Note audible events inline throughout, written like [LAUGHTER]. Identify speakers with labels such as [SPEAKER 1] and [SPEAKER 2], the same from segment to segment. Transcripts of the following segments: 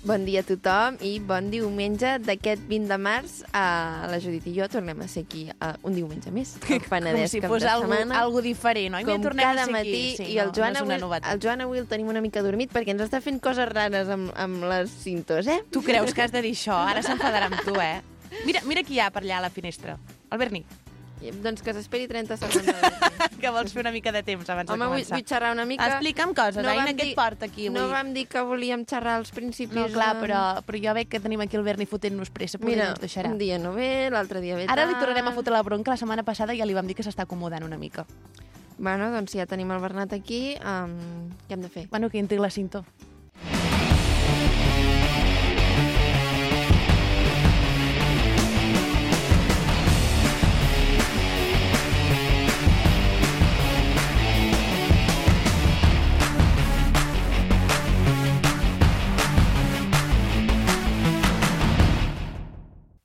[SPEAKER 1] Bon dia a tothom i bon diumenge d'aquest 20 de març. Eh, la Judit i jo tornem a ser aquí eh, un diumenge
[SPEAKER 2] [LAUGHS]
[SPEAKER 1] més. El
[SPEAKER 2] Com
[SPEAKER 1] Penedès
[SPEAKER 2] si
[SPEAKER 1] cap
[SPEAKER 2] fos
[SPEAKER 1] de
[SPEAKER 2] algú,
[SPEAKER 1] setmana.
[SPEAKER 2] algú diferent, oi?
[SPEAKER 1] com
[SPEAKER 2] Mira, tornem a
[SPEAKER 1] cada
[SPEAKER 2] ser aquí.
[SPEAKER 1] matí,
[SPEAKER 2] Sí,
[SPEAKER 1] i el Joan,
[SPEAKER 2] no, no és
[SPEAKER 1] avui,
[SPEAKER 2] una novetat.
[SPEAKER 1] el Joan avui el tenim una mica dormit perquè ens està fent coses rares amb, amb les cintos, eh?
[SPEAKER 2] Tu
[SPEAKER 1] [LAUGHS]
[SPEAKER 2] creus que has de dir això? Ara s'enfadarà amb tu, eh? Mira, mira qui hi ha per allà a la finestra. El Berni,
[SPEAKER 1] I, Doncs que s'esperi 30 segons.
[SPEAKER 2] que vols fer una mica de temps abans
[SPEAKER 1] Home,
[SPEAKER 2] de
[SPEAKER 1] vull,
[SPEAKER 2] començar.
[SPEAKER 1] vull xerrar una mica.
[SPEAKER 2] Explica'm coses,
[SPEAKER 1] vam
[SPEAKER 2] Aina, què et
[SPEAKER 1] dir-
[SPEAKER 2] porta aquí
[SPEAKER 1] No
[SPEAKER 2] avui?
[SPEAKER 1] vam dir que volíem xerrar als principis.
[SPEAKER 2] No, clar,
[SPEAKER 1] eh,
[SPEAKER 2] però, però jo veig que tenim aquí el Berni fotent-nos pressa, potser
[SPEAKER 1] Mira,
[SPEAKER 2] no ens deixarà.
[SPEAKER 1] un dia no ve, Eh, l'altre dia ve
[SPEAKER 2] Ara li
[SPEAKER 1] tard.
[SPEAKER 2] tornarem a fotre la bronca, la setmana passada ja li vam dir que s'està acomodant una mica.
[SPEAKER 1] Bueno, doncs ja tenim el Bernat aquí. Um, què hem de fer?
[SPEAKER 2] Bueno, que entri la cinta.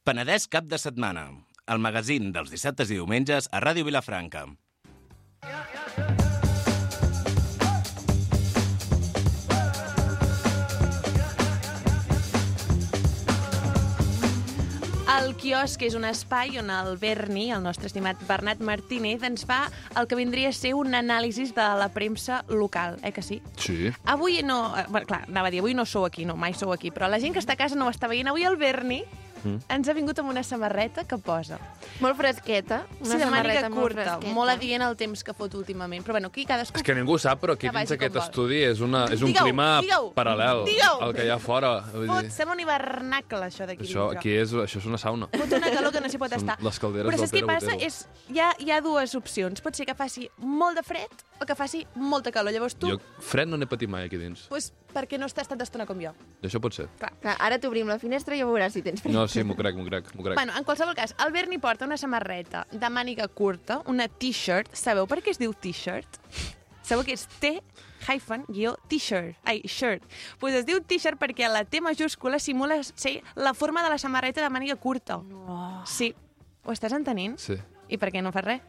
[SPEAKER 3] Penedès cap de setmana. El magazín dels dissabtes i diumenges a Ràdio Vilafranca.
[SPEAKER 2] El quiosc és un espai on el Berni, el nostre estimat Bernat Martínez, ens fa el que vindria a ser un anàlisi de la premsa local, eh que sí?
[SPEAKER 4] Sí.
[SPEAKER 2] Avui no... eh, Bueno, clar, anava a dir, avui no sou aquí, no, mai sou aquí, però la gent que està a casa no ho està veient. Avui el Berni mm. ens ha vingut amb una samarreta que posa.
[SPEAKER 1] Molt fresqueta. Una
[SPEAKER 2] sí, de mànica
[SPEAKER 1] samarreta
[SPEAKER 2] curta,
[SPEAKER 1] fresqueta.
[SPEAKER 2] molt, adient al temps que fot últimament, però bueno, aquí cadascú...
[SPEAKER 4] És que ningú sap, però aquí
[SPEAKER 2] Que
[SPEAKER 4] dins
[SPEAKER 2] vagi com
[SPEAKER 4] aquest
[SPEAKER 2] vol.
[SPEAKER 4] estudi és, una, és un
[SPEAKER 2] Digue-ho,
[SPEAKER 4] clima
[SPEAKER 2] digue-ho,
[SPEAKER 4] paral·lel
[SPEAKER 2] digue-ho.
[SPEAKER 4] al que hi ha fora. Vull
[SPEAKER 2] Fot,
[SPEAKER 4] dir,
[SPEAKER 2] sembla un hivernacle, això d'aquí
[SPEAKER 4] això,
[SPEAKER 2] dintre.
[SPEAKER 4] aquí és, això és una sauna.
[SPEAKER 2] Fot una calor que no s'hi pot
[SPEAKER 4] Són
[SPEAKER 2] estar.
[SPEAKER 4] les calderes
[SPEAKER 2] Però saps
[SPEAKER 4] del
[SPEAKER 2] què
[SPEAKER 4] Pere
[SPEAKER 2] passa?
[SPEAKER 4] Botero.
[SPEAKER 2] És, hi, ha, hi ha dues opcions. Pot ser que faci molt de fred o que faci molta calor. Llavors tu,
[SPEAKER 4] Jo fred no n'he patit mai aquí dins.
[SPEAKER 2] doncs, per què no estàs tanta estona com jo?
[SPEAKER 4] I això pot ser.
[SPEAKER 1] Clar, ara t'obrim la finestra i ja veuràs si tens fred.
[SPEAKER 4] No, sí, m'ho crec, m'ho crec, m'ho crec.
[SPEAKER 2] Bueno, en qualsevol cas, el Berni porta una samarreta de màniga curta, una t-shirt. Sabeu per què es diu t-shirt? Sabeu que és T hyphen guió t-shirt. Ai, shirt. Doncs pues es diu t-shirt perquè la T majúscula simula ser la forma de la samarreta de màniga curta. No. Sí. Ho estàs entenent?
[SPEAKER 4] Sí.
[SPEAKER 2] I per què no fas res?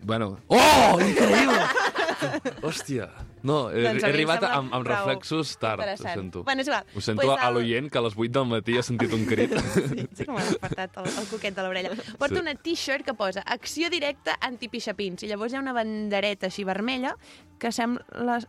[SPEAKER 4] Bueno. Oh, increïble! [LAUGHS] Hòstia. No, he,
[SPEAKER 2] Doncs
[SPEAKER 4] he
[SPEAKER 2] a mi em
[SPEAKER 4] arribat
[SPEAKER 2] sembla
[SPEAKER 4] amb, amb
[SPEAKER 2] prou
[SPEAKER 4] reflexos tard, ho
[SPEAKER 2] interessant.
[SPEAKER 4] sento.
[SPEAKER 2] Bueno, és igual.
[SPEAKER 4] Ho sento
[SPEAKER 2] Pues
[SPEAKER 4] pues a
[SPEAKER 2] el-
[SPEAKER 4] l'oient que a les 8 del matí ha sentit un
[SPEAKER 2] [LAUGHS]
[SPEAKER 4] crit.
[SPEAKER 2] Sí, sí que m'ha despertat el, el coquet de l'orella. Porta
[SPEAKER 4] Sí.
[SPEAKER 2] una t-shirt que posa acció directa antipixapins i llavors hi ha una bandereta així vermella que sembla...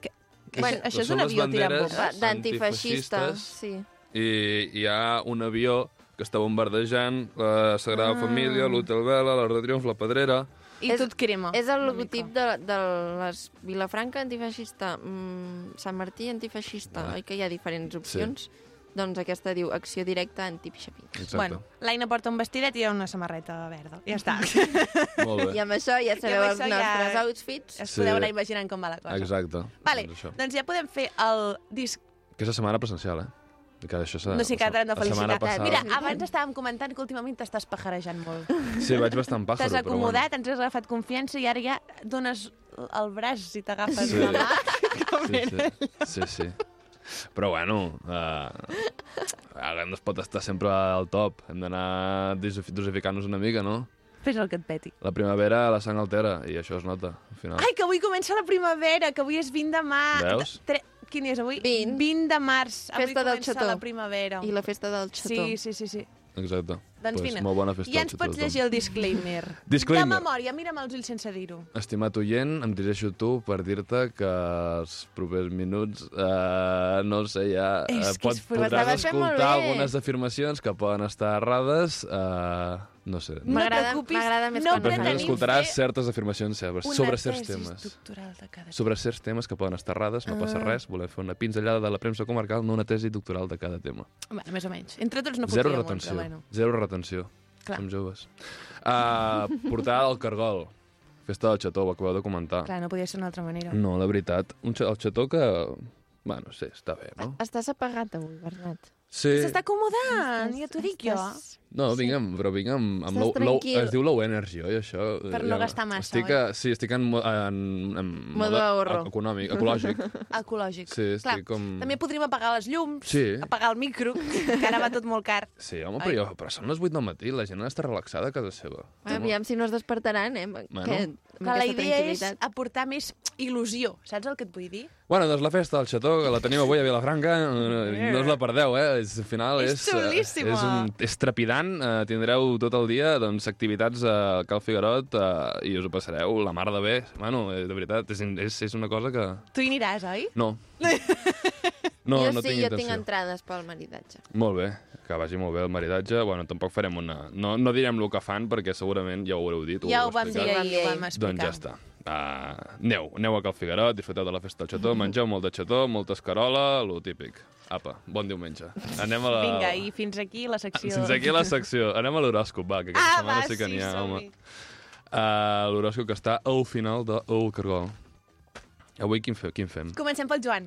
[SPEAKER 2] Que... que-
[SPEAKER 4] Bueno,
[SPEAKER 2] això és
[SPEAKER 4] són
[SPEAKER 2] un
[SPEAKER 4] les
[SPEAKER 2] avió tirant
[SPEAKER 4] banderes-
[SPEAKER 2] bombes.
[SPEAKER 1] Va, D'antifeixista.
[SPEAKER 4] Antifeixistes.
[SPEAKER 1] Sí.
[SPEAKER 4] I hi ha un avió que està bombardejant la Sagrada ah. Família, l'Hotel Vela, l'Arc de Triomf, la Pedrera...
[SPEAKER 2] I
[SPEAKER 1] És-
[SPEAKER 2] tot crema.
[SPEAKER 1] És el
[SPEAKER 2] una
[SPEAKER 1] logotip
[SPEAKER 2] mica.
[SPEAKER 1] de, de les Vilafranca antifeixista, mm, Sant Martí antifeixista,
[SPEAKER 4] Ah.
[SPEAKER 1] oi que hi ha diferents opcions? Doncs aquesta diu acció directa antipixapí.
[SPEAKER 4] Exacte.
[SPEAKER 2] Bueno, l'Aina porta un vestidet i hi ha una samarreta verda. Ja està.
[SPEAKER 4] [LAUGHS] Molt bé.
[SPEAKER 1] I amb això ja sabeu
[SPEAKER 2] amb
[SPEAKER 1] els
[SPEAKER 2] això ja-
[SPEAKER 1] nostres outfits.
[SPEAKER 2] Es
[SPEAKER 4] Sí.
[SPEAKER 2] podeu anar imaginant com va la cosa.
[SPEAKER 4] Exacte.
[SPEAKER 2] Vale,
[SPEAKER 4] Doncs això.
[SPEAKER 2] doncs ja podem fer el disc...
[SPEAKER 4] Aquesta setmana presencial, eh? Que això serà,
[SPEAKER 2] No sé, que ara t'hem de
[SPEAKER 4] la setmana passada-
[SPEAKER 2] felicitar. Mira, abans estàvem comentant que últimament t'estàs pajarejant molt.
[SPEAKER 4] Sí, vaig bastant pàjaro,
[SPEAKER 2] T'has
[SPEAKER 4] però bueno.
[SPEAKER 2] acomodat, ens has agafat confiança i ara ja dones el braç i t'agafes
[SPEAKER 4] Sí.
[SPEAKER 2] la mà. Com
[SPEAKER 4] Sí,
[SPEAKER 2] era?
[SPEAKER 4] sí, sí, sí. Però bueno, eh, ara no es pot estar sempre al top. Hem d'anar dosifi- dosificant-nos una mica, no?
[SPEAKER 2] Fes el que et peti.
[SPEAKER 4] La primavera la sang altera, i això es nota, al final.
[SPEAKER 2] Ai, que avui comença la primavera, que avui és 20 de març.
[SPEAKER 4] Ah. Veus?
[SPEAKER 2] Tre... Quin dia és avui?
[SPEAKER 1] 20.
[SPEAKER 2] 20 de març. Avui
[SPEAKER 1] Festa del
[SPEAKER 2] comença
[SPEAKER 1] Xató.
[SPEAKER 2] la primavera.
[SPEAKER 1] I la festa del xató.
[SPEAKER 2] Sí, sí, sí, sí.
[SPEAKER 4] Exacte.
[SPEAKER 2] Doncs
[SPEAKER 4] pues,
[SPEAKER 2] vine.
[SPEAKER 4] Molt bona festa.
[SPEAKER 2] I ja ens
[SPEAKER 4] a
[SPEAKER 2] pots
[SPEAKER 4] tothom.
[SPEAKER 2] llegir el disclaimer.
[SPEAKER 4] Disclaimer.
[SPEAKER 2] De memòria, mira'm els ulls sense dir-ho.
[SPEAKER 4] Estimat oient, em dirigeixo a tu per dir-te que els propers minuts, eh, no ho sé, ja eh,
[SPEAKER 2] És que és fort.
[SPEAKER 4] podràs
[SPEAKER 1] M'estava fent molt
[SPEAKER 4] escoltar
[SPEAKER 1] bé.
[SPEAKER 4] algunes afirmacions que poden estar errades, eh, no sé.
[SPEAKER 2] No et
[SPEAKER 1] M'agrada-
[SPEAKER 2] preocupis,
[SPEAKER 1] m'agrada més
[SPEAKER 2] no
[SPEAKER 1] quan
[SPEAKER 4] Però
[SPEAKER 1] pretenim
[SPEAKER 4] només
[SPEAKER 2] pretenim
[SPEAKER 4] escoltaràs
[SPEAKER 2] fer
[SPEAKER 4] certes afirmacions sobre,
[SPEAKER 2] una
[SPEAKER 4] sobre certs
[SPEAKER 2] tesi
[SPEAKER 4] temes.
[SPEAKER 2] doctoral Ah. de cada
[SPEAKER 4] Sobre certs temes que poden estar errades, no passa res, volem fer una pinzellada de la premsa comarcal, no una tesi doctoral de cada tema.
[SPEAKER 2] Bueno, més o menys. Entre tots no
[SPEAKER 4] Zero
[SPEAKER 2] fotíem,
[SPEAKER 4] retenció.
[SPEAKER 2] però bueno.
[SPEAKER 4] Zero retenció.
[SPEAKER 2] Clar.
[SPEAKER 4] Som joves. Uh, portada del Cargol. Festa del Xató, ho acabeu de comentar.
[SPEAKER 2] Clar, no podia ser d'una altra manera.
[SPEAKER 4] Ah. No, la veritat. Un xa- el xató que... Bueno, no sé, està bé, no?
[SPEAKER 1] Estàs apagat avui, Bernat.
[SPEAKER 4] Sí.
[SPEAKER 2] S'està acomodant, ja t'ho dic jo.
[SPEAKER 1] Estàs-
[SPEAKER 4] No, vinc amb, però vinc amb, amb
[SPEAKER 1] Estàs
[SPEAKER 4] low, low,
[SPEAKER 1] tranquil.
[SPEAKER 4] es diu low energy, oi, això?
[SPEAKER 2] Per no gastar massa,
[SPEAKER 4] estic a, Sí, estic en, mo- en, en
[SPEAKER 1] Modo ahorro.
[SPEAKER 4] e- econòmic, ecològic.
[SPEAKER 2] [LAUGHS] Ecològic.
[SPEAKER 4] Sí, estic
[SPEAKER 2] Clar,
[SPEAKER 1] Mm.
[SPEAKER 4] com-
[SPEAKER 2] També podríem apagar les llums,
[SPEAKER 4] Sí.
[SPEAKER 2] apagar el
[SPEAKER 1] [LAUGHS]
[SPEAKER 2] micro, que ara va tot molt car.
[SPEAKER 4] Sí, home, però, jo, però són les 8 del matí, la gent està relaxada a casa seva.
[SPEAKER 1] Aviam si no es despertaran, eh?
[SPEAKER 4] Bueno.
[SPEAKER 1] Que amb
[SPEAKER 2] Que la
[SPEAKER 1] aquesta
[SPEAKER 2] idea és
[SPEAKER 1] tranquil·litat.
[SPEAKER 2] aportar més il·lusió, saps el que et vull dir?
[SPEAKER 4] Bueno, doncs la festa al Xató, que la teniu avui a Vilafranca, eh, no us la perdeu, eh? És, al final
[SPEAKER 2] És
[SPEAKER 4] és, eh,
[SPEAKER 2] xulíssima.
[SPEAKER 4] és, un, és trepidant, eh, tindreu tot el dia doncs, activitats al Cal Figuerot eh, i us ho passareu la mar de bé. Bueno, eh, de veritat, és, és, és una cosa que...
[SPEAKER 2] Tu hi aniràs, oi?
[SPEAKER 4] No.
[SPEAKER 2] [LAUGHS]
[SPEAKER 4] No,
[SPEAKER 1] jo
[SPEAKER 4] no
[SPEAKER 1] sí,
[SPEAKER 4] tinc
[SPEAKER 1] jo
[SPEAKER 4] intenció.
[SPEAKER 1] tinc entrades pel maridatge.
[SPEAKER 4] Molt bé, que vagi molt bé el maridatge. Bueno, tampoc farem una... No, no direm el que fan, perquè segurament ja ho haureu dit.
[SPEAKER 2] ja ho vam dir
[SPEAKER 4] explicat.
[SPEAKER 1] explicar.
[SPEAKER 2] ahir, ho vam explicar.
[SPEAKER 4] Doncs ja està. Uh, aneu, aneu a Cal Figuerot, disfruteu de la festa del
[SPEAKER 2] Mhm.
[SPEAKER 4] xató, mengeu molt de xató, molta escarola, lo típic. Apa, bon diumenge. Anem a la...
[SPEAKER 2] Vinga, i fins aquí la
[SPEAKER 4] Ah,
[SPEAKER 2] secció.
[SPEAKER 4] Fins aquí la secció. Anem a l'horòscop, va, que aquesta
[SPEAKER 2] Ah, va,
[SPEAKER 4] setmana sí que n'hi ha,
[SPEAKER 2] som-hi.
[SPEAKER 4] home. Uh, l'horòscop que està al final de El Cargol. Avui quin, fe, quin fem?
[SPEAKER 2] [LAUGHS] Comencem pel Joan.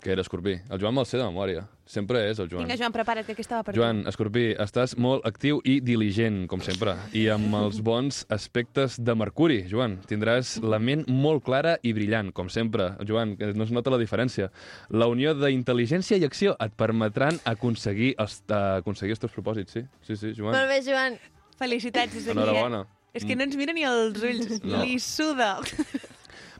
[SPEAKER 4] Que era escorpí. El Joan me'l sé de memòria. Sempre és el Joan.
[SPEAKER 2] Vinga, Joan, prepara't, que aquesta va per
[SPEAKER 4] Joan, Escorpí, estàs molt actiu i diligent, com sempre, i amb els bons aspectes de Mercuri, Joan. Tindràs la ment molt clara i brillant, com sempre, Joan, que no es nota la diferència. La unió d'intel·ligència i acció et permetran aconseguir els, eh, aconseguir els teus propòsits, sí? Sí, sí,
[SPEAKER 1] Molt
[SPEAKER 4] Joan.
[SPEAKER 1] bé, Joan.
[SPEAKER 2] tu. Felicitats, des d'aquí. eh?
[SPEAKER 4] Enhorabona. Mm.
[SPEAKER 2] És que no ens mira ni els ulls,
[SPEAKER 4] No.
[SPEAKER 2] li suda.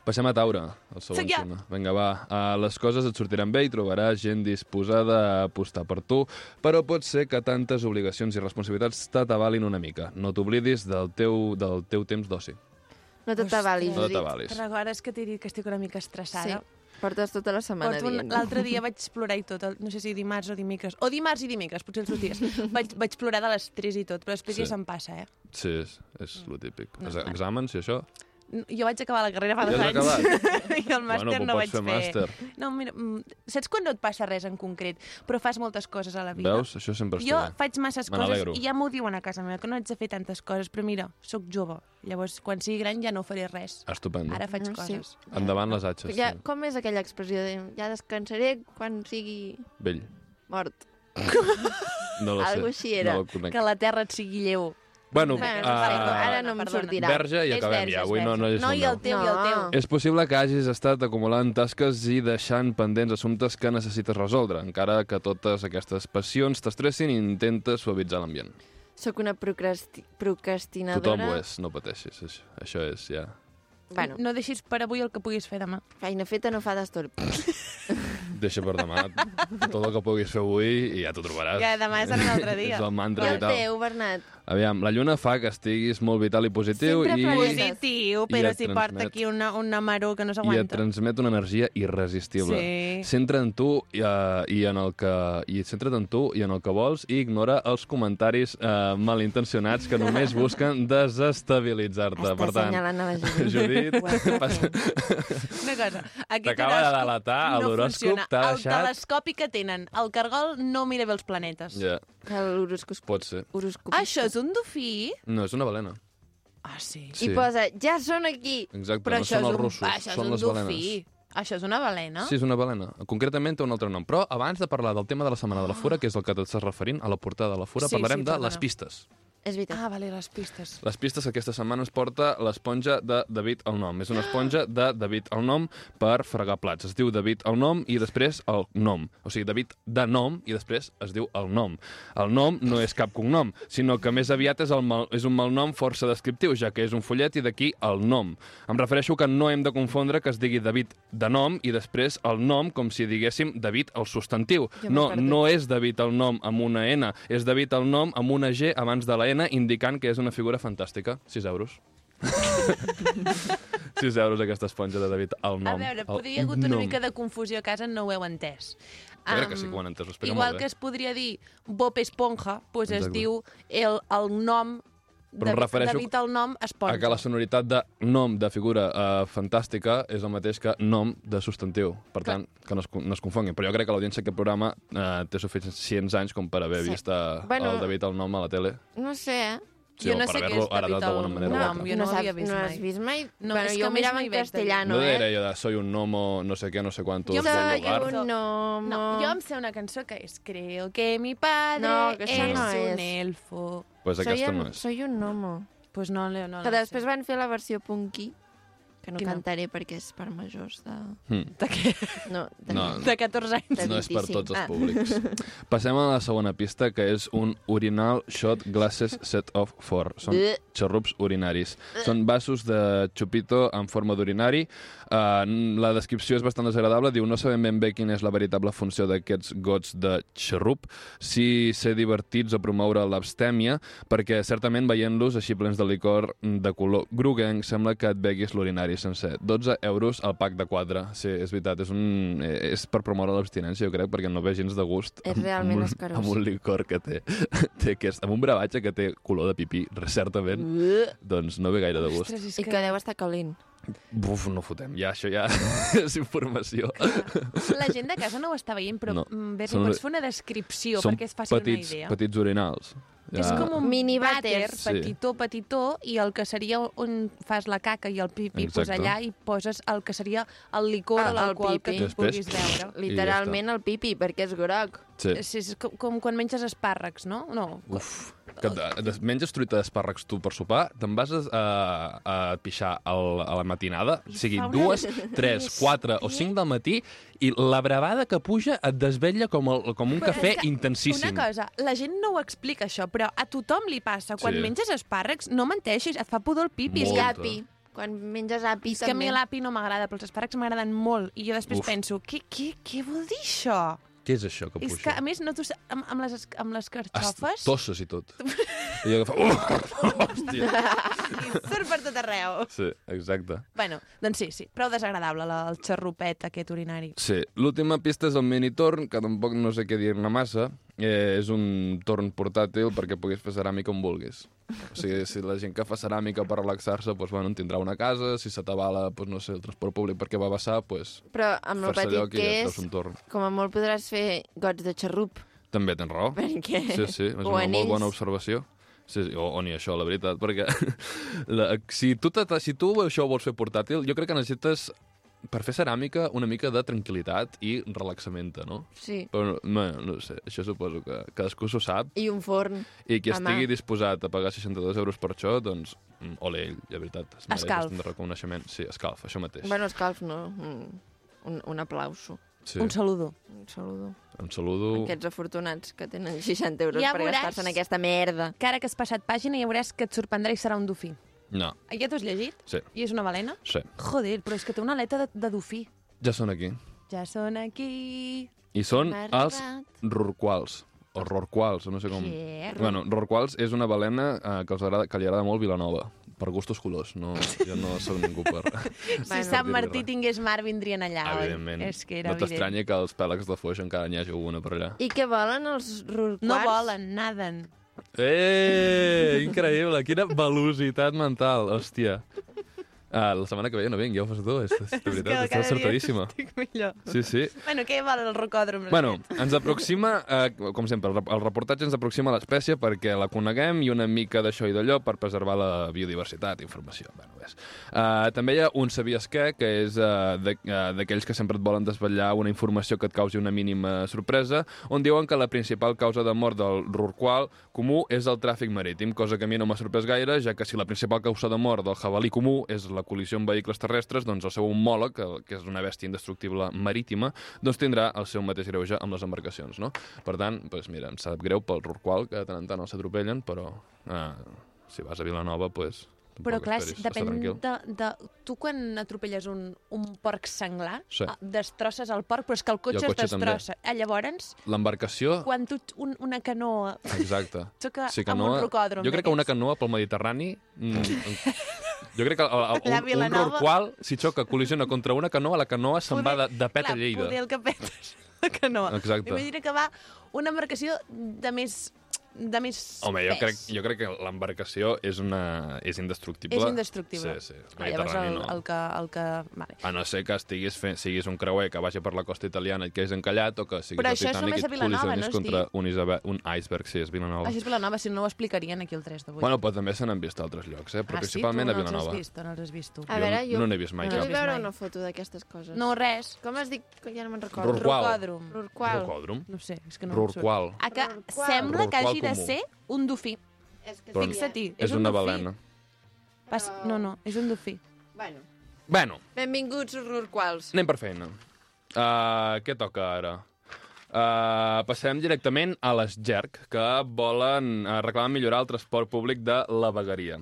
[SPEAKER 4] Passem a Taure, el següent
[SPEAKER 2] Sóc jo.
[SPEAKER 4] signe. Vinga, va, uh, les coses et sortiran bé i trobaràs gent disposada a apostar per tu, però pot ser que tantes obligacions i responsabilitats t'atabalin una mica. No t'oblidis del, teu, del teu temps d'oci.
[SPEAKER 1] No te t'avalis,
[SPEAKER 4] No
[SPEAKER 1] Judit.
[SPEAKER 4] t'avalis.
[SPEAKER 2] Recordes que t'he dit que estic una mica
[SPEAKER 1] Sí.
[SPEAKER 2] estressada?
[SPEAKER 1] Portes tota la setmana
[SPEAKER 2] Porto un-
[SPEAKER 1] dient.
[SPEAKER 2] L'altre dia vaig plorar i tot, el- no sé si dimarts o dimecres, o dimarts i dimecres, potser els dos
[SPEAKER 1] [LAUGHS]
[SPEAKER 2] dies. Vaig, vaig plorar de les 3 i tot, però després
[SPEAKER 4] Sí.
[SPEAKER 2] sí. ja se'm passa, eh?
[SPEAKER 4] Sí, és, és lo típic. No, exàmens i això?
[SPEAKER 2] N- Jo vaig acabar la carrera fa
[SPEAKER 4] Ja
[SPEAKER 2] dos
[SPEAKER 4] has
[SPEAKER 2] anys. [LAUGHS] I el màster
[SPEAKER 4] Bueno, però
[SPEAKER 2] no vaig
[SPEAKER 4] pots fer màster.
[SPEAKER 2] fer. No, mira, mm, saps quan no et passa res en concret, però fas moltes coses a la vida?
[SPEAKER 4] Veus? Això sempre
[SPEAKER 2] Jo
[SPEAKER 4] està bé.
[SPEAKER 2] faig masses
[SPEAKER 4] Me
[SPEAKER 2] coses
[SPEAKER 4] n'alegro.
[SPEAKER 2] i ja m'ho diuen a casa meva, que no haig de fer tantes coses, però mira, sóc jove. Llavors, quan sigui gran ja no faré res.
[SPEAKER 4] Estupendo.
[SPEAKER 2] Ara faig
[SPEAKER 1] No, sí.
[SPEAKER 2] coses.
[SPEAKER 4] Endavant les atxes.
[SPEAKER 1] Ja,
[SPEAKER 4] Ja...
[SPEAKER 1] com és aquella expressió de ja descansaré quan sigui
[SPEAKER 4] Vell.
[SPEAKER 1] mort?
[SPEAKER 4] No la sé.
[SPEAKER 1] Algo així era.
[SPEAKER 4] No la conec.
[SPEAKER 2] Que la terra et sigui lleu.
[SPEAKER 4] Bueno,
[SPEAKER 1] Bueno,
[SPEAKER 4] uh,
[SPEAKER 1] no sé, ara
[SPEAKER 4] ara...
[SPEAKER 1] no em
[SPEAKER 2] perdona.
[SPEAKER 1] sortirà.
[SPEAKER 4] verge i
[SPEAKER 2] És
[SPEAKER 4] acabem
[SPEAKER 2] verge,
[SPEAKER 4] ja.
[SPEAKER 2] és
[SPEAKER 4] Avui no,
[SPEAKER 2] verge.
[SPEAKER 4] no és
[SPEAKER 2] No,
[SPEAKER 4] el
[SPEAKER 2] i el
[SPEAKER 4] nom.
[SPEAKER 2] teu, i el
[SPEAKER 1] No.
[SPEAKER 2] teu.
[SPEAKER 4] És possible que hagis estat acumulant tasques i deixant pendents assumptes que necessites resoldre, encara que totes aquestes passions t'estressin i intentes suavitzar l'ambient.
[SPEAKER 1] Sóc una procrasti procrastinadora.
[SPEAKER 4] Tothom ho és, no pateixis. Això, això és ja...
[SPEAKER 1] Bueno,
[SPEAKER 2] No deixis per avui el que puguis fer demà.
[SPEAKER 1] feina feta no fa d'estolp.
[SPEAKER 4] Deixa per demà tot el que puguis fer avui i ja t'ho trobaràs.
[SPEAKER 2] Ja, demà és un altre
[SPEAKER 4] [LAUGHS]
[SPEAKER 2] dia.
[SPEAKER 4] és el
[SPEAKER 1] I
[SPEAKER 4] mantra
[SPEAKER 1] el
[SPEAKER 4] vital.
[SPEAKER 1] teu, Bernat.
[SPEAKER 4] Aviam, la lluna fa que estiguis molt vital i positiu
[SPEAKER 1] Sempre
[SPEAKER 4] i,
[SPEAKER 1] present.
[SPEAKER 2] Positiu,
[SPEAKER 4] I
[SPEAKER 2] però
[SPEAKER 4] et
[SPEAKER 2] si porta
[SPEAKER 4] transmet-
[SPEAKER 2] aquí una, una maró que no
[SPEAKER 4] i et
[SPEAKER 2] s'aguanta.
[SPEAKER 4] transmet una energia irresistible.
[SPEAKER 2] Sí.
[SPEAKER 4] Centra en tu i, uh, i en el que i centra't en tu i en el que vols i ignora els comentaris uh, malintencionats que només
[SPEAKER 1] [LAUGHS]
[SPEAKER 4] busquen desestabilitzar-te.
[SPEAKER 1] Està
[SPEAKER 4] Per tant, [LAUGHS]
[SPEAKER 1] assenyalant a la Judit.
[SPEAKER 4] Judit,
[SPEAKER 1] Ho has fet
[SPEAKER 4] passa-
[SPEAKER 2] Una cosa,
[SPEAKER 4] [LAUGHS]
[SPEAKER 2] aquest
[SPEAKER 4] T'acaba de
[SPEAKER 2] horòscop
[SPEAKER 4] delatar, l'horòscop
[SPEAKER 2] funciona.
[SPEAKER 4] t'ha deixat-
[SPEAKER 2] El telescopi que tenen, el cargol no mira bé els planetes.
[SPEAKER 4] ja,
[SPEAKER 1] L'horoscop.
[SPEAKER 4] pot ser.
[SPEAKER 1] Horoscopista.
[SPEAKER 2] Ah, Això és un dofí?
[SPEAKER 4] No, és una balena.
[SPEAKER 2] Ah, sí.
[SPEAKER 1] I posa, ja són aquí.
[SPEAKER 4] Exacte,
[SPEAKER 2] Però
[SPEAKER 4] no
[SPEAKER 2] això,
[SPEAKER 4] són
[SPEAKER 2] és
[SPEAKER 4] els
[SPEAKER 2] un, ah,
[SPEAKER 4] russos,
[SPEAKER 2] això és
[SPEAKER 4] són
[SPEAKER 2] un
[SPEAKER 4] les balenes.
[SPEAKER 2] dofí. Això és una balena?
[SPEAKER 4] Sí, és una balena. Concretament té un altre nom. Però abans de parlar del tema de la Setmana de la Fura, que és el que t'estàs referint, a la portada de la Fura,
[SPEAKER 2] Ah. Sí,
[SPEAKER 4] parlarem
[SPEAKER 2] sí,
[SPEAKER 4] de
[SPEAKER 2] perdona.
[SPEAKER 4] les pistes.
[SPEAKER 1] És veritat.
[SPEAKER 2] Ah, vale, les pistes.
[SPEAKER 4] Les pistes que aquesta setmana ens porta l'esponja de David el nom. És una esponja de David el nom per fregar plats. Es diu David el nom i després el nom. O sigui, David de nom i després es diu el nom. El nom no és cap cognom, sinó que més aviat és, el mal, és un malnom força descriptiu, ja que és un follet i d'aquí el nom. Em refereixo que no hem de confondre que es digui David de nom i després el nom com si diguéssim David el substantiu.
[SPEAKER 1] Jo m'he
[SPEAKER 4] No,
[SPEAKER 1] perdut.
[SPEAKER 4] no és David el nom amb una N, és David el nom amb una G abans de la N, indicant que és una figura fantàstica. 6 euros. 6 euros aquesta esponja de David el
[SPEAKER 2] A
[SPEAKER 4] nom.
[SPEAKER 2] veure,
[SPEAKER 4] El
[SPEAKER 2] podria haver hagut una
[SPEAKER 4] nom.
[SPEAKER 2] mica de confusió a casa, no ho heu entès.
[SPEAKER 4] Jo crec
[SPEAKER 2] Am,
[SPEAKER 4] que sí que ho han entès, ho explica
[SPEAKER 2] Igual
[SPEAKER 4] molt eh?
[SPEAKER 2] que
[SPEAKER 4] bé.
[SPEAKER 2] es podria dir Bob Esponja, doncs es
[SPEAKER 4] Exacte.
[SPEAKER 2] diu el, el nom...
[SPEAKER 4] Però em
[SPEAKER 2] David-
[SPEAKER 4] refereixo
[SPEAKER 2] David el nom Esponja.
[SPEAKER 4] A que la sonoritat de nom de figura eh, fantàstica és el mateix que nom de substantiu. Per tant, que no es, con- no es confonguin. Però jo crec que l'audiència d'aquest programa eh, té suficients anys com per haver
[SPEAKER 1] Sí.
[SPEAKER 4] vist eh,
[SPEAKER 1] Bueno.
[SPEAKER 4] el David el nom a la tele.
[SPEAKER 1] No sé, eh?
[SPEAKER 4] Sí,
[SPEAKER 2] Jo
[SPEAKER 4] o
[SPEAKER 2] no
[SPEAKER 4] per
[SPEAKER 2] sé què
[SPEAKER 4] haver-lo
[SPEAKER 2] és David
[SPEAKER 4] heredat d'alguna
[SPEAKER 2] el
[SPEAKER 4] manera o
[SPEAKER 2] nom,
[SPEAKER 4] altra.
[SPEAKER 2] jo no ho
[SPEAKER 1] saps-
[SPEAKER 2] havia vist
[SPEAKER 1] no
[SPEAKER 2] mai.
[SPEAKER 1] has vist mai?
[SPEAKER 2] No,
[SPEAKER 1] bueno,
[SPEAKER 2] és que
[SPEAKER 1] jo
[SPEAKER 2] més
[SPEAKER 1] mirava
[SPEAKER 2] mai
[SPEAKER 1] en
[SPEAKER 2] veig
[SPEAKER 1] castellano,
[SPEAKER 4] no
[SPEAKER 1] eh?
[SPEAKER 4] diré jo de soy un nomo, no sé què, no sé quantos.
[SPEAKER 2] ah, Jo em
[SPEAKER 4] del
[SPEAKER 2] sembla
[SPEAKER 1] Soy
[SPEAKER 2] que
[SPEAKER 4] lugar.
[SPEAKER 2] un
[SPEAKER 1] un gnomo.
[SPEAKER 2] No, jo em sé una cançó que és Creo que Eh, mi padre
[SPEAKER 1] No, que això
[SPEAKER 2] és
[SPEAKER 1] no
[SPEAKER 2] un
[SPEAKER 1] és.
[SPEAKER 2] elfo.
[SPEAKER 4] Pues
[SPEAKER 1] soy
[SPEAKER 4] aquesta
[SPEAKER 1] un,
[SPEAKER 4] no és.
[SPEAKER 1] Soy un gnomo.
[SPEAKER 2] Pues no, Leo, no
[SPEAKER 1] que
[SPEAKER 2] la
[SPEAKER 1] després
[SPEAKER 2] sé.
[SPEAKER 1] van fer la versió punky, que que no
[SPEAKER 2] Quina?
[SPEAKER 1] cantaré perquè és per majors de...
[SPEAKER 4] Mm.
[SPEAKER 2] De, què?
[SPEAKER 1] No, de...
[SPEAKER 4] No,
[SPEAKER 2] de 14 anys.
[SPEAKER 1] De
[SPEAKER 4] No és per
[SPEAKER 1] 25.
[SPEAKER 4] tots els
[SPEAKER 1] Ah.
[SPEAKER 4] públics.
[SPEAKER 1] [LAUGHS]
[SPEAKER 4] Passem a la segona pista, que és un urinal shot glasses set of four. Són
[SPEAKER 1] Bé.
[SPEAKER 4] xarrups urinaris. Són vasos de xupito en forma d'urinari. Uh, la descripció és bastant desagradable. Diu, no sabem ben bé quina és la veritable funció d'aquests gots de xarrup, si ser divertits o promoure l'abstèmia, perquè certament veient-los així plens de licor de color groguenc sembla que et beguis l'urinari sencer. 12 euros al pack de 4. Sí, és veritat, és, un, eh, és per promoure l'abstinència, jo crec, perquè no ve gens de gust
[SPEAKER 1] És realment
[SPEAKER 4] amb, un,
[SPEAKER 1] escarós.
[SPEAKER 4] amb un licor que té, [LAUGHS] té aquest, amb un bravatge que té color de pipí, certament,
[SPEAKER 1] Bé.
[SPEAKER 4] doncs no ve gaire de gust.
[SPEAKER 2] Ostres, és
[SPEAKER 1] I que deu estar calent.
[SPEAKER 4] Buf, no fotem, ja això ja [LAUGHS] és informació. [LAUGHS]
[SPEAKER 2] La gent de casa no ho està veient, però
[SPEAKER 4] No.
[SPEAKER 2] no. ves,
[SPEAKER 4] Són-
[SPEAKER 2] Són... pots fer una descripció perquè es faci
[SPEAKER 4] petits,
[SPEAKER 2] una idea.
[SPEAKER 4] petits urinals.
[SPEAKER 2] És com un
[SPEAKER 1] Mini
[SPEAKER 2] vàter,
[SPEAKER 1] vàters.
[SPEAKER 4] Sí.
[SPEAKER 2] petitó, petitó, i el que seria on fas la caca i el pipi,
[SPEAKER 4] Exacte.
[SPEAKER 2] doncs allà i poses el que seria el licor
[SPEAKER 1] Ah,
[SPEAKER 2] o l'alcohol
[SPEAKER 1] el
[SPEAKER 2] que
[SPEAKER 1] pipi.
[SPEAKER 2] tu
[SPEAKER 4] Després,
[SPEAKER 2] vulguis
[SPEAKER 4] I
[SPEAKER 2] veure.
[SPEAKER 4] ja
[SPEAKER 1] Literalment el pipi, perquè és groc.
[SPEAKER 4] Sí.
[SPEAKER 2] És, és com, com quan menges espàrrecs, no? No,
[SPEAKER 4] Uf, que et- des- menges truita d'espàrrecs tu per sopar, te'n vas a, a, a pixar al, a la matinada, o sigui,
[SPEAKER 2] fa una- [LAUGHS]
[SPEAKER 4] dues, tres,
[SPEAKER 2] Sí.
[SPEAKER 4] quatre o cinc del matí, i la bravada que puja et desvetlla com, el, com un
[SPEAKER 2] Però
[SPEAKER 4] cafè
[SPEAKER 2] és que
[SPEAKER 4] intensíssim.
[SPEAKER 2] Una cosa, la gent no ho explica això, però a tothom li passa. Quan
[SPEAKER 4] Sí.
[SPEAKER 2] menges espàrrecs, no menteixis, et fa pudor el pipi.
[SPEAKER 1] I
[SPEAKER 4] Molt.
[SPEAKER 2] Molt.
[SPEAKER 1] api. Quan menges api
[SPEAKER 2] És que a mi
[SPEAKER 1] també.
[SPEAKER 2] l'api no m'agrada, però els espàrrecs m'agraden molt. I jo després
[SPEAKER 4] Uf.
[SPEAKER 2] Uf. penso, què, què, què vol dir això?
[SPEAKER 4] Què és això que
[SPEAKER 2] És
[SPEAKER 4] puja?
[SPEAKER 2] que, a més, no tu, amb, amb, les, es- amb les carxofes...
[SPEAKER 4] tosses i
[SPEAKER 2] [LAUGHS]
[SPEAKER 4] tot. I jo que fa... Uh, [LAUGHS] hòstia.
[SPEAKER 2] I surt per tot
[SPEAKER 1] Oh.
[SPEAKER 2] arreu.
[SPEAKER 4] Sí, exacte.
[SPEAKER 2] Bueno, doncs sí, sí, prou desagradable la, el xarrupet aquest urinari.
[SPEAKER 4] Sí, l'última pista és el mini-torn, que tampoc no sé què dir-ne massa. Eh, és un torn portàtil perquè puguis fer ceràmica on vulguis. O
[SPEAKER 1] [LAUGHS]
[SPEAKER 4] sigui, si la gent que fa ceràmica per relaxar-se, doncs, bueno, en tindrà una casa, si se t'avala, doncs, no sé, el transport públic perquè va passar, doncs,
[SPEAKER 1] Però amb el
[SPEAKER 4] fer-se allò
[SPEAKER 1] petit
[SPEAKER 4] que
[SPEAKER 1] que
[SPEAKER 4] ja
[SPEAKER 1] és,
[SPEAKER 4] és un torn.
[SPEAKER 1] com a molt podràs fer gots de xarrup,
[SPEAKER 4] També tens raó.
[SPEAKER 1] perquè...
[SPEAKER 4] Sí, sí, és
[SPEAKER 1] o
[SPEAKER 4] una
[SPEAKER 1] anells.
[SPEAKER 4] molt bona observació. Sí, sí, o, o ni això, la veritat, perquè [LAUGHS] la, si, tu te, si tu això ho vols fer portàtil, jo crec que necessites, per fer ceràmica, una mica de tranquil·litat i relaxament, no?
[SPEAKER 1] Sí.
[SPEAKER 4] Però, bueno, no sé, això suposo que cadascú s'ho sap
[SPEAKER 1] I un forn.
[SPEAKER 4] i qui
[SPEAKER 1] Home.
[SPEAKER 4] estigui disposat a pagar 62 euros per això, doncs, mm, ole ell, de veritat. Es mereix
[SPEAKER 2] Escalf.
[SPEAKER 4] bastant de reconeixement. Sí, escalf, això mateix.
[SPEAKER 1] Bueno, escalf, no. Un, mm, un, un aplauso.
[SPEAKER 4] sí,
[SPEAKER 2] Un saludo.
[SPEAKER 1] Un saludo.
[SPEAKER 4] em saludo.
[SPEAKER 1] Aquests afortunats que tenen 60 euros
[SPEAKER 2] Ja
[SPEAKER 1] per
[SPEAKER 2] veuràs.
[SPEAKER 1] gastar-se en aquesta merda.
[SPEAKER 2] Que ara que has passat pàgina ja veuràs que et sorprendrà i serà un dofí.
[SPEAKER 4] No,
[SPEAKER 2] Ja t'ho has llegit?
[SPEAKER 4] sí,
[SPEAKER 2] I és una balena?
[SPEAKER 4] sí.
[SPEAKER 2] Joder, però és que té una aleta de, de dofí.
[SPEAKER 4] Ja són aquí.
[SPEAKER 2] Ja són aquí.
[SPEAKER 4] I són
[SPEAKER 1] Hem
[SPEAKER 4] els
[SPEAKER 1] arribat.
[SPEAKER 4] rorquals. O rorquals, o no sé com...
[SPEAKER 2] Què?
[SPEAKER 4] Bueno, rorquals és una balena eh, que, els agrada, que li agrada molt Vilanova. Per gustos colors. No, jo no sóc ningú
[SPEAKER 2] [LAUGHS]
[SPEAKER 4] per...
[SPEAKER 2] Si
[SPEAKER 1] Bueno.
[SPEAKER 2] Sant
[SPEAKER 4] dir-li
[SPEAKER 2] Martí
[SPEAKER 4] res.
[SPEAKER 2] tingués mar, vindrien allà, oi?
[SPEAKER 4] Evidentment.
[SPEAKER 2] És que era
[SPEAKER 4] no t'estranya que els pèlegs de foix encara n'hi hagi alguna per allà.
[SPEAKER 1] I què volen els rurquars?
[SPEAKER 2] No volen, naden.
[SPEAKER 4] Eh, increïble, quina velocitat mental, hòstia. Ah, la setmana que ve jo no vinc, ja ho fas tu, és, és de veritat, estàs acertadíssima.
[SPEAKER 2] [LAUGHS] estic millor.
[SPEAKER 4] Sí, sí.
[SPEAKER 2] Bueno, què vol el rocòdrom?
[SPEAKER 4] Bueno, ens aproxima, eh, com sempre, el rep- el reportatge ens aproxima a l'espècie perquè la coneguem i una mica d'això i d'allò per preservar la biodiversitat, informació. Bueno, ves. Eh, també hi ha un sabies què, que és eh, de- eh, d'aquells que sempre et volen desvetllar una informació que et causi una mínima sorpresa, on diuen que la principal causa de mort del rorqual comú és el tràfic marítim, cosa que a mi no m'ha sorprès gaire, ja que si la principal causa de mort del jabalí comú és la col·lisió amb vehicles terrestres, doncs el seu homòleg, que, que és una bèstia indestructible marítima, doncs tindrà el seu mateix greuge amb les embarcacions, no? Per tant, doncs mira, em sap greu pel rorqual, que de tant en tant els atropellen, però eh, si vas a Vilanova, doncs... tampoc
[SPEAKER 2] Però clar,
[SPEAKER 4] esperis estar
[SPEAKER 2] depèn
[SPEAKER 4] tranquil.
[SPEAKER 2] de, de... Tu quan atropelles un, un porc senglar,
[SPEAKER 4] Sí.
[SPEAKER 2] ah, destrosses el porc, però és que el cotxe,
[SPEAKER 4] cotxe Ah.
[SPEAKER 2] es destrossa. Ah, llavors,
[SPEAKER 4] L'embarcació...
[SPEAKER 2] quan tu ets un, una canoa
[SPEAKER 4] Exacte.
[SPEAKER 2] xoca
[SPEAKER 4] Sí,
[SPEAKER 2] amb
[SPEAKER 4] canoa,
[SPEAKER 2] un rocòdrom
[SPEAKER 4] jo crec que una
[SPEAKER 2] d'aquests.
[SPEAKER 4] canoa pel Mediterrani...
[SPEAKER 2] [LAUGHS]
[SPEAKER 4] Mm, en- jo crec que el, el, un,
[SPEAKER 2] La
[SPEAKER 4] un
[SPEAKER 2] Vilanova.
[SPEAKER 4] rorqual, si xoca, col·lisiona contra una canoa, la canoa se'n va de, de pet
[SPEAKER 2] clar,
[SPEAKER 4] a Lleida.
[SPEAKER 2] Poder el que peta és [LAUGHS] la canoa.
[SPEAKER 4] Exacte.
[SPEAKER 2] Imagina que va una embarcació de més de més
[SPEAKER 4] Home, jo
[SPEAKER 2] pes.
[SPEAKER 4] crec, jo crec que l'embarcació és, una, és indestructible.
[SPEAKER 2] És indestructible.
[SPEAKER 4] Sí, sí. és
[SPEAKER 2] Ah, llavors
[SPEAKER 4] Mediterrani,
[SPEAKER 2] el,
[SPEAKER 4] no.
[SPEAKER 2] el, que... El que vale.
[SPEAKER 4] A no ser que estiguis fent, siguis un creuer que vagi per la costa italiana i et quedis encallat o que siguis
[SPEAKER 2] Però
[SPEAKER 4] al
[SPEAKER 2] això és
[SPEAKER 4] Titanic
[SPEAKER 2] només
[SPEAKER 4] i
[SPEAKER 2] a Vilanova,
[SPEAKER 4] col·lisionis
[SPEAKER 2] no es
[SPEAKER 4] contra
[SPEAKER 2] diu?
[SPEAKER 4] un, iceberg, un iceberg, sí, és Vilanova.
[SPEAKER 2] Això és Vilanova, si no ho explicarien aquí el 3 d'avui.
[SPEAKER 4] Bueno, però també se n'han vist a altres llocs, eh? però principalment
[SPEAKER 2] ah,
[SPEAKER 4] a
[SPEAKER 2] sí, tu no els
[SPEAKER 4] Vilanova.
[SPEAKER 2] has vist, o no els has vist tu.
[SPEAKER 1] A
[SPEAKER 4] Jo
[SPEAKER 1] veure, jo...
[SPEAKER 4] no n'he vist mai
[SPEAKER 1] no
[SPEAKER 2] cap.
[SPEAKER 1] vull veure
[SPEAKER 2] mai.
[SPEAKER 1] una foto d'aquestes coses.
[SPEAKER 2] No, res.
[SPEAKER 1] Com es diu? Que Ja no me'n recordo.
[SPEAKER 4] Rorqual.
[SPEAKER 2] Rocòdrom.
[SPEAKER 1] Rurqual.
[SPEAKER 4] Rorqual.
[SPEAKER 2] No ho sé, és que no em surt.
[SPEAKER 4] Rorqual.
[SPEAKER 2] Ah, que
[SPEAKER 1] Rorqual.
[SPEAKER 2] sembla que
[SPEAKER 4] Rorqual
[SPEAKER 2] hagi de
[SPEAKER 4] comú.
[SPEAKER 2] ser un dofí.
[SPEAKER 1] És que
[SPEAKER 4] Però-
[SPEAKER 1] sí,
[SPEAKER 2] Fixa-t'hi.
[SPEAKER 4] Doncs És
[SPEAKER 2] un
[SPEAKER 4] una
[SPEAKER 2] dofí.
[SPEAKER 4] balena.
[SPEAKER 2] Pas... No, no, és un dofí.
[SPEAKER 1] Bueno,
[SPEAKER 4] Bueno,
[SPEAKER 1] Benvinguts, Urquals.
[SPEAKER 4] anem per feina. Uh, què toca ara? Uh, passem directament a les GERC, que volen uh, reclamar millorar el transport públic de la vegueria.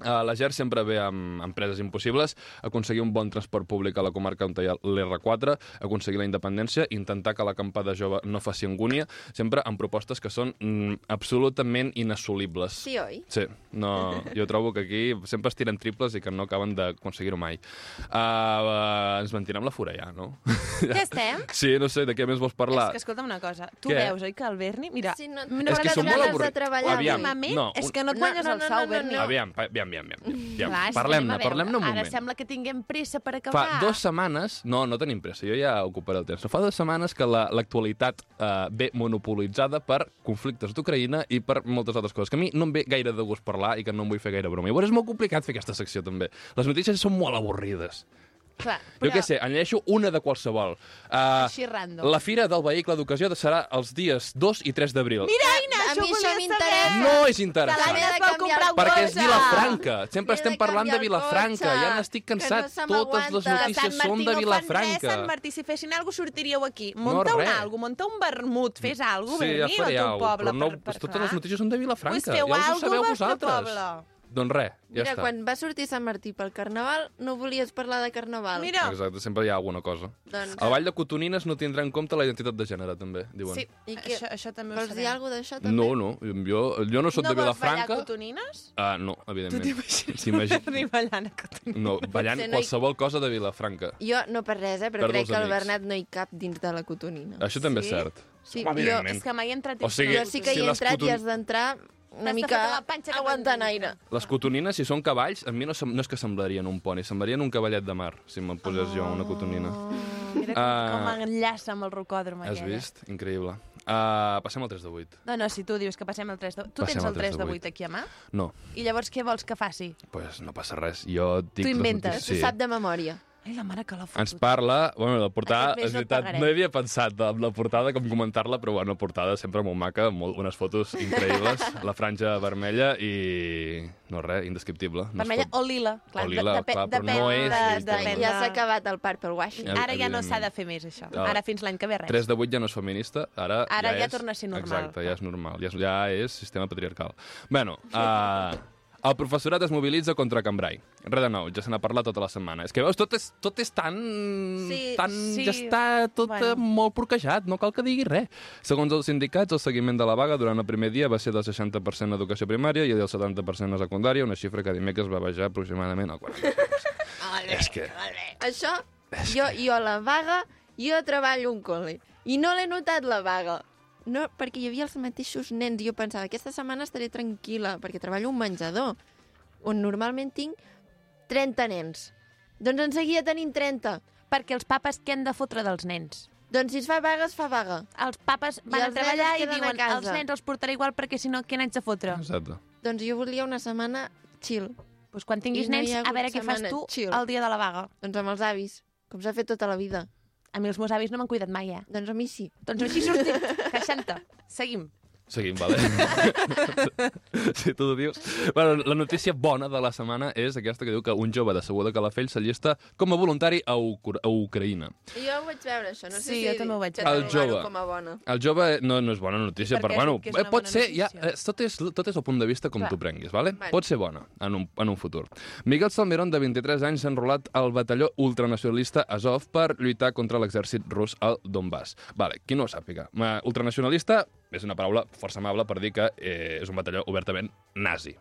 [SPEAKER 4] Uh, la GER sempre ve amb empreses impossibles, aconseguir un bon transport públic a la comarca on hi ha l'R4, aconseguir la independència, intentar que l'acampada jove no faci angúnia, sempre amb propostes que són mm, absolutament inassolibles.
[SPEAKER 1] Sí, oi?
[SPEAKER 4] Sí, no, jo trobo que aquí sempre es tiren triples i que no acaben d'aconseguir-ho mai. Uh, uh, ens mentirem la fura ja, no?
[SPEAKER 1] Ja estem?
[SPEAKER 4] Sí, no sé, de què més vols parlar?
[SPEAKER 2] És que escolta'm una cosa, tu
[SPEAKER 4] Què?
[SPEAKER 2] veus, oi, que el Berni... Mira,
[SPEAKER 1] Sí, no-
[SPEAKER 2] no
[SPEAKER 1] És
[SPEAKER 2] fa
[SPEAKER 1] que
[SPEAKER 2] ganes
[SPEAKER 1] són
[SPEAKER 2] de
[SPEAKER 1] molt
[SPEAKER 2] treballar.
[SPEAKER 1] avorrits. treballar.
[SPEAKER 4] Aviam,
[SPEAKER 2] Últimament,
[SPEAKER 4] no,
[SPEAKER 2] és
[SPEAKER 4] un-
[SPEAKER 2] que no et
[SPEAKER 1] No,
[SPEAKER 2] guanyes
[SPEAKER 1] no,
[SPEAKER 2] el
[SPEAKER 1] no,
[SPEAKER 2] sau,
[SPEAKER 1] no, no,
[SPEAKER 2] Berni.
[SPEAKER 1] no.
[SPEAKER 4] Aviam, pa- aviam, aviam, aviam. aviam.
[SPEAKER 2] Mm, Clar, sí, anem a
[SPEAKER 4] Parlem-ne,
[SPEAKER 2] veure.
[SPEAKER 4] parlem-ne un moment.
[SPEAKER 2] Ara sembla que tinguem pressa per acabar.
[SPEAKER 4] Fa dues setmanes... No, no tenim pressa, jo ja ocuparé el temps. Fa dues setmanes que la- l'actualitat la, eh, ve monopolitzada per conflictes d'Ucraïna i per moltes altres coses, que a mi no em ve gaire de gust parlar i que no em vull fer gaire broma. Llavors és molt complicat fer aquesta secció, també. Les notícies són molt avorrides.
[SPEAKER 1] Clar.
[SPEAKER 4] Jo què sé, en llegeixo una de qualsevol. Uh,
[SPEAKER 2] Així random.
[SPEAKER 4] la Fira del Vehicle d'Ocasió serà els dies 2 i 3 d'abril.
[SPEAKER 2] Mira, Aina,
[SPEAKER 1] A
[SPEAKER 2] això
[SPEAKER 1] mi
[SPEAKER 2] ho
[SPEAKER 1] això
[SPEAKER 2] volia
[SPEAKER 1] m'interessa.
[SPEAKER 2] saber.
[SPEAKER 4] No és
[SPEAKER 2] Que l'Aina
[SPEAKER 1] L'he
[SPEAKER 4] interessant.
[SPEAKER 1] de
[SPEAKER 2] es va
[SPEAKER 1] canviar
[SPEAKER 2] comprar
[SPEAKER 1] el
[SPEAKER 2] un
[SPEAKER 4] Perquè és
[SPEAKER 2] cotxe.
[SPEAKER 4] Vilafranca. Sempre
[SPEAKER 1] He de
[SPEAKER 4] estem parlant de
[SPEAKER 1] canviar el
[SPEAKER 4] Vilafranca.
[SPEAKER 1] cotxe,
[SPEAKER 4] Ja n'estic
[SPEAKER 1] que no
[SPEAKER 4] cansat.
[SPEAKER 1] se
[SPEAKER 4] Totes les
[SPEAKER 1] m'aguanta.
[SPEAKER 2] De Sant
[SPEAKER 4] notícies són de
[SPEAKER 2] Martí no fan res,
[SPEAKER 4] Vilafranca.
[SPEAKER 2] Sant Martí, si fessin alguna cosa, sortiríeu aquí. Monta un
[SPEAKER 4] res.
[SPEAKER 2] algo, monta un vermut, fes alguna cosa,
[SPEAKER 4] sí, ja
[SPEAKER 2] Berni,
[SPEAKER 4] faré
[SPEAKER 2] al teu
[SPEAKER 4] alguna
[SPEAKER 2] poble.
[SPEAKER 4] però no,
[SPEAKER 2] per, per,
[SPEAKER 4] totes les notícies són de Vilafranca.
[SPEAKER 2] Pues feu
[SPEAKER 4] ja us ho
[SPEAKER 2] alguna
[SPEAKER 4] sabeu
[SPEAKER 2] cosa al vostre
[SPEAKER 4] vosaltres. Doncs res, ja
[SPEAKER 1] Mira,
[SPEAKER 4] està.
[SPEAKER 1] quan va sortir Sant Martí pel Carnaval, no volies parlar de Carnaval.
[SPEAKER 2] Mira,
[SPEAKER 4] Exacte, sempre hi ha alguna cosa.
[SPEAKER 1] Doncs-
[SPEAKER 4] El Vall de Cotonines no tindrà en compte la identitat de gènere, també, diuen.
[SPEAKER 2] sí,
[SPEAKER 1] I què?
[SPEAKER 2] això, això també ho
[SPEAKER 1] Vols dir
[SPEAKER 2] sabem. Oh.
[SPEAKER 1] alguna d'això, també?
[SPEAKER 4] No, no, jo, jo no sóc
[SPEAKER 2] no
[SPEAKER 4] de
[SPEAKER 2] vols ballar
[SPEAKER 4] Vilafranca.
[SPEAKER 2] cotonines?
[SPEAKER 4] Ah, no, evidentment.
[SPEAKER 2] [LAUGHS] T'imagines
[SPEAKER 4] T'imagines?
[SPEAKER 2] Berni ballant a cotonines?
[SPEAKER 4] No, ballant
[SPEAKER 1] Potser no hi-
[SPEAKER 4] qualsevol cosa de Vilafranca.
[SPEAKER 1] Jo, no per res, eh,
[SPEAKER 4] Perdo
[SPEAKER 1] però crec
[SPEAKER 4] els
[SPEAKER 1] que el
[SPEAKER 4] amics.
[SPEAKER 1] Bernat no hi cap dins de la cotonina.
[SPEAKER 4] Això també és
[SPEAKER 2] Sí?
[SPEAKER 4] cert.
[SPEAKER 1] Sí,
[SPEAKER 4] Home,
[SPEAKER 1] jo,
[SPEAKER 4] evidentment.
[SPEAKER 2] És que mai he entrat
[SPEAKER 4] O sigui,
[SPEAKER 1] jo sí que
[SPEAKER 4] si
[SPEAKER 1] hi he
[SPEAKER 4] les
[SPEAKER 1] entrat i
[SPEAKER 4] coton-
[SPEAKER 1] has d'entrar una
[SPEAKER 2] T'has de
[SPEAKER 1] mica
[SPEAKER 2] fotre la panxa cap
[SPEAKER 1] aguantant aire.
[SPEAKER 2] endins.
[SPEAKER 4] Les cotonines, si són cavalls, a mi no, sem- no és que semblarien un poni, semblarien un cavallet de mar, si me'n posés jo una cotonina.
[SPEAKER 2] Oh, Mira com,
[SPEAKER 4] Ah.
[SPEAKER 2] com enllaça amb el rocòdrom
[SPEAKER 4] Has
[SPEAKER 2] aquella.
[SPEAKER 4] vist? Increïble. Uh, passem al 3 de 8.
[SPEAKER 2] No, no, si tu dius que passem el 3 de... Tu
[SPEAKER 4] Passem
[SPEAKER 2] tens
[SPEAKER 4] al
[SPEAKER 2] el 3 de
[SPEAKER 4] 8.
[SPEAKER 2] 8 aquí a mà?
[SPEAKER 4] No,
[SPEAKER 2] I llavors què vols que faci?
[SPEAKER 4] pues no passa res. Jo dic...
[SPEAKER 2] Tu
[SPEAKER 4] les
[SPEAKER 2] inventes.
[SPEAKER 4] notícies-
[SPEAKER 1] Sí. S'ho sap de memòria.
[SPEAKER 2] Ai, la mare que l'ha fotut.
[SPEAKER 4] Ens parla... Bueno, la portada,
[SPEAKER 2] Aquest mes
[SPEAKER 4] és
[SPEAKER 2] no et
[SPEAKER 4] veritat,
[SPEAKER 2] pagaré.
[SPEAKER 4] no, havia pensat de- amb la portada, com comentar-la, però bueno, portada sempre molt maca, molt, unes fotos increïbles,
[SPEAKER 2] [LAUGHS]
[SPEAKER 4] la franja vermella i... no res, indescriptible. No es
[SPEAKER 2] Vermella
[SPEAKER 4] pot-
[SPEAKER 2] o lila. Clar,
[SPEAKER 4] O lila,
[SPEAKER 2] depe-
[SPEAKER 4] clar, però
[SPEAKER 2] depèn
[SPEAKER 4] no és
[SPEAKER 2] de,
[SPEAKER 4] literalment.
[SPEAKER 2] depèn de...
[SPEAKER 1] Ja s'ha acabat el Purple Wash.
[SPEAKER 4] Ja-
[SPEAKER 2] Ara ja no
[SPEAKER 4] Evidentment.
[SPEAKER 2] s'ha de fer més, això.
[SPEAKER 4] Ah.
[SPEAKER 2] Ara fins l'any que ve res.
[SPEAKER 4] 3 de 8 ja no és feminista, ara,
[SPEAKER 2] Ara ja
[SPEAKER 4] és...
[SPEAKER 2] torna a ser normal.
[SPEAKER 4] Exacte, ja és normal, ja és, ja és sistema patriarcal. Bueno, uh, el professorat es mobilitza contra Cambrai. Res de nou, ja se n'ha parlat tota la setmana. És que veus, tot és, tot és tan...
[SPEAKER 1] Sí,
[SPEAKER 4] tan
[SPEAKER 2] sí,
[SPEAKER 4] Ja està tot
[SPEAKER 2] bueno.
[SPEAKER 4] bueno. molt porquejat, no cal que digui res. Segons els sindicats, el seguiment de la vaga durant el primer dia va ser del 60% a educació primària i del 70% a secundària, una xifra que dimecres va baixar aproximadament al
[SPEAKER 2] [LAUGHS]
[SPEAKER 4] 40%. és que...
[SPEAKER 1] Això, jo, jo a la vaga, jo treballo a un col·le. I no l'he notat, la vaga. No, perquè hi havia els mateixos nens i jo pensava, aquesta setmana estaré tranquil·la, perquè treballo a un menjador, on normalment tinc 30 nens. Doncs en seguia tenint 30.
[SPEAKER 2] Perquè els papes què han de fotre dels nens?
[SPEAKER 1] Doncs si es fa vaga, es fa vaga.
[SPEAKER 2] Els papes van a
[SPEAKER 1] els nens
[SPEAKER 2] treballar
[SPEAKER 1] es
[SPEAKER 2] i
[SPEAKER 1] queden a
[SPEAKER 2] diuen
[SPEAKER 1] casa.
[SPEAKER 2] els nens els portaré igual perquè si no, què n'haig de fotre?
[SPEAKER 4] Exacte.
[SPEAKER 1] Doncs jo volia una setmana chill.
[SPEAKER 2] Doncs quan
[SPEAKER 1] I
[SPEAKER 2] tinguis
[SPEAKER 1] no hi
[SPEAKER 2] nens,
[SPEAKER 1] ha
[SPEAKER 2] a
[SPEAKER 1] hagut
[SPEAKER 2] veure què fas
[SPEAKER 1] setmana
[SPEAKER 2] tu
[SPEAKER 1] chill.
[SPEAKER 2] el dia de la vaga.
[SPEAKER 1] Doncs amb els avis, com s'ha fet tota la vida.
[SPEAKER 2] A mi els meus avis no m'han cuidat mai, eh?
[SPEAKER 1] Doncs a mi sí.
[SPEAKER 2] Doncs així sortim, queixant-te. Seguim.
[SPEAKER 4] Seguim, vale? si tu ho dius. Bueno, la notícia bona de la setmana és aquesta que diu que un jove de Segur de Calafell s'allista com a voluntari a, Ucra a Ucraïna.
[SPEAKER 1] Jo ho vaig veure, això.
[SPEAKER 2] No sé Sí, si jo també ho vaig
[SPEAKER 1] que
[SPEAKER 2] veure.
[SPEAKER 4] El
[SPEAKER 1] trobar-ho
[SPEAKER 4] jove.
[SPEAKER 1] com a bona.
[SPEAKER 4] El jove eh, no, no és bona notícia,
[SPEAKER 2] Per
[SPEAKER 4] però
[SPEAKER 2] què
[SPEAKER 4] bueno,
[SPEAKER 2] dic que és una
[SPEAKER 4] eh, pot
[SPEAKER 2] bona
[SPEAKER 4] ser, ja,
[SPEAKER 2] notícia?
[SPEAKER 4] eh, tot, és, tot és el punt de vista com
[SPEAKER 2] Clar.
[SPEAKER 4] tu prenguis, vale?
[SPEAKER 1] Vale.
[SPEAKER 4] pot ser bona en un, en un futur. Miguel Salmerón, de 23 anys, s'ha enrolat al batalló ultranacionalista Azov per lluitar contra l'exèrcit rus al Donbass. Vale, qui no ho sàpiga, ma- ultranacionalista és una paraula força amable per dir que eh, és un batalló obertament nazi.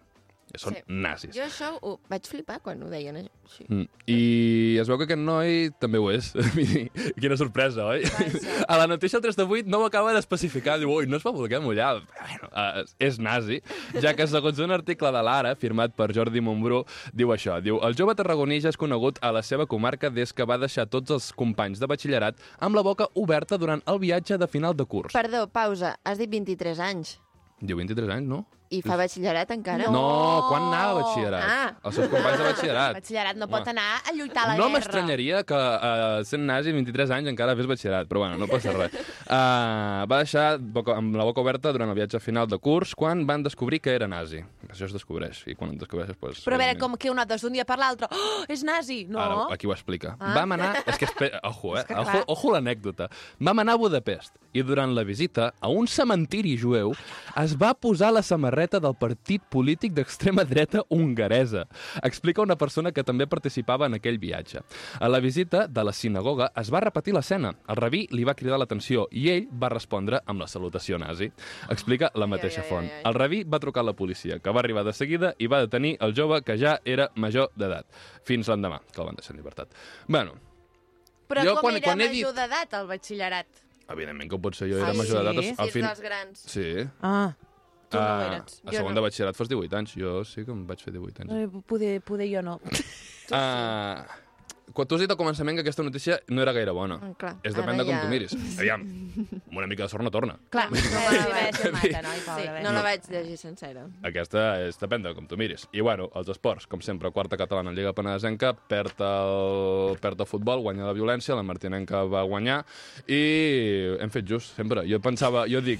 [SPEAKER 4] Són
[SPEAKER 1] Sí.
[SPEAKER 4] nazis.
[SPEAKER 1] Jo això ho vaig flipar quan ho deien eh. així.
[SPEAKER 4] Mm. I es veu que aquest noi també ho és. [LAUGHS] Quina sorpresa, oi? [LAUGHS] A la notícia 3 de 8 no ho acaba d'especificar. Diu, ui, no es va voler mullar. Bueno, eh, és nazi, ja que segons un article de l'Ara, firmat per Jordi Montbrú, diu això. Diu, el jove tarragoní ja és conegut a la seva comarca des que va deixar tots els companys de batxillerat amb la boca oberta durant el viatge de final de curs.
[SPEAKER 1] Perdó, pausa. Has dit 23 anys.
[SPEAKER 4] Diu, 23 anys, no?
[SPEAKER 1] I fa batxillerat encara?
[SPEAKER 4] No, quan anava a batxillerat?
[SPEAKER 1] Ah.
[SPEAKER 4] Els seus companys de
[SPEAKER 2] El
[SPEAKER 4] batxillerat.
[SPEAKER 2] batxillerat no pot
[SPEAKER 4] Home.
[SPEAKER 2] anar a lluitar a la
[SPEAKER 4] no
[SPEAKER 2] guerra.
[SPEAKER 4] m'estranyaria que uh, sent nazi, 23 anys, encara fes batxillerat, però bueno, no passa
[SPEAKER 2] [LAUGHS]
[SPEAKER 4] res. Uh, va deixar boca, amb la boca oberta durant el viatge final de curs quan van descobrir que era nazi. Això es descobreix, i quan ho descobreixes... Pues,
[SPEAKER 2] Però a veure,
[SPEAKER 4] segurament-
[SPEAKER 2] com que ho notes d'un dia per l'altre. Oh, és nazi! No.
[SPEAKER 4] Ara, aquí ho explica.
[SPEAKER 2] Ah.
[SPEAKER 4] Ah. Vam anar... És que, espera, ojo, eh?
[SPEAKER 2] És que clar.
[SPEAKER 4] ojo, ojo l'anècdota. Vam anar a Budapest i durant la visita a un cementiri jueu es va posar la samarreta del partit polític d'extrema dreta hongaresa. Explica una persona que també participava en aquell viatge. A la visita de la sinagoga es va repetir l'escena. El rabí li va cridar l'atenció i ell va respondre amb la salutació nazi. Explica la mateixa
[SPEAKER 1] ai, ai,
[SPEAKER 4] font.
[SPEAKER 1] ai.
[SPEAKER 4] El rabí va trucar a la policia, que va arribar de seguida i va detenir el jove que ja era major d'edat. Fins l'endemà, que el van deixar en llibertat. Bueno,
[SPEAKER 1] Però
[SPEAKER 4] Jo
[SPEAKER 1] com
[SPEAKER 4] quan-
[SPEAKER 1] era
[SPEAKER 4] quan he
[SPEAKER 1] major
[SPEAKER 4] dit-
[SPEAKER 1] d'edat al batxillerat?
[SPEAKER 4] evidentment que ho pot ser, jo era
[SPEAKER 1] Ah,
[SPEAKER 4] major
[SPEAKER 2] sí?
[SPEAKER 4] d'edat.
[SPEAKER 2] Sí,
[SPEAKER 4] al- Al
[SPEAKER 1] Si
[SPEAKER 4] fin...
[SPEAKER 1] ets dels grans.
[SPEAKER 4] Sí.
[SPEAKER 2] Ah, tu no ho
[SPEAKER 4] Ah,
[SPEAKER 2] eres.
[SPEAKER 4] a
[SPEAKER 1] Jo
[SPEAKER 4] segon
[SPEAKER 1] no.
[SPEAKER 4] de batxillerat fas 18 anys. Jo sí que em vaig fer 18 anys.
[SPEAKER 2] Eh, Poder, poder jo no.
[SPEAKER 4] Ah, quan tu has dit al començament que aquesta notícia no era gaire bona.
[SPEAKER 1] Mm, clar.
[SPEAKER 4] És depèn
[SPEAKER 1] Ara
[SPEAKER 4] de com
[SPEAKER 1] ja-
[SPEAKER 4] tu miris. Aviam, amb una mica de sort no torna.
[SPEAKER 2] Clar,
[SPEAKER 1] No,
[SPEAKER 2] no
[SPEAKER 1] no, no,
[SPEAKER 2] va ser mata, noi,
[SPEAKER 1] Sí,
[SPEAKER 2] pobra.
[SPEAKER 1] no
[SPEAKER 2] no.
[SPEAKER 1] la vaig llegir sencera.
[SPEAKER 4] Aquesta és, depèn de com tu miris. I bueno, els esports, com sempre, quarta catalana, Lliga Penedesenca, perd el, perd el futbol, guanya la violència, la Martinenca va guanyar, i hem fet just, sempre. Jo pensava, jo dic,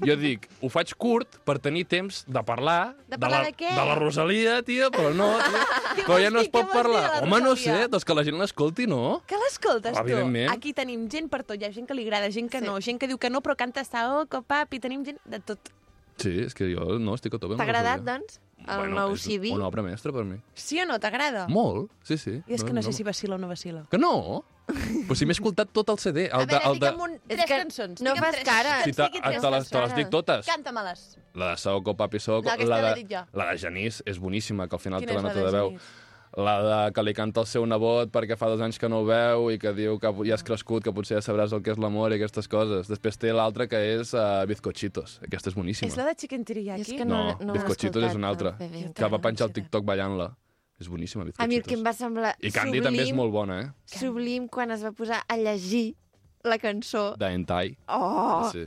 [SPEAKER 4] jo dic, ho faig curt per tenir temps de parlar...
[SPEAKER 2] De parlar
[SPEAKER 4] la,
[SPEAKER 2] de què?
[SPEAKER 4] De la Rosalia, tia, però
[SPEAKER 2] [LAUGHS]
[SPEAKER 4] no, tia, però ja no es
[SPEAKER 2] dir? Què
[SPEAKER 4] pot
[SPEAKER 2] vols dir de la
[SPEAKER 4] parlar. Home, no
[SPEAKER 2] Rosalia?
[SPEAKER 4] sé, doncs que la gent l'escolti, no?
[SPEAKER 2] Que l'escoltes, tu?
[SPEAKER 4] Evidentment.
[SPEAKER 2] Aquí tenim gent per tot. Hi ha gent que li agrada, gent que
[SPEAKER 1] Sí.
[SPEAKER 2] no, gent que diu que no, però canta Saoko, papi, tenim gent de tot.
[SPEAKER 4] Sí, és que jo no estic a tope amb
[SPEAKER 1] T'ha
[SPEAKER 4] la
[SPEAKER 1] agradat,
[SPEAKER 4] Rosalia.
[SPEAKER 1] doncs, el
[SPEAKER 4] Bueno,
[SPEAKER 1] nou
[SPEAKER 4] és
[SPEAKER 1] CV?
[SPEAKER 4] Una obra mestra per mi.
[SPEAKER 2] Sí o no, t'agrada?
[SPEAKER 4] Molt, sí, sí.
[SPEAKER 2] Ah. I és que no sé si vacila o no vacila.
[SPEAKER 4] Que no? Però si m'he escoltat tot el CD. El
[SPEAKER 2] A veure,
[SPEAKER 4] el
[SPEAKER 2] fica'm un, tres
[SPEAKER 1] És que
[SPEAKER 2] cançons.
[SPEAKER 1] no
[SPEAKER 2] fica'm
[SPEAKER 1] fas
[SPEAKER 2] tres.
[SPEAKER 1] cara.
[SPEAKER 4] Si
[SPEAKER 2] Doncs
[SPEAKER 4] te,
[SPEAKER 2] fiqui tres
[SPEAKER 4] te, les, te les dic totes.
[SPEAKER 2] Canta-me-les.
[SPEAKER 4] La de Saoko, Papi Saoko.
[SPEAKER 2] No, aquesta l'he dit
[SPEAKER 4] de,
[SPEAKER 2] jo.
[SPEAKER 4] la de Genís és boníssima, que al final
[SPEAKER 2] Quina
[SPEAKER 4] té la
[SPEAKER 2] és la
[SPEAKER 4] nota
[SPEAKER 2] de
[SPEAKER 4] de veu.
[SPEAKER 2] Genís?
[SPEAKER 4] La de que li canta el seu nebot perquè fa dos anys que no ho veu i que diu que ja has crescut, que potser ja sabràs el que és l'amor i aquestes coses. Després té l'altra que és uh, Bizcochitos. Aquesta és boníssima.
[SPEAKER 2] És la de Chicken Teriyaki?
[SPEAKER 1] És que
[SPEAKER 4] No,
[SPEAKER 1] no- no l'he
[SPEAKER 4] Bizcochitos és una altra,
[SPEAKER 1] escoltat, no, Pepe,
[SPEAKER 4] que va
[SPEAKER 2] eh, encara.
[SPEAKER 4] penjar el TikTok ballant-la. És boníssima, Bizcochitos.
[SPEAKER 1] A mi el que em va semblar
[SPEAKER 4] I Candy també és molt bona, eh?
[SPEAKER 1] sublim quan es va posar a llegir la cançó.
[SPEAKER 4] De hentai.
[SPEAKER 1] Oh!
[SPEAKER 4] Sí.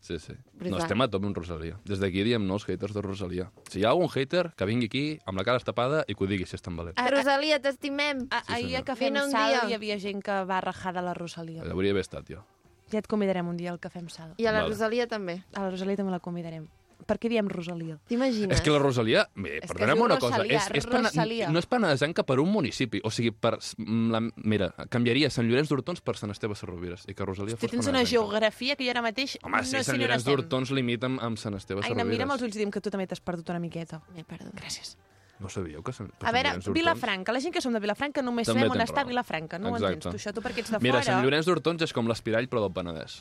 [SPEAKER 4] Sí, sí. No,
[SPEAKER 1] Brutal.
[SPEAKER 4] estem a tope amb Rosalia. Des d'aquí diem no als haters de Rosalia. Si hi ha algun hater, que vingui aquí amb la cara estapada i que ho digui si és tan valent.
[SPEAKER 1] Ah, Rosalia, t'estimem!
[SPEAKER 2] A, ahir
[SPEAKER 4] senyor.
[SPEAKER 2] a Cafè amb
[SPEAKER 1] Vine un
[SPEAKER 2] Sal
[SPEAKER 1] dia.
[SPEAKER 2] hi havia gent que va rajar de la Rosalia.
[SPEAKER 4] Allà hauria d'haver estat jo.
[SPEAKER 2] Ja et convidarem un dia al Cafè amb Sal.
[SPEAKER 1] I a la
[SPEAKER 4] Vale.
[SPEAKER 1] Rosalia també.
[SPEAKER 2] A la Rosalia també la convidarem. Per què diem Rosalia?
[SPEAKER 1] T'imagines?
[SPEAKER 4] És que la Rosalia... Bé,
[SPEAKER 2] que es
[SPEAKER 4] perdonem
[SPEAKER 2] diu
[SPEAKER 4] una
[SPEAKER 2] Rosalia,
[SPEAKER 4] cosa. És, és pana-
[SPEAKER 2] Rosalia.
[SPEAKER 4] No és penedesenca per un municipi. O sigui, per... s- mm, La, mira, canviaria Sant Llorenç d'Hortons per Sant Esteve Sarrovires. I que Rosalia
[SPEAKER 2] Tu
[SPEAKER 4] fos
[SPEAKER 2] tens una
[SPEAKER 4] penedesenca.
[SPEAKER 2] geografia que jo ara mateix
[SPEAKER 4] Home, sí,
[SPEAKER 2] no sé
[SPEAKER 4] Sant
[SPEAKER 2] ni on
[SPEAKER 4] Llorenç
[SPEAKER 2] estem.
[SPEAKER 4] d'Hortons limita amb, amb Sant Esteve
[SPEAKER 2] Aina, mira'm els
[SPEAKER 4] Sarrovires.
[SPEAKER 2] ulls i digue'm que tu també t'has perdut una miqueta.
[SPEAKER 1] M'he perdut.
[SPEAKER 2] Gràcies.
[SPEAKER 4] No sabíeu que Sant, per Sant
[SPEAKER 2] A veure,
[SPEAKER 4] Llorenç d'Hortons-
[SPEAKER 2] Vilafranca. La gent que som de Vilafranca només
[SPEAKER 4] També
[SPEAKER 2] sabem on
[SPEAKER 4] tens
[SPEAKER 2] està
[SPEAKER 4] raó.
[SPEAKER 2] Vilafranca. No ho
[SPEAKER 4] Exacte.
[SPEAKER 2] entens tu, això, tu perquè ets de
[SPEAKER 4] Mira,
[SPEAKER 2] fora.
[SPEAKER 4] Sant Llorenç d'Hortons és com l'Espirall, però del Penedès.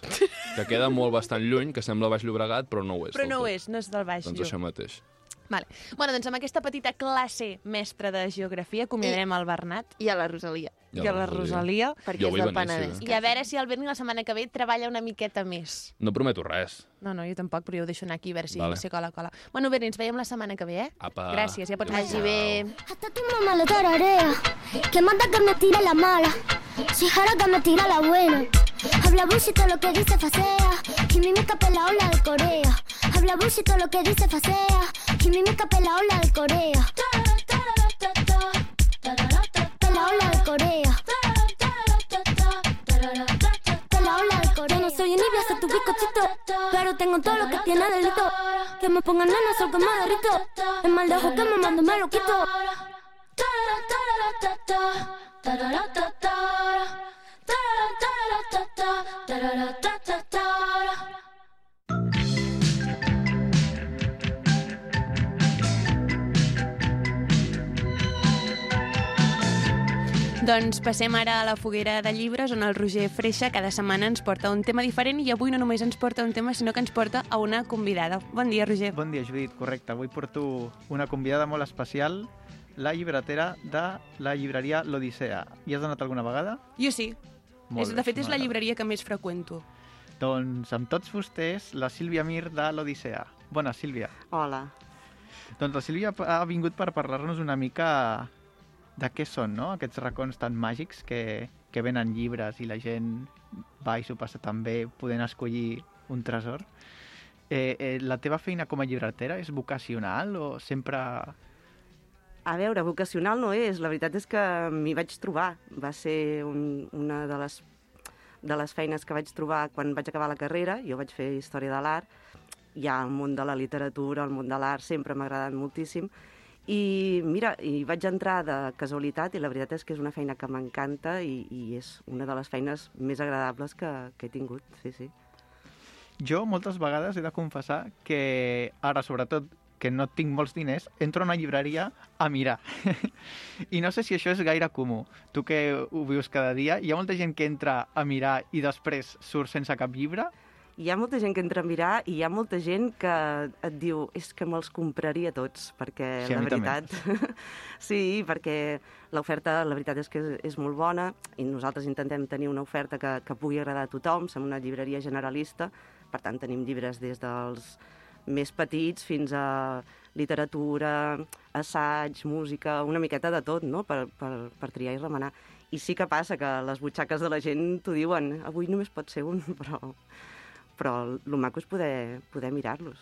[SPEAKER 4] que queda molt bastant lluny, que sembla Baix Llobregat, però no ho és.
[SPEAKER 2] Però
[SPEAKER 4] del
[SPEAKER 2] no ho
[SPEAKER 4] tot.
[SPEAKER 2] és, no és del Baix.
[SPEAKER 4] Doncs
[SPEAKER 2] Llu.
[SPEAKER 4] això mateix.
[SPEAKER 2] Vale. Bueno, doncs amb aquesta petita classe mestra de geografia acomiadarem el Bernat
[SPEAKER 1] I a la Rosalia.
[SPEAKER 2] i, a la Rosalia.
[SPEAKER 1] Perquè
[SPEAKER 4] Jo
[SPEAKER 1] és
[SPEAKER 4] vull
[SPEAKER 1] del
[SPEAKER 4] venir, sí,
[SPEAKER 1] Penedès.
[SPEAKER 4] eh?
[SPEAKER 2] I a veure si el Berni la setmana que ve treballa una miqueta més.
[SPEAKER 4] No prometo res.
[SPEAKER 2] No, no, jo tampoc, però jo ho deixo anar aquí a veure si,
[SPEAKER 4] Vale.
[SPEAKER 2] si cola, cola. Bueno, Berni, ens veiem la setmana que ve, eh?
[SPEAKER 4] Apa.
[SPEAKER 2] Gràcies, ja pots
[SPEAKER 4] Adéu.
[SPEAKER 1] Vagi
[SPEAKER 2] vagi
[SPEAKER 1] bé.
[SPEAKER 5] Hasta tu mamá lo tararea, que manda que me tira la mala, si jara que me tira la buena. Habla bullshit todo lo que dice facea, Kimi me escapé la ola de Corea. Habla bullshit todo lo que dice facea, Kimi me escapé la ola de Corea. Pa' la ola de Corea. Pa' la ola de Corea. Yo no soy envidia, soy tu bizcochito, pero tengo todo lo que tiene delito. Que me pongan nanas o que me derrito, el mal de ojo que me mando me lo quito.
[SPEAKER 2] Doncs passem ara a la foguera de llibres, on el Roger Freixa cada setmana ens porta un tema diferent i avui no només ens porta un tema, sinó que ens porta a una convidada. Bon dia, Roger.
[SPEAKER 6] Bon dia, Judit, correcte. Avui porto una convidada molt especial, la llibretera de la llibreria L'Odissea. Hi has anat alguna vegada?
[SPEAKER 2] Jo sí.
[SPEAKER 6] Molt
[SPEAKER 2] és,
[SPEAKER 6] bé,
[SPEAKER 2] de fet, és la
[SPEAKER 6] m'agrada.
[SPEAKER 2] llibreria que més freqüento.
[SPEAKER 6] Doncs amb tots vostès, la Sílvia Mir de l'Odissea. Bona, Sílvia.
[SPEAKER 7] Hola.
[SPEAKER 6] Doncs la Sílvia ha vingut per parlar-nos una mica de què són, no?, aquests racons tan màgics que, que venen llibres i la gent va i s'ho passa tan bé podent escollir un tresor. Eh, eh, la teva feina com a llibretera és vocacional o sempre...
[SPEAKER 7] A veure, vocacional no és. La veritat és que m'hi vaig trobar. Va ser un, una de les, de les feines que vaig trobar quan vaig acabar la carrera. Jo vaig fer Història de l'Art. Ja el món de la literatura, el món de l'art, sempre m'ha agradat moltíssim. I mira, hi vaig entrar de casualitat i la veritat és que és una feina que m'encanta i, i és una de les feines més agradables que, que he tingut, sí, sí.
[SPEAKER 6] Jo moltes vegades he de confessar que ara, sobretot, que no tinc molts diners, entro a una llibreria a mirar. [LAUGHS] I no sé si això és gaire comú. Tu que ho vius cada dia, hi ha molta gent que entra a mirar i després surt sense cap llibre?
[SPEAKER 7] hi ha molta gent que entra a mirar i hi ha molta gent que et diu és que me'ls compraria tots, perquè
[SPEAKER 6] Sí, a
[SPEAKER 7] la
[SPEAKER 6] mi també.
[SPEAKER 7] veritat... [LAUGHS] sí, perquè l'oferta, la veritat és que és, és molt bona i nosaltres intentem tenir una oferta que, que pugui agradar a tothom, som una llibreria generalista, per tant tenim llibres des dels més petits fins a literatura, assaig, música, una miqueta de tot, no?, per, per, per triar i remenar. I sí que passa que les butxaques de la gent t'ho diuen, avui només pot ser un, [LAUGHS] però però el maco és poder, poder mirar-los.